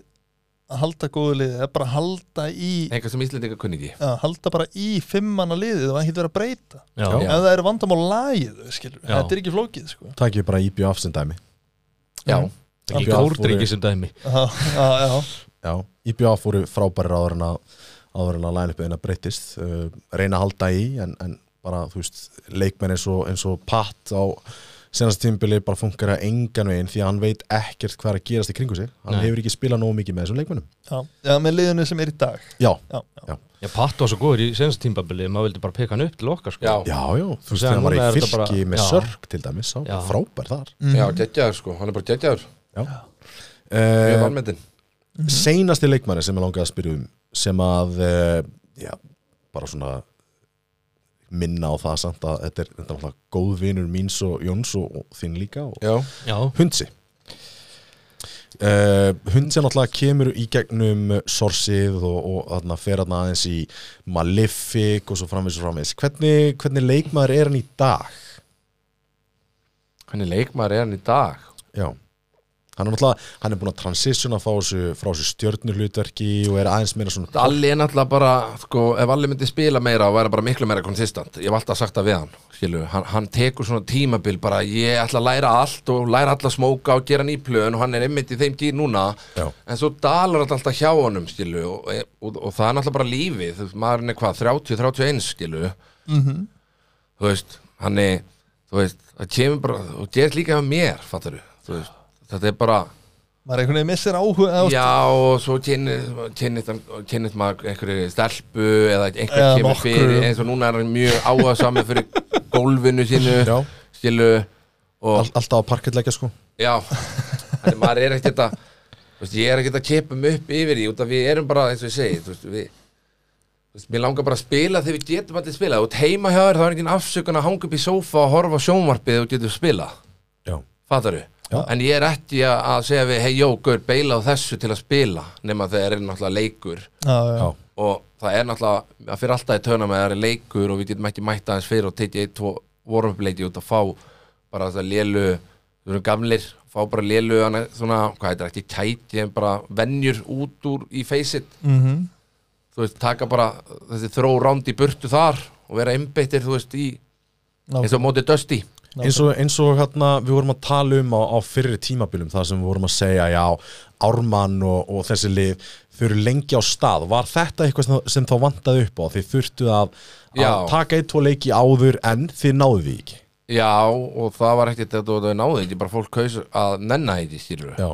að halda góðu liðið það er bara að halda í eitthvað sem Íslendinga kunni ekki að halda bara í fimmana liðið og ekkert vera að breyta Já. ef það eru vandamál lagið skilur, Já. þetta er ekki flókið sko. takk ég bara IBF sem dæmi Mm. já, E Ekki kórdrykki sem dæmi já, já, já. já, IBF voru frábærir áður en að áður en að line-upið breyttist uh, reyna að halda í en, en bara þú veist, leikmenn eins og, eins og patt á senast tímbili bara funkar að engan veginn því að hann veit ekkert hvað er að gerast í kringu sig hann Nei. hefur ekki spilað nógu mikið með þessum leikmennum Já. já, með liðinu sem er í dag já, já, já. Já, Patt var svo góður í senast tímbabili maður vildi bara peka hann upp til okkar sko já, já, já, þú veist, Sem hann var núna í er þetta fylki bara- með já. sörk til dæmis, hann Já. var frábær þar já geggjaður sko hann er bara geggjaður, mjög uh, vanmetin seinasti leikmanni sem ég langaði að spyrja um sem að uh, já, bara svona minna á það samt að þetta er, þetta er alltaf góð vinur míns og Jóns og, og þinn líka og já, Já, hundsi Uh, hundsi náttúrulega kemur í gegnum sorsið og, og þarna fer hann aðeins í Malefic og svo framvegis og framvegis hvernig, hvernig leikmaður er hann í dag? hvernig leikmaður er hann í dag Já Hann er náttúrulega, hann er búin að transitiona frá þessu, frá þessu stjörnuhlutverki og er aðeins meira svona Alli er náttúrulega bara, sko, ef Alli myndi spila meira og væri bara miklu meira konsistant ég hef alltaf sagt það við hann, skilu hann, hann tekur svona tímabil bara, ég ætla að læra allt og læra alla að smóka og gera nýplön og hann er einmitt í þeim gýr núna Já. en svo dalar þetta alltaf hjá honum, skilu og, e, og, og það er náttúrulega bara lífið þú veist, maðurinn er hvað, 30-31, skilu þú veist, hann er þú veist, það kemur bara og gerist líka hjá mér, fattaru þú veist, þetta er bara maður einhvern veginn missir áhuga á, Já, og svo kynnist, kynnist, hann- kynnist maður einhverju stelpu eða einhver Eða kemur nokkru. fyrir eins og núna er hann mjög áhugasamur fyrir gólfinu sínu Já. skilu og All, alltaf á parkettleggja sko já, þannig maður er ekkert að þú veist, ég er ekkert að kepa mig upp yfir því út af við erum bara, eins og ég segi þú veist, við þú veist, mér langar bara að spila þegar við getum allir spila og heima hjá þér þá er engin afsökun að hanga upp í sófa og horfa á sjónvarpið og getum spila Já, fattaru Já. en ég er ekki að að segja við hei, jó, gaur, beila á þessu til að spila nema þegar er náttúrulega leikur já, já. já, og það er náttúrulega það fyrir alltaf í töna með að það er leikur og við getum ekki mætt aðeins fyrir og tekið eitt, tvo warm-up leiki út að fá bara þess að lélu, við erum gamlir fá bara lélu, hana- svona, hvað heitir ekki kæti, en bara venjur út úr í feysitt, Mhm. þú veist, taka bara þessi þró ránd í burtu þar og vera einbeittir, þú veist, í eins og mótið dösti eins og, eins og hérna, við vorum að tala um á, á fyrri tímabilum það sem við vorum að segja já, Ármann og, og þessi lið þau eru lengi á stað, var þetta eitthvað sem, sem þá vantaði upp á, þið þurftu að, að Já. taka eitt og leiki áður en þið náðu því ekki Já, og það var ekkert þetta og það náði ekki, bara fólk kaus að nenna þetta skilur já,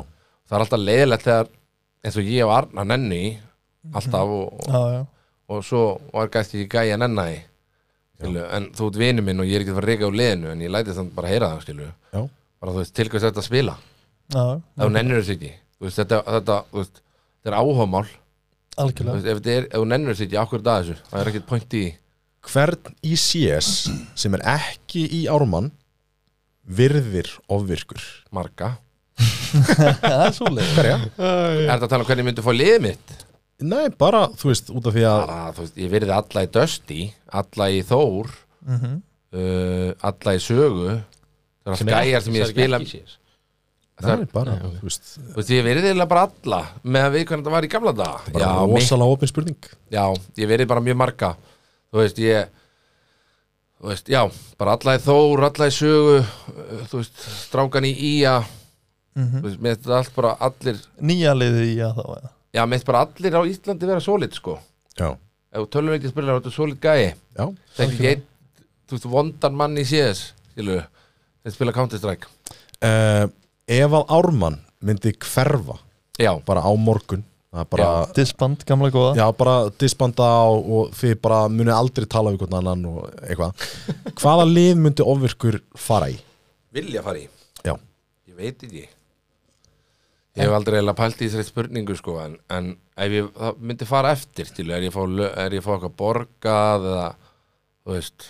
það er alltaf leiðilegt þegar eins og ég og Arna nenni í, alltaf og, Mhm. og, já, já. og svo var gæsti ekki gæja nenni í, skilu, en þú ert vinu minn og ég er ekki að fara að reyka úr liðinu en ég læti þannig bara að heyra það skilu já, Mhm. bara þú veist, til hvers þetta að spila já, ef þú nennir þessu ekki þú veist, þetta, þetta, þú veist, þetta er áhómál algjörlega ef þetta er- ef þú nennir þessu ekki, ákvörðu að þessu það er ekkert point í því. hvern í CS sem er ekki í Ármann virðir ofvirkur marga það er svoleið hverja? er þetta að tala um hvernig ég myndi fá liðið mitt? Nei, bara, þú veist, út af því að bara, þú veist, ég verði alla í Dusty alla í Þór uh, alla í Sögu það er skæjar sem ég spila Nei, bara, þú veist, þú veist, ég verði eiginlega bara alla með að við hvernig þetta var í gamla daga bara já, mi- rosalega opin spurning já, ég verði bara mjög marga þú veist, ég þú veist, já, bara alla í Þór alla í Sögu uh, þú veist, strákan í Ía þú veist, mér þetta allt bara allir nýja liðið í að þá eða? já, mér þetta bara allir á Íslandi vera sólit sko, Já, ef þú tölum ekki spilar þetta sólit gæi já, Þegar ekki einn, þú veist, vondan mann í CS Skilu, þeir spila Counter-Strike uh, ef að Ármann myndi hverfa Já, bara á morgun það er bara, disband, gamla góða já, bara disbanda og, og þið bara munið aldrei tala við hvern annan og eitthvað hvaða lið myndi ofvirkur fara í vilja fara í já, Ég veit ekki Ég hef aldrei eiginlega pælt í þessari spurningu sko En, en ef ég það myndi fara eftir Skilu, er ég að fá, lö- er ég að fá eitthvað borgað Eða, þú veist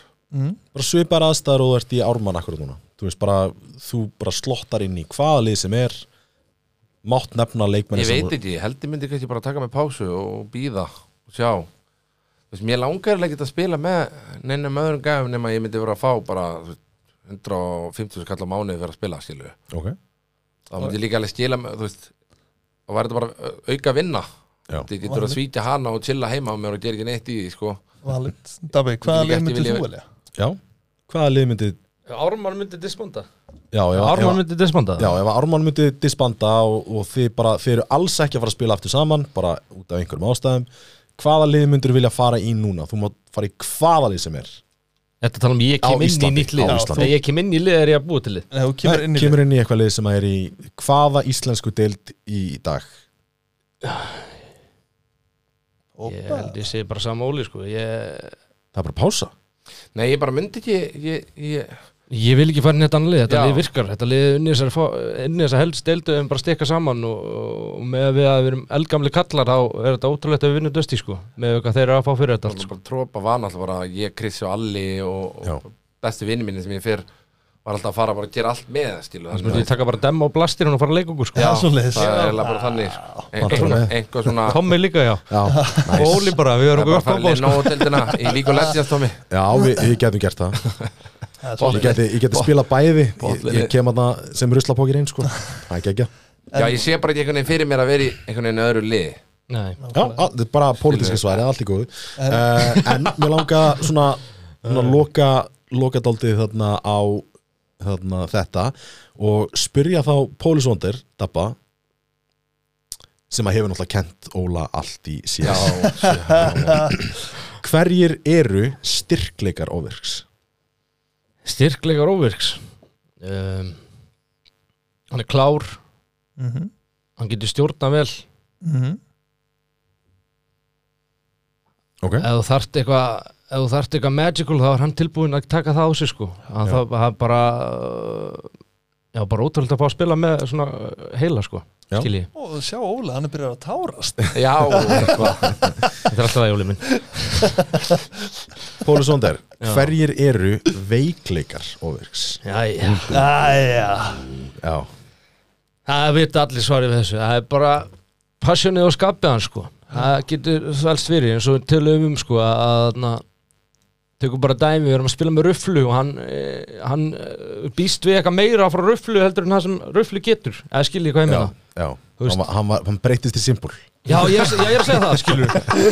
bara svipar aðstæður og þú ert í Ármann akkur núna, þú veist bara þú bara slottar inn í hvaða lið sem er mátt nefna leikmenni Ég veit ekki, ég held ég myndi kannski bara taka mig pásu Og býða og sjá Þú veist, mér langar ekki að spila með Neinum öðrum gæfum nema ég myndi vera að fá Bara þú veist, 150 kall á mánuði fyrir að spila, skilu okay. þá myndi ég líka alveg skila með, þú veist og var þetta bara au- auka vinna Já. þið getur að svíkja hana og chilla heima á mér og gera ekki neitt í því, sko Valid. Dabbi, hvaða Ég lið ekki myndir vilja- þú velja? já, hvaða lið myndi Ármann myndi disbanda já, ef, Ármann ef, myndi disbanda já, ef að Ármann myndi disbanda og, og þið bara, þið eru alls ekki að fara að spila aftur saman, bara út af einhverjum ástæðum hvaða lið myndir vilja fara í núna þú mátt fara í hvaða lið sem er Þetta tala um ég Á kem inn í Íslandi, nýtt lið á Já, Íslandi. Þegar ég kem inn í lið er ég að búa til lið Nei, þú kemur inn í kemur inn í eitthvað lið sem er í hvaða íslensku deild í dag Ég held ég segi bara sama óli sko Ég, það er bara pása Nei, ég bara myndi ekki ég, ég, ég vil ekki fara inn í þetta annað lið Þetta Já. lið virkar, þetta lið unni þessar, unni þessar helst deildu en bara stekka saman og, og með að við að við erum eldgamli kallar þá er þetta ótrúlegt að við vinnum dösti sko með hvað þeir eru að fá fyrir þetta allt ég sko bara trópa vana alltaf bara ég, Krissi og Alli og, Já. og bestu vinni minni sem ég fyrr var alltaf að fara bara að gera allt með, skilu Þú myndi ég taka bara demma og blastir og fara að leika okkur sko Já, svoleiðis. það er eiginlega bara þannig sko. Ein- bara einhver- með. einhver svona Tommi líka já [laughs] já, og Óli bara, það við er erum bara okkur að fara gott leina á hóteldina í líku leggjast, Tommy [laughs] já við, við getum gert það Það er ég svoleiðis. geti, ég geti spila bæði ég, Bollinu. ég kem að það sem ruslapókir einn sko það er geggja Já, ég sé bara ekki einhvern veginn fyrir mér að vera í einhvern veginn öðru lið Nei, já, á, þetta er bara pólitíska sværi, allt í góðu uh, en mér langa svona, svona loka, loka daldið þarna á þarna, þetta og spyrja þá Pólisvondir, Dabba sem að hefur náttúrulega kent Óla allt í Já, síðan hverjir eru styrkleikar ofirks? styrkleikar óvirks um, Hann er klár Mhm. hann getur stjórnað vel ef Ok, þú þarft eitthvað ef þú þarft eitthvað magical þá er hann tilbúin að taka það á sig sko hann Já. það hann bara uh, já bara ótrúlega að fá að spila með svona uh, heila sko Já. skilji, og sjá Óla, hann er byrjað að tárast Já, eitthvað. þetta er alltaf það jólið minn Póli Sondar Já. Hverjir eru veikleikar óvirks? Jæja. Æja Já, það vita allir svarið við þessu það er bara passionið og skapið hann sko það getur þvælst fyrir eins og tölum um sko að na, tökum bara dæmi, við erum að spila með rufflu og hann, eh, hann eh, býst við eitthvað meira frá rufflu heldur en það sem rufflu getur eða skiljið hvað ég já, meina já. Þú veist- Hann, var, hann, var, hann breytist í simpul Já, ég, er- já, ég er að segja það, skilur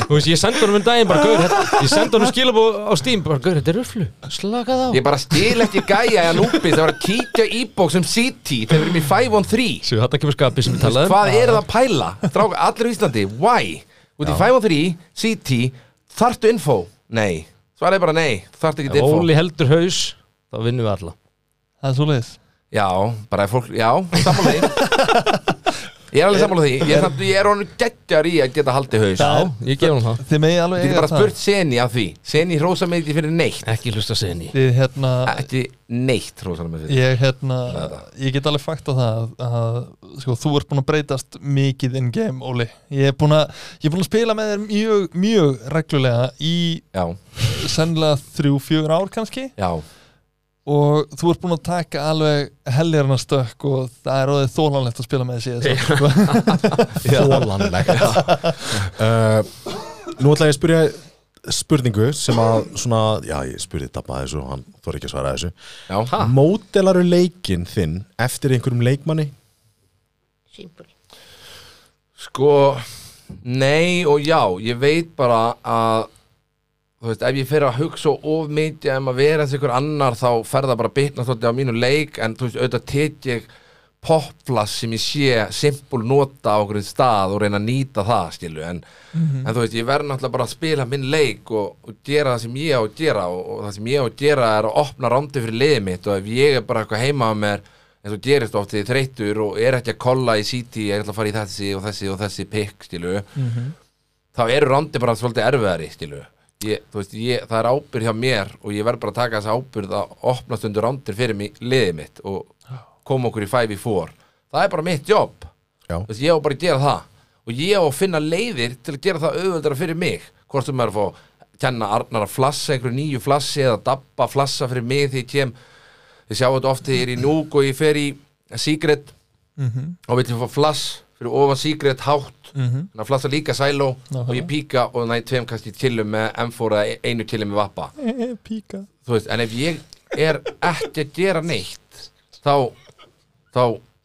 Þú veist, ég sendi honum um daginn bara, gaur þetta- Ég sendi honum skilabó á Steam, bara, gaur, þetta er röflu Slakað á Ég bara stil ekki gæja að núpi Það var að kíkja í bók sem City Þegar við erum í 5 on 3 Svo þetta kemur skapið sem um. við talaðum Hvað er það að pæla? Strák, allir í Íslandi, why? Út í 5 on 3, City Þarftu info? Nei Svaraði bara nei, þarftu ekki info Óli heldur haus, þá vinnum við alla Það er svo leiðis Já, bara ef fólk, já, sammála því Ég er alveg sammála því Ég er, samt, ég er honum geggjar í að geta haldið haus Já, ég gef honum það Þið megi alveg Ég geti eiga bara spurt Seni af því Seni hrósa mig ekki fyrir neitt Ekki hlusta senni Þið hérna Ekki neitt hrósa mig fyrir Ég hérna Ég get alveg fakt á það að, að sko, Þú ert búin að breytast mikið in game, Óli Ég er búin að, ég er búin að spila með þér mjög, mjög reglulega Í Já, sennilega þrjú, fjögur ár kannski já, og þú ert búin að taka alveg heljarna stökk og það er óðið þólanlegt að spila með þessi Þólanlegt uh, Nú ætla ég að spyrja spurningu sem að svona, já ég spurði tappa þessu og hann þor ekki að svara þessu já Ha? Mótelaru leikinn þinn eftir einhverjum leikmanni Sko, nei og já, ég veit bara að þú veist, ef ég fer að hugsa of mikið um að vera eins og ykkur annar þá fer það bara að bitna svolítið á mínu leik en þú veist, auðvitað tek ég poplas sem ég sé simpul nota á okkur stað og reyna að nýta það skilu, en, en þú veist, ég verð náttúrulega bara að spila minn leik og, og gera það sem ég á að gera og, og það sem ég á að gera er að opna rándi fyrir liðið mitt og ef ég er bara eitthvað heima á mér eins og gerist oft því þreyttur og er ekki að kolla í síti, ég ætla að fara í þessi og þessi og þessi pikk, skilu þá eru rándi bara svolítið erfiðari, skilu ég, þú veist, ég, það er ábyrð hjá mér og ég verð bara að taka þessa ábyrð að opna stundur rándir fyrir mig, liðið mitt og koma okkur í 5v4 það er bara mitt jobb Já, Þú veist, ég á bara að gera það og ég á að finna leiðir til að gera það auðveldara fyrir mig hvort sem er að fá að kenna Arnar að flassa einhverju nýju flassi eða dabba að flassa fyrir mig þegar ég kem ég sjá þetta oft þegar ég er í núk og ég fer í secret og vil ég fá flass fyrir ofan secret hátt þannig að flassa líka sæló og ég píka og næ tveim kannski killum með M4 eða einu killum með vappa eða Píka þú veist, en ef ég er ekki að gera neitt þá, þá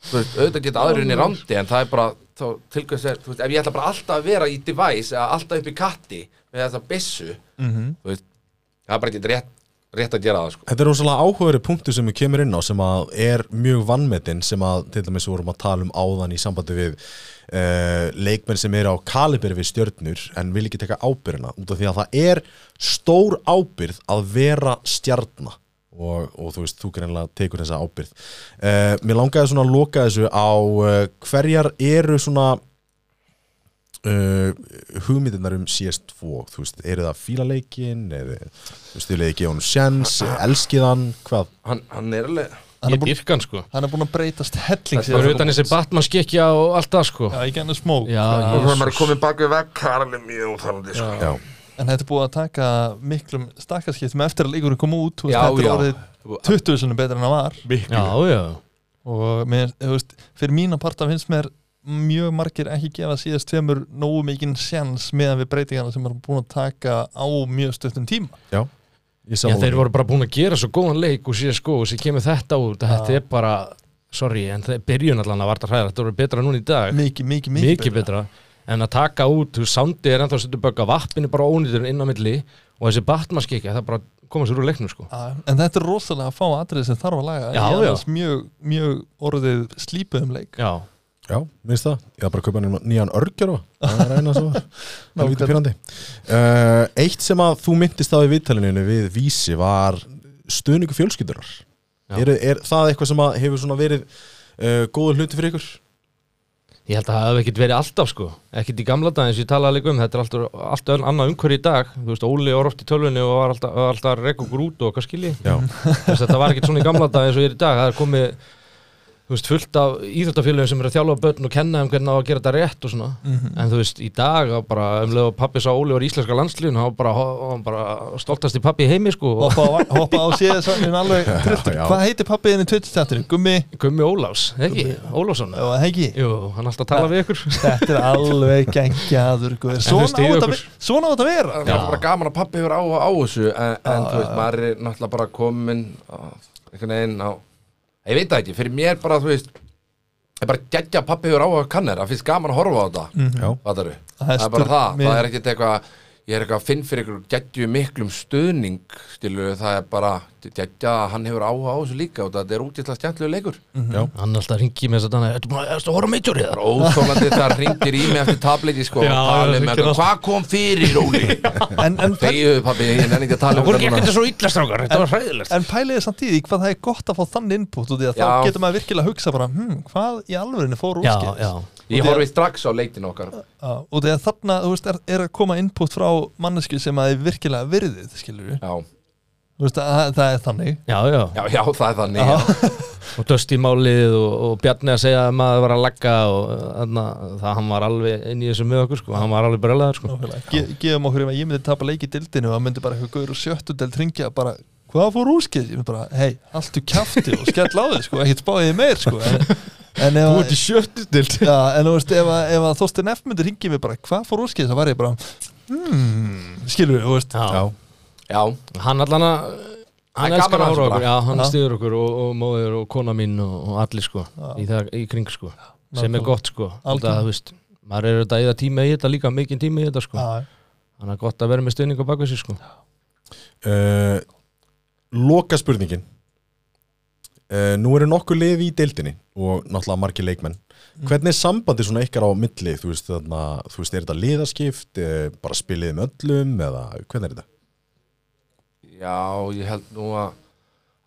þú veist, auðvitað geta aðrunni randi en það er bara, þá tilkvæmst er þú veist, ef ég ætla bara alltaf að vera í device eða alltaf upp í katti með þessa byssu þú veist, það er bara ekki rétt, rétt að gera það sko Þetta er rosalega áhugaverið punktu sem við kemur inn á sem að er mjög vannmetinn sem að til dæmis við vorum að tala um áðan í sambandi við uh, leikmenn sem eru á kaliberi við stjörnur en vil ekki teka ábyrðina út af því að það er stór ábyrð að vera stjarna og, og þú veist, þú greinlega tekur þessa ábyrð uh, Mér langaði svona að loka þessu á uh, hverjar eru svona uh, hugmyndirnar um CS2 þú veist, eru það fílaleikin eða, þú veist, vilja ekki honum sjens elskið hann, hvað hann, hann er alveg hann er, Ég búin, dyrkan sko hann er búin að breytast helling Það síðan er utan þessi Batman skikja og allt það sko Já, ég genið smók Já, og ég þegar maður er komin bak við vekk, það er alveg mjög úþálandi sko já, en þetta er búið að taka miklum stakkarskiptum eftir að leikurinn kom út þú veist, Já, þetta já. er orðið 20 sinni betra en það var Já, já og mér, þú veist, fyrir mína parta finnst mér mjög margir ekki gefa síðast tveimur nógu mikinn sjans meðan við breytingarna sem er búin að taka á mjög stöttum tíma já, ég Já, þeir sammála voru bara búin að gera svo góðan leik og síðan sko og sér kemur þetta út þetta er bara, sorry, en það byrjun allan að varta hræðar, þetta voru betra núna í dag mikið, mikið, mikið, mikið betra en að taka út, þú veist, sándi er ennþá stundum bögga vappin er bara ónýtur inn á milli og þessi batmaskikja, það bara koma sér úr leiknum sko. Já, Ah, En þetta er rosalega að fá atrið sem þarf að laga Já, Ég er já. annars mjög, mjög orðið slípuð um leik já, já, minnst það, ég þarf bara að kaupa hann nýjan örgjörfa, það er [laughs] eina svo helviti pyrrandi uh, eitt sem að þú myndist á í viðtalininu við vísi var stuðningu fjölskyldurar Já. eh, er, er það eitthvað sem að hefur svona verið uh, góður hluti fyrir ykkur? Ég held að það hef ekkert verið alltaf sko Ekkert í gamla dag eins og ég talaði líka um Þetta er alltaf, alltaf annað umhverju í dag Þú veist, Óli var oft í tölvunni og var alltaf, var alltaf að rekka okkur út og hvað skilji Já. Þetta var ekkert svona í gamla dag eins og ég er í dag Það er komið þú veist, fullt af íþjóttafélögum sem eru að þjálfa börn og kenna um hvernig á að gera þetta rétt og svona en þú veist, í dag þá bara, um leið og pappi sá Óli var í íslenska landslíðun þá bara, hann bara stoltast í pappi í heimi sko og hoppa, á- hoppa á síðan [laughs] alveg trilltur já. hvað heitir pappiðin í Twitch-tættinu? Gummi Gummi Ólafs, ekki? Ólafsson og Heggi Jú, hann alltaf tala við ykkur þetta er alveg gengjaður guður. svona á styðja þetta okkur. ve- svona á þetta að vera Það er bara gaman að pappi hefur á á þessu en, en þú veist, maður er náttúrulega bara komin að- einhvern veginn á ég veit það ekki, fyrir mér bara, þú veist ég bara geggja að pappi hefur á að kannar það finnst gaman að horfa á þetta Mm. Já. Fattaru? Það er það er bara stur- það, mér- það er ekkert eitthvað ég er eitthvað að finn fyrir ykkur geggju miklum stuðning skilur, það er bara geggja, hann hefur áhuga á þessu líka og þetta er útjætla stjæntlega leikur Hann alltaf ringi með þess að hann Þetta er búin að ertu að horfa meitjórið þar óþólandi það ringir í mig eftir tableiki sko, Já, og tala um hringir þetta, alltaf. hvað kom fyrir Óli en, en, pæl, þegiðu pappi, ég nenni ekki að tala um Hvor gekk núna. þetta svo illa strákar, þetta var hræðilegt en pæliði samt í því hvað það er gott að fá þann input og því að Já. þá getur maður virkilega að hugsa bara hm, hvað í alvörinu fór Já, útskipis já Ég horfi strax á leitin okkar og því að þarna þú veist, er, er að koma input frá mannesku sem að er virkilega virðið skilur við Já, veist, að, það- það er þannig Já, já, já, já það er þannig já. og Dusty málið og, og Bjarni að segja að maður var að lagga og anna, það hann var alveg inn í þessu með okkur sko, hann var alveg brjólaður sko. Ge, gefum okkur ef að ég myndi tapa leik í dildinu og það myndi bara eitthvað gaur og sjöttu delt ringja bara hvað fór úrskis ég myndi bara hei alltu kjafti og skell á þig sko ekkert spáðið meir sko en, en ef að- sjöldu til já, en þú veist ef að, ef að Þorstein F myndi ringja mig bara hvað fór úrskis það var ég bara hmm skilur við þú veist Já. Já, já, hann allan að Það hann er elskar gaman að að þessu bara. horfa okkur, já, hann Já. stýður okkur og, og móður og kona mín og, og allir sko í, það, í kring sko, sem nákvæmlega. er gott sko þetta, Algjörlega. þú veist, maður er þetta eða tíma í þetta líka, mikinn tíma í þetta sko Já, þannig að gott að vera með stuðning á bakvið sér sko uh, Loka spurningin uh, Nú eru nokkuð liði í deildinni og náttúrulega margir leikmenn Hvernig er sambandi svona ykkar á milli? Þú veist, þarna, þú veist er þetta liðaskipt? Uh, bara spilið með öllum? Eða hvernig er þetta? já, ég held nú að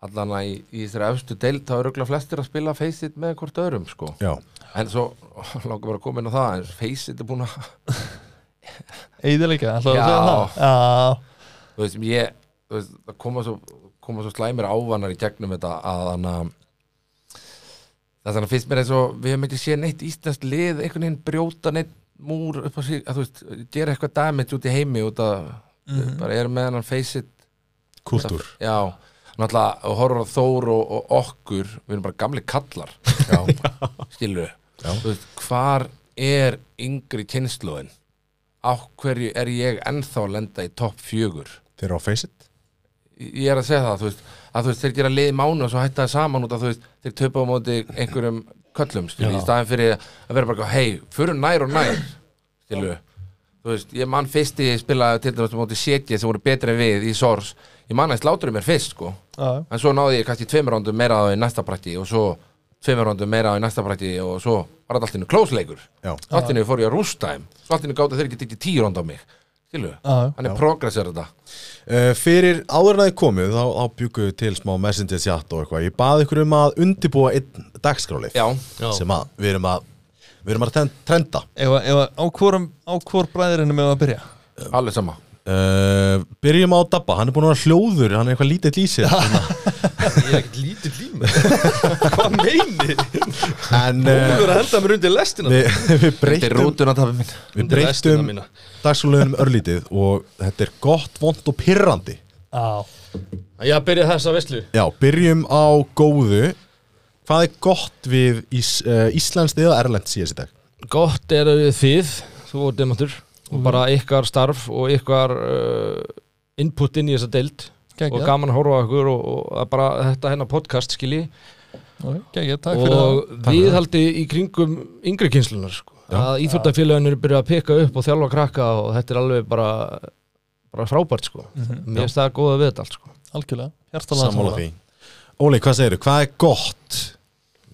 allan að í, í þessari efstu deild þá eru örugglega flestir að spila face-it með hvort öðrum sko. Já, en svo, [laughs] langar bara að koma inn á það en face-it er búin að Eidilega, ætlaðu að Já. segja það? Já, þú veist, ég, þú veist, það koma svo, koma svo slæmir ávanar í gegnum þetta að hann að það er þannig að finnst mér eins og við hefum ekki séð neitt íslenskt lið einhvern veginn brjóta neitt múr upp á sig, að þú veist, gera eitthvað damage út í heimi út að bara erum með hann face it kultúr Já, náttúrulega horfum á Þór og, og okkur við erum bara gamli kallar [laughs] skilur við hvar er yngri kynnslóðin á hverju er ég ennþá að lenda í topp fjögur Þeir eru á face it ég er að segja það, þú veist, að þú veist, þeir gera liði mánu og svo hætta það saman út að þú veist, þeir töpa á móti einhverjum köllum, skilju, í staðin fyrir að vera bara, hei, fyrir nær og nær skilju, þú veist, ég man fyrst í spilaði til dæmis á móti setja sem voru betri en við í Sors ég man að slátur mér fyrst, sko já, en svo náði ég kannski tveimur rándum meira á í næsta brætti og svo tveimur rándum meira á í næsta brætti og svo var þetta allt innu klósleikur Já. allt innu fór ég að rústa þeim svo allt innu gáta þeir ekki tekið tíu ránd á mig skilju, já, hann er progress er þetta Uh, fyrir áður en að þið komuð þá, þá bjúkuðu til smá messenger chat og eitthvað ég baði ykkur um að undibúa einn dagskrálið já, Já. sem að við erum að við erum að tren- trenda ef að, ef að á hvorum, á hvor bræðirinu með að byrja alveg sama uh, byrjum á Dabba, hann er búin að vera hljóður hann er eitthvað lítið [laughs] lýsir ég er ekkert lítið líma hvað meini, en uh, að henda mér undir lestina við, við Þetta er breytum, rútuna tapir minn við Undir restina breytum mína. dagskrálunum örlítið og þetta er gott, vond og pirrandi Já, ég að byrja þessa veslu já, byrjum á góðu hvað er gott við ís, uh, Íslands eða Erlend síðast í dag gott er að þið, þú og demantur og bara ykkar starf og ykkar uh, input inn í þessa deild og geggjað, gaman að horfa á ykkur og, og að bara þetta hennar podcast skilji Ok, geggjað, takk fyrir það og viðhaldi í kringum yngri kynslunar sko. að íþjóttafélagin eru byrjað að peka upp og þjálfa krakka og þetta er alveg bara, bara frábært sko. Mhm. mér finnst það góða við þetta allt sko. Algjörlega, hjartalega sammála því Óli, hvað segirðu, hvað er gott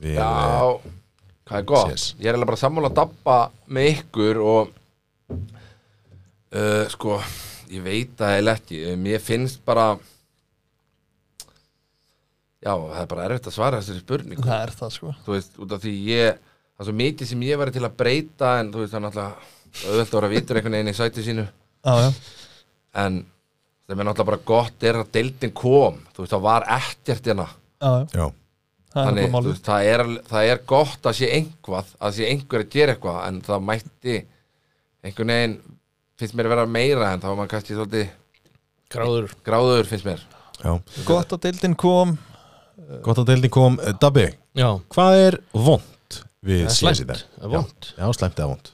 við eh, Já, hvað er gott Yes. Ég er eiginlega bara sammála að dabba með ykkur og uh, sko, ég veit það eiginlega ekki, um, ég finnst bara já, það er bara erfitt að svara þessari spurningu Það er það sko þú veist, út af því ég það er svo mikið sem ég væri til að breyta en þú veist, það er náttúrulega auðvelt að vera vitur einhvern veginn í sæti sínu já, já, en það er náttúrulega bara gott er að deildin kom, þú veist, það var ekkert hérna já, já, Já, það er Þannig, nokkuð þú málið veist, það, er, það er gott að sé einhvað að sé einhver að gera eitthvað en það mætti einhvern veginn finnst mér að vera meira en þá var maður kannski svolítið Gráður gráður finnst mér já Gott að deildin kom Gott að deildin kom Eh, Dabbi, Já hvað er vond við síðan slæmt. síðan? Það er vont. Já, já slæmt eða vond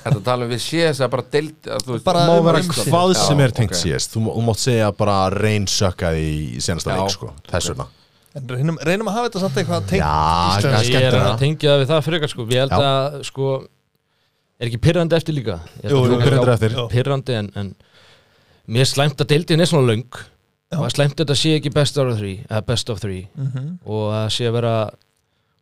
Þetta tala um við sé þess að bara deild að, þú veist, Bara Má um vera umgjörð. hvað Já, sem er tengt ok. síðast Þú, má- þú mátt segja bara reynsökka í senasta Já, leik sko Þess vegna En reynum, reynum að hafa þetta samt eitthvað tengt Já, Ísland. það er Ég er að skemmt tengja það við það frekar sko Ég held Já. að sko Er ekki pyrrandi eftir líka Ég held Jú, að jú, frekar- pyrrandi eftir. Já, Pyrrandi en, en Mér er slæmt að deildin er svona löng Og að slæmt að þetta sé ekki best of three, eða best of three. Mhm. Og að sé að vera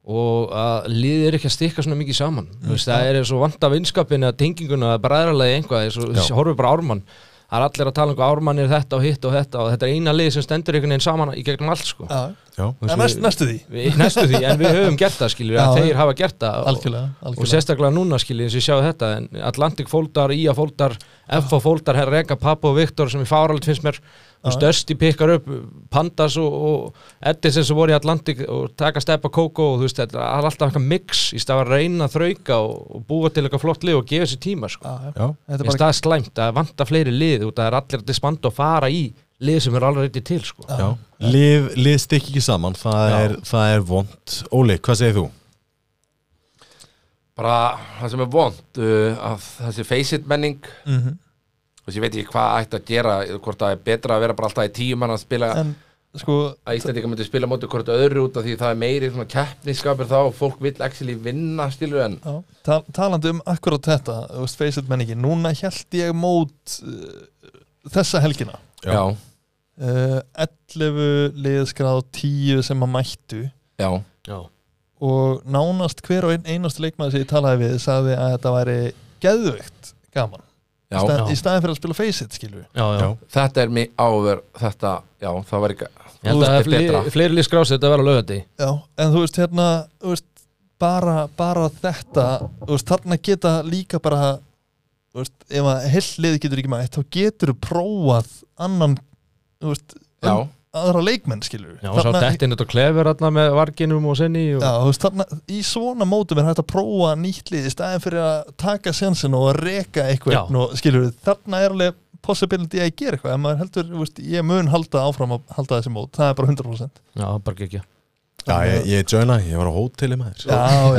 Og að liðið er ekki að stikka svona mikið saman mm. veist, Það er eins og vanta vinskapin Eða tenginguna, eða bræðralegi einhvað eins og Já. horfum bara á ármann Það er allir að tala um hvað ármann er þetta og hitt og þetta Og þetta er eina lið sem stendur einhvern veginn saman Í gegnum allt sko Já, Já, Þú veist, en næst, við- næstu því við, næstu því, en við höfum gert það skiljur, að Já, þeir hafa gert það og, Algjörlega, og algjörlega sérstaklega núna skiljur, eins og ég sjá þetta en Atlantic E fóldar, IA fóldar, FH fóldar herr Reka, Pappo og Viktor sem í fárald finnst mér og störsti pikkar upp Pandas og, og Edison sem voru í Atlantic og taka steppa Kókó og þú veist, þetta er alltaf eitthvað mix í stað að reyna að þrauka og, og búa til eitthvað flott lið og gefa sér tíma sko. Já, já. já, Þetta er Mér finnst bara það slæmt að vanta fleiri lið út að það er allir að dispanda og fara í lið sem er alveg til sko. já. Lið, lið stikki ekki saman, það Já. er, það er vond Óli, hvað segir þú? bara það sem er vond uh, að þessi face it menning Mhm. og ég veit ekki hvað ætti að gera hvort það er betra að vera bara alltaf í tíum mann að spila En sko, að Íslandika myndi spila móti hvort öðru út af því það er meiri svona keppniskapur þá og fólk vill actually vinna stilur en já, tal talandi um akkurat þetta Þú veist, face it menningi Núna held ég mót uh, þessa helgina Já. já, uh, 11 liðskráð 10 sem að mættu já, Já. og nánast hver og einn einasti leikmaður sem ég talaði við sagði að þetta væri geðveikt gaman já. Sta Já. í staðin fyrir að spila face it skilur við Já, já. Já. þetta er mér áver þetta, já, það var ekki Ég held að það er betra. fleiri, fleiri lið skrásið þetta að vera lögandi Já, en þú veist hérna þú veist, bara, bara þetta þú veist, þarna geta líka bara þú veist, ef að heill liði getur ekki mætt þá getur þú prófað annan þú veist, já, aðra leikmenn skilur við Já, og sá dettin þetta klefur alltaf með varginum og senni og... Já, þú veist, þarna, í svona mótum er hægt að prófa nýtt lið í staðin fyrir að taka sjansin og að reka eitthvað Já. og skilur við, þarna er alveg possibility að gera eitthvað, en maður heldur, þú veist, ég mun halda áfram að halda þessi mót, það er bara 100% Já, bara ekki Já, ég, ég joina, ég var á hóteli maður Já, já,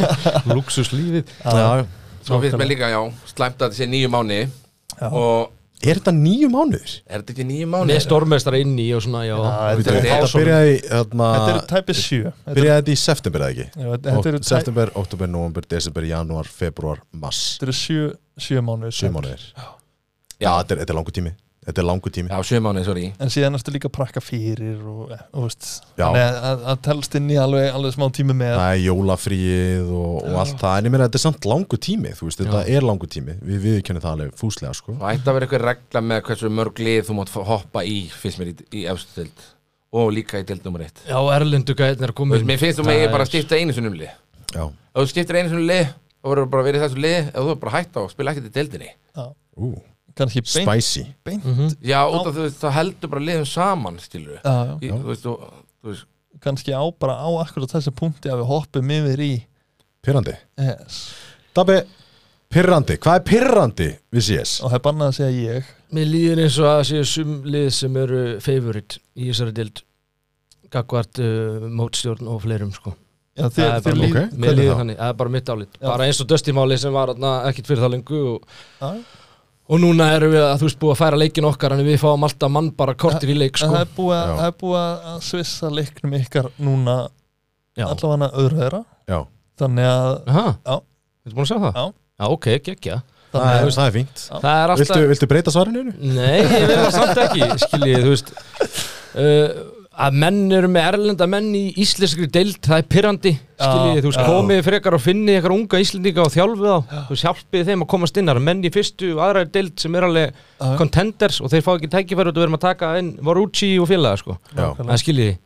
já, Luxus lífið já. svo finnst mér líka, já slæmt að þetta sé nýju mánu Já. og Er þetta nýju mánuður? er þetta ekki nýju mánu? Með stormestara inn í og svona, já, þetta er- er- Þetta byrjaði, þarna, þetta eru tæpið sjö Þetta eru- byrjaði þetta í september eða ekki? já, þetta eru Okt- tæ- September, oktober, november, desember, janúar, februar, mars þetta eru sjö, sjö mánuðir Sjö mánuðir Já, já, þetta er, þetta er langur tími Þetta er langur tími já, sjö mánu, sorry En síðan erstu líka að prakka fyrir og, eh, þú veist, Já. þannig að- að, að telst inn í alveg, alveg smá tími með Það er jólafríið og, og allt það En ég meina, þetta er samt langur tími Þú veist, þetta er langur tími Við viðkennum það alveg fúslega, sko og ætti að vera eitthvað regla með hversu mörg lið þú mátt fá- hoppa í, finnst mér í, í efstu dild og líka í dild nummer eitt já erlendu gæðin er Þú komið veist, mér finnst þú megið bara að skipta einu sinni um lið ef Já, þú skiptir einu sinni um lið þá verður þú bara að vera í þessu lið ef þú er bara að hætta og spila ekkert í deildinni ú, kannski beint, spicy beint já, út af þú veist, þá heldur bara liðum saman skilur Já, já. Í, þú veist, þú, þú veist, kannski á bara á akkurat þessi punkti að við hoppum yfir í Pirrandi yes. Dabbi, pirrandi, hvað er pirrandi við CS? og það er bannað að segja ég Mér líður eins og að séu sumlið sem eru favorite í þessari dild Gagvart uh, mótstjórn og fleirum, sko já, þið, Það þið er bara- líð, ok. Mér Hvernig líður þá? þannig, það er bara mitt álit Já. Bara eins og döstimáli sem var na, ekkit fyrir það lengu og, að, og núna erum við að þú veist búið að færa leikin okkar en við fáum alltaf mann bara kortir í leik, sko, sko það er búið að, Já. það er búið að- að svissa leiknum ykkar núna Já, allavega öðru þeirra Já, þannig að Aha. Já. Þetta búin að sjá það? Já. Já, ok, geggja þannig það að er, það er fínt Það er alltaf viltu, viltu breyta svarinu? einu? Nei, ég vil það samt ekki, skiljið, þú veist uh, að menn eru með erlenda menn í íslenskri deild, það er pirrandi skiljið, þú veist, já. komið frekar og finnið eitthvað unga íslendinga og þjálfið á þú veist, hjálpið þeim að komast inn, það eru menn í fyrstu og aðra deild sem er alveg Já. contenders og þeir fá ekki tækifæri og við erum að taka inn Varucci og félaga, sko Já, það skiljið,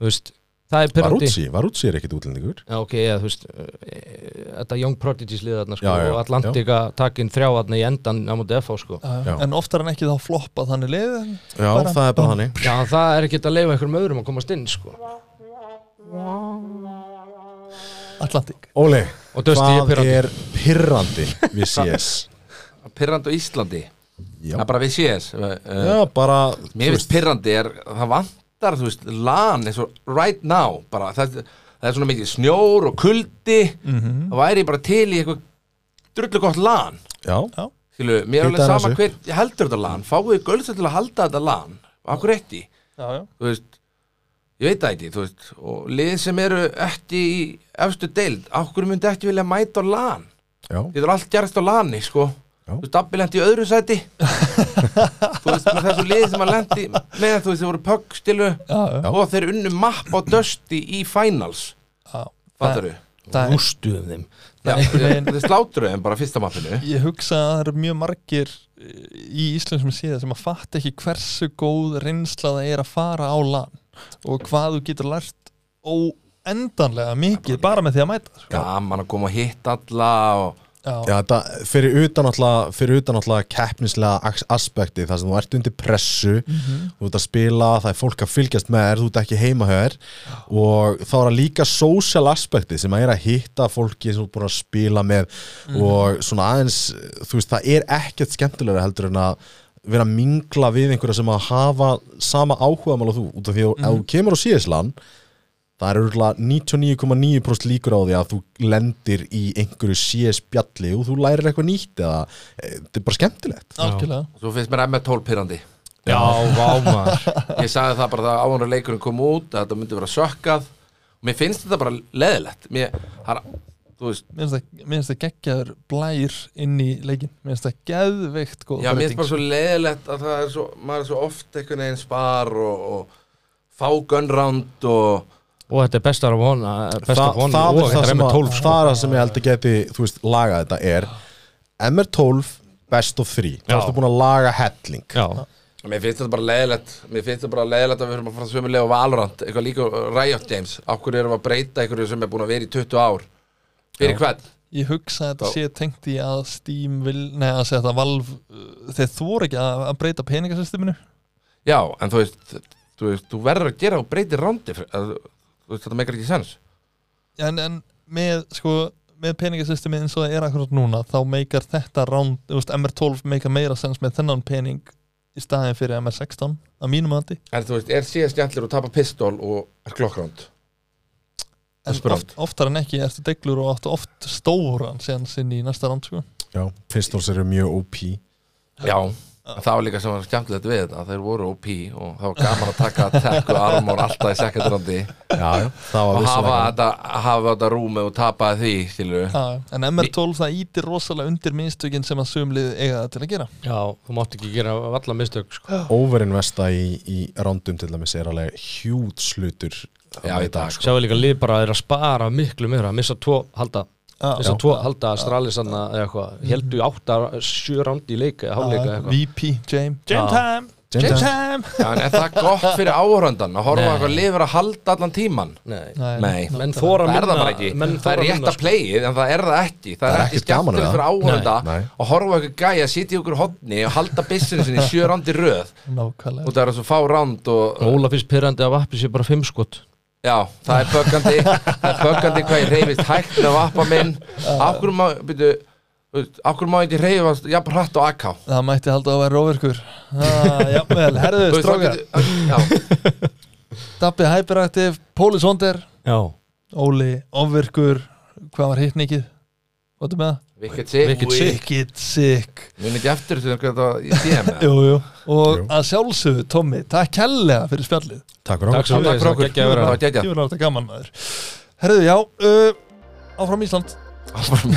þú veist það er pyrrandi Varútsi, Varútsi er ekkit útlendingur Já, ok, eða þú veist eh, þetta Young Prodigies liðarna sko, Já, já, og Atlantika takin þrjáðarna í endan á móti FH sko Já. En oftar en ekki þá floppa þannig lið en- Já, Bara- það er bara þannig Já, það er ekki að leifa einhverjum öðrum að komast inn sko Atlantik Óli, Og Dusty er hvað pirrandi. er pirrandi við CS? Pirrandi á Íslandi Já, Það er bara við CS uh, já bara Mér þú finnst pirrandi er Það vantar, þú veist, lan eins og right now bara, það, það er svona mikið snjór og kuldi Mhm. Það væri bara til í eitthvað drullu gott lan Já, Skilu, mér Hita er alveg hana sama sig. hver heldur þetta lan Fáið gölsa til að halda þetta lan Akkur ekki Já, já þú veist ég veit það ekki, þú veist og lið sem eru ekki í efstu deild, okkur myndi ekki vilja mæta á lan já, þetta er allt gerst á lani, sko Já. þú veist, Abbi lendi í öðru [laughs] sæti þú veist, með þessu lið sem að lendi með þú veist, þeir voru pögg stilu Já, já. og þeir unnu mapp á dösti í finals, Það- fattar þau það er- Rústuðum þeim það er einhvern veginn- þeir sláttuðu þeim bara fyrsta mappinu Ég hugsa að það eru mjög margir eh, í Ísland sem sé það sem að fatta ekki hversu góð reynsla það er að fara á lan og hvað þú getur lært óendanlega mikið bara með því að mæta sko. gaman að koma að hitta alla og Já, já þetta, fyrir utan alltaf fyrir utan alltaf keppnislega as- aspekti þar sem þú ert undir pressu þú ert að spila, það er fólk að fylgjast með þér þú ert ekki heima hér og þá er það líka social aspekti sem að er að hitta fólki sem þú ert búin að spila með og svona aðeins þú veist, það er ekkert skemmtilega heldur en að vera að mingla við einhverja sem að hafa sama áhugamál og þú út af því að ef þú kemur á síðislan það er örgulega 99,9% líkur á því að þú lendir í einhverju CS bjalli og þú lærir eitthvað nýtt eða e, þetta er bara skemmtilegt algjörlega svo finnst mér M12 pyrrandi Já, vámar ég sagði það bara það áhverju leikurinn kom út að þetta myndi vera sökkað og mér finnst þetta bara leðilegt mér, har, þú veist, Mér finnst það- mér finnst það geggjaður blær inn í leikin Mér finnst það geðveikt góð já, mér finnst breyting, bara svo leðilegt að það er svo, maður er svo oft einhvern veginn spar og, og fá gunround og Og þetta er bestar af hona Best Þa- of one það, er og það, þetta er sem með að, 12 sko það er það sem ég held að geti þú veist, laga þetta er MR12 best of 3 þá Já. ertu búin að laga helling Já, mér finnst þetta bara leðilegt mér finnst þetta bara leðilegt að við erum að fara sömulega á Valorant eitthvað líka á Riot Games okkur erum við að breyta einhverju sem er búin að vera í 20 ár fyrir hvern Ég hugsa að þetta Já. sé tengt í að Steam vil, nei að segja þetta Valve uh, þeir þóra ekki að, að breyta peningasysteminu já, en þú veist, þú, veist, þú verður að gera og breyti randi fyrir- að- þú veist, þetta meikar ekki sens en, en með sko með peningasystemi eins og það er akkurat núna þá meikar þetta round, þú veist, MR12 meikar meira sens með þennan pening í staðin fyrir MR16 að mínum aðandi En þú veist, er síðan skemmtilegur að tapa pistól og er klokkrand? en Spurt. oft, oftar en ekki ertu deglur og áttu oft stóran sens inn í næsta round sko. já, pistols eru mjög OP Já. Það var líka sem var skemmtilegt við þetta, þeir voru OP og það var gaman að [laughs] taka attack og armor alltaf í sekundrandi já, það var og hafa vissulega þetta, hafa þetta rúmi og tapaði því, skilur við. Já, en MR12 það ítir rosalega undir minnstökin sem að sumlið eiga það til að gera já, þú mátt ekki gera valla mistök sko. overinvesta í, í rándum til dæmis er alveg hjút slutur Já, í dag, sko. Sjáðu líka lið bara er að spara miklu meira Missa tvo halda Missa já, tvo halda stralisanna eða Mm. eitthvað Heldu átta, sjö rándi í leika já, Háleika VP, eitthvað James James time, James James time Já, en er það gott fyrir áhöröndan að horfa Nei. á eitthvað lifur að halda allan tíman? Nei, Nei, Nei, menn það þóra er það minna bara ekki. Menn það er þora rétt minna sko. að playið, en það er það ekki. Það, er ekki ekkert gaman skemmtilegt við fyrir það. áhörönda Nei. Nei. að horfa á eitthvað gæja, sitja í okkur hotni og halda bissinu sinni í sjö randi röð nákvæmlega og það er svo fá ránd og Óla finnst pyrrandi af appi sér bara fimm skot Já, það er böggandi það er böggandi hvað ég reyfist hægt með vappa minn Akkur má, byrju Akkur má ég ekki reyfast jafn hratt og AK það mætti halda að vera ofirkur [laughs] ah, jafnvel, herðu, strókar Já, Dabbi Hyperactive, Póli Sonder Já, Óli Ofvirkur hvað var hitt nikið? Hvað er með það? vikið sig Wicked Sick. Wicked Sick Muni ekki eftir því hvað það í DM eða? jú, jú. og Jú. að sjálfsögðu Tommi, takk kellega fyrir spjallið takk fyrir takk svo Takk fyrir okkur, það var geggjað. Ég vil að þetta gaman maður Herðu, já, uh, áfram Ísland Áfram.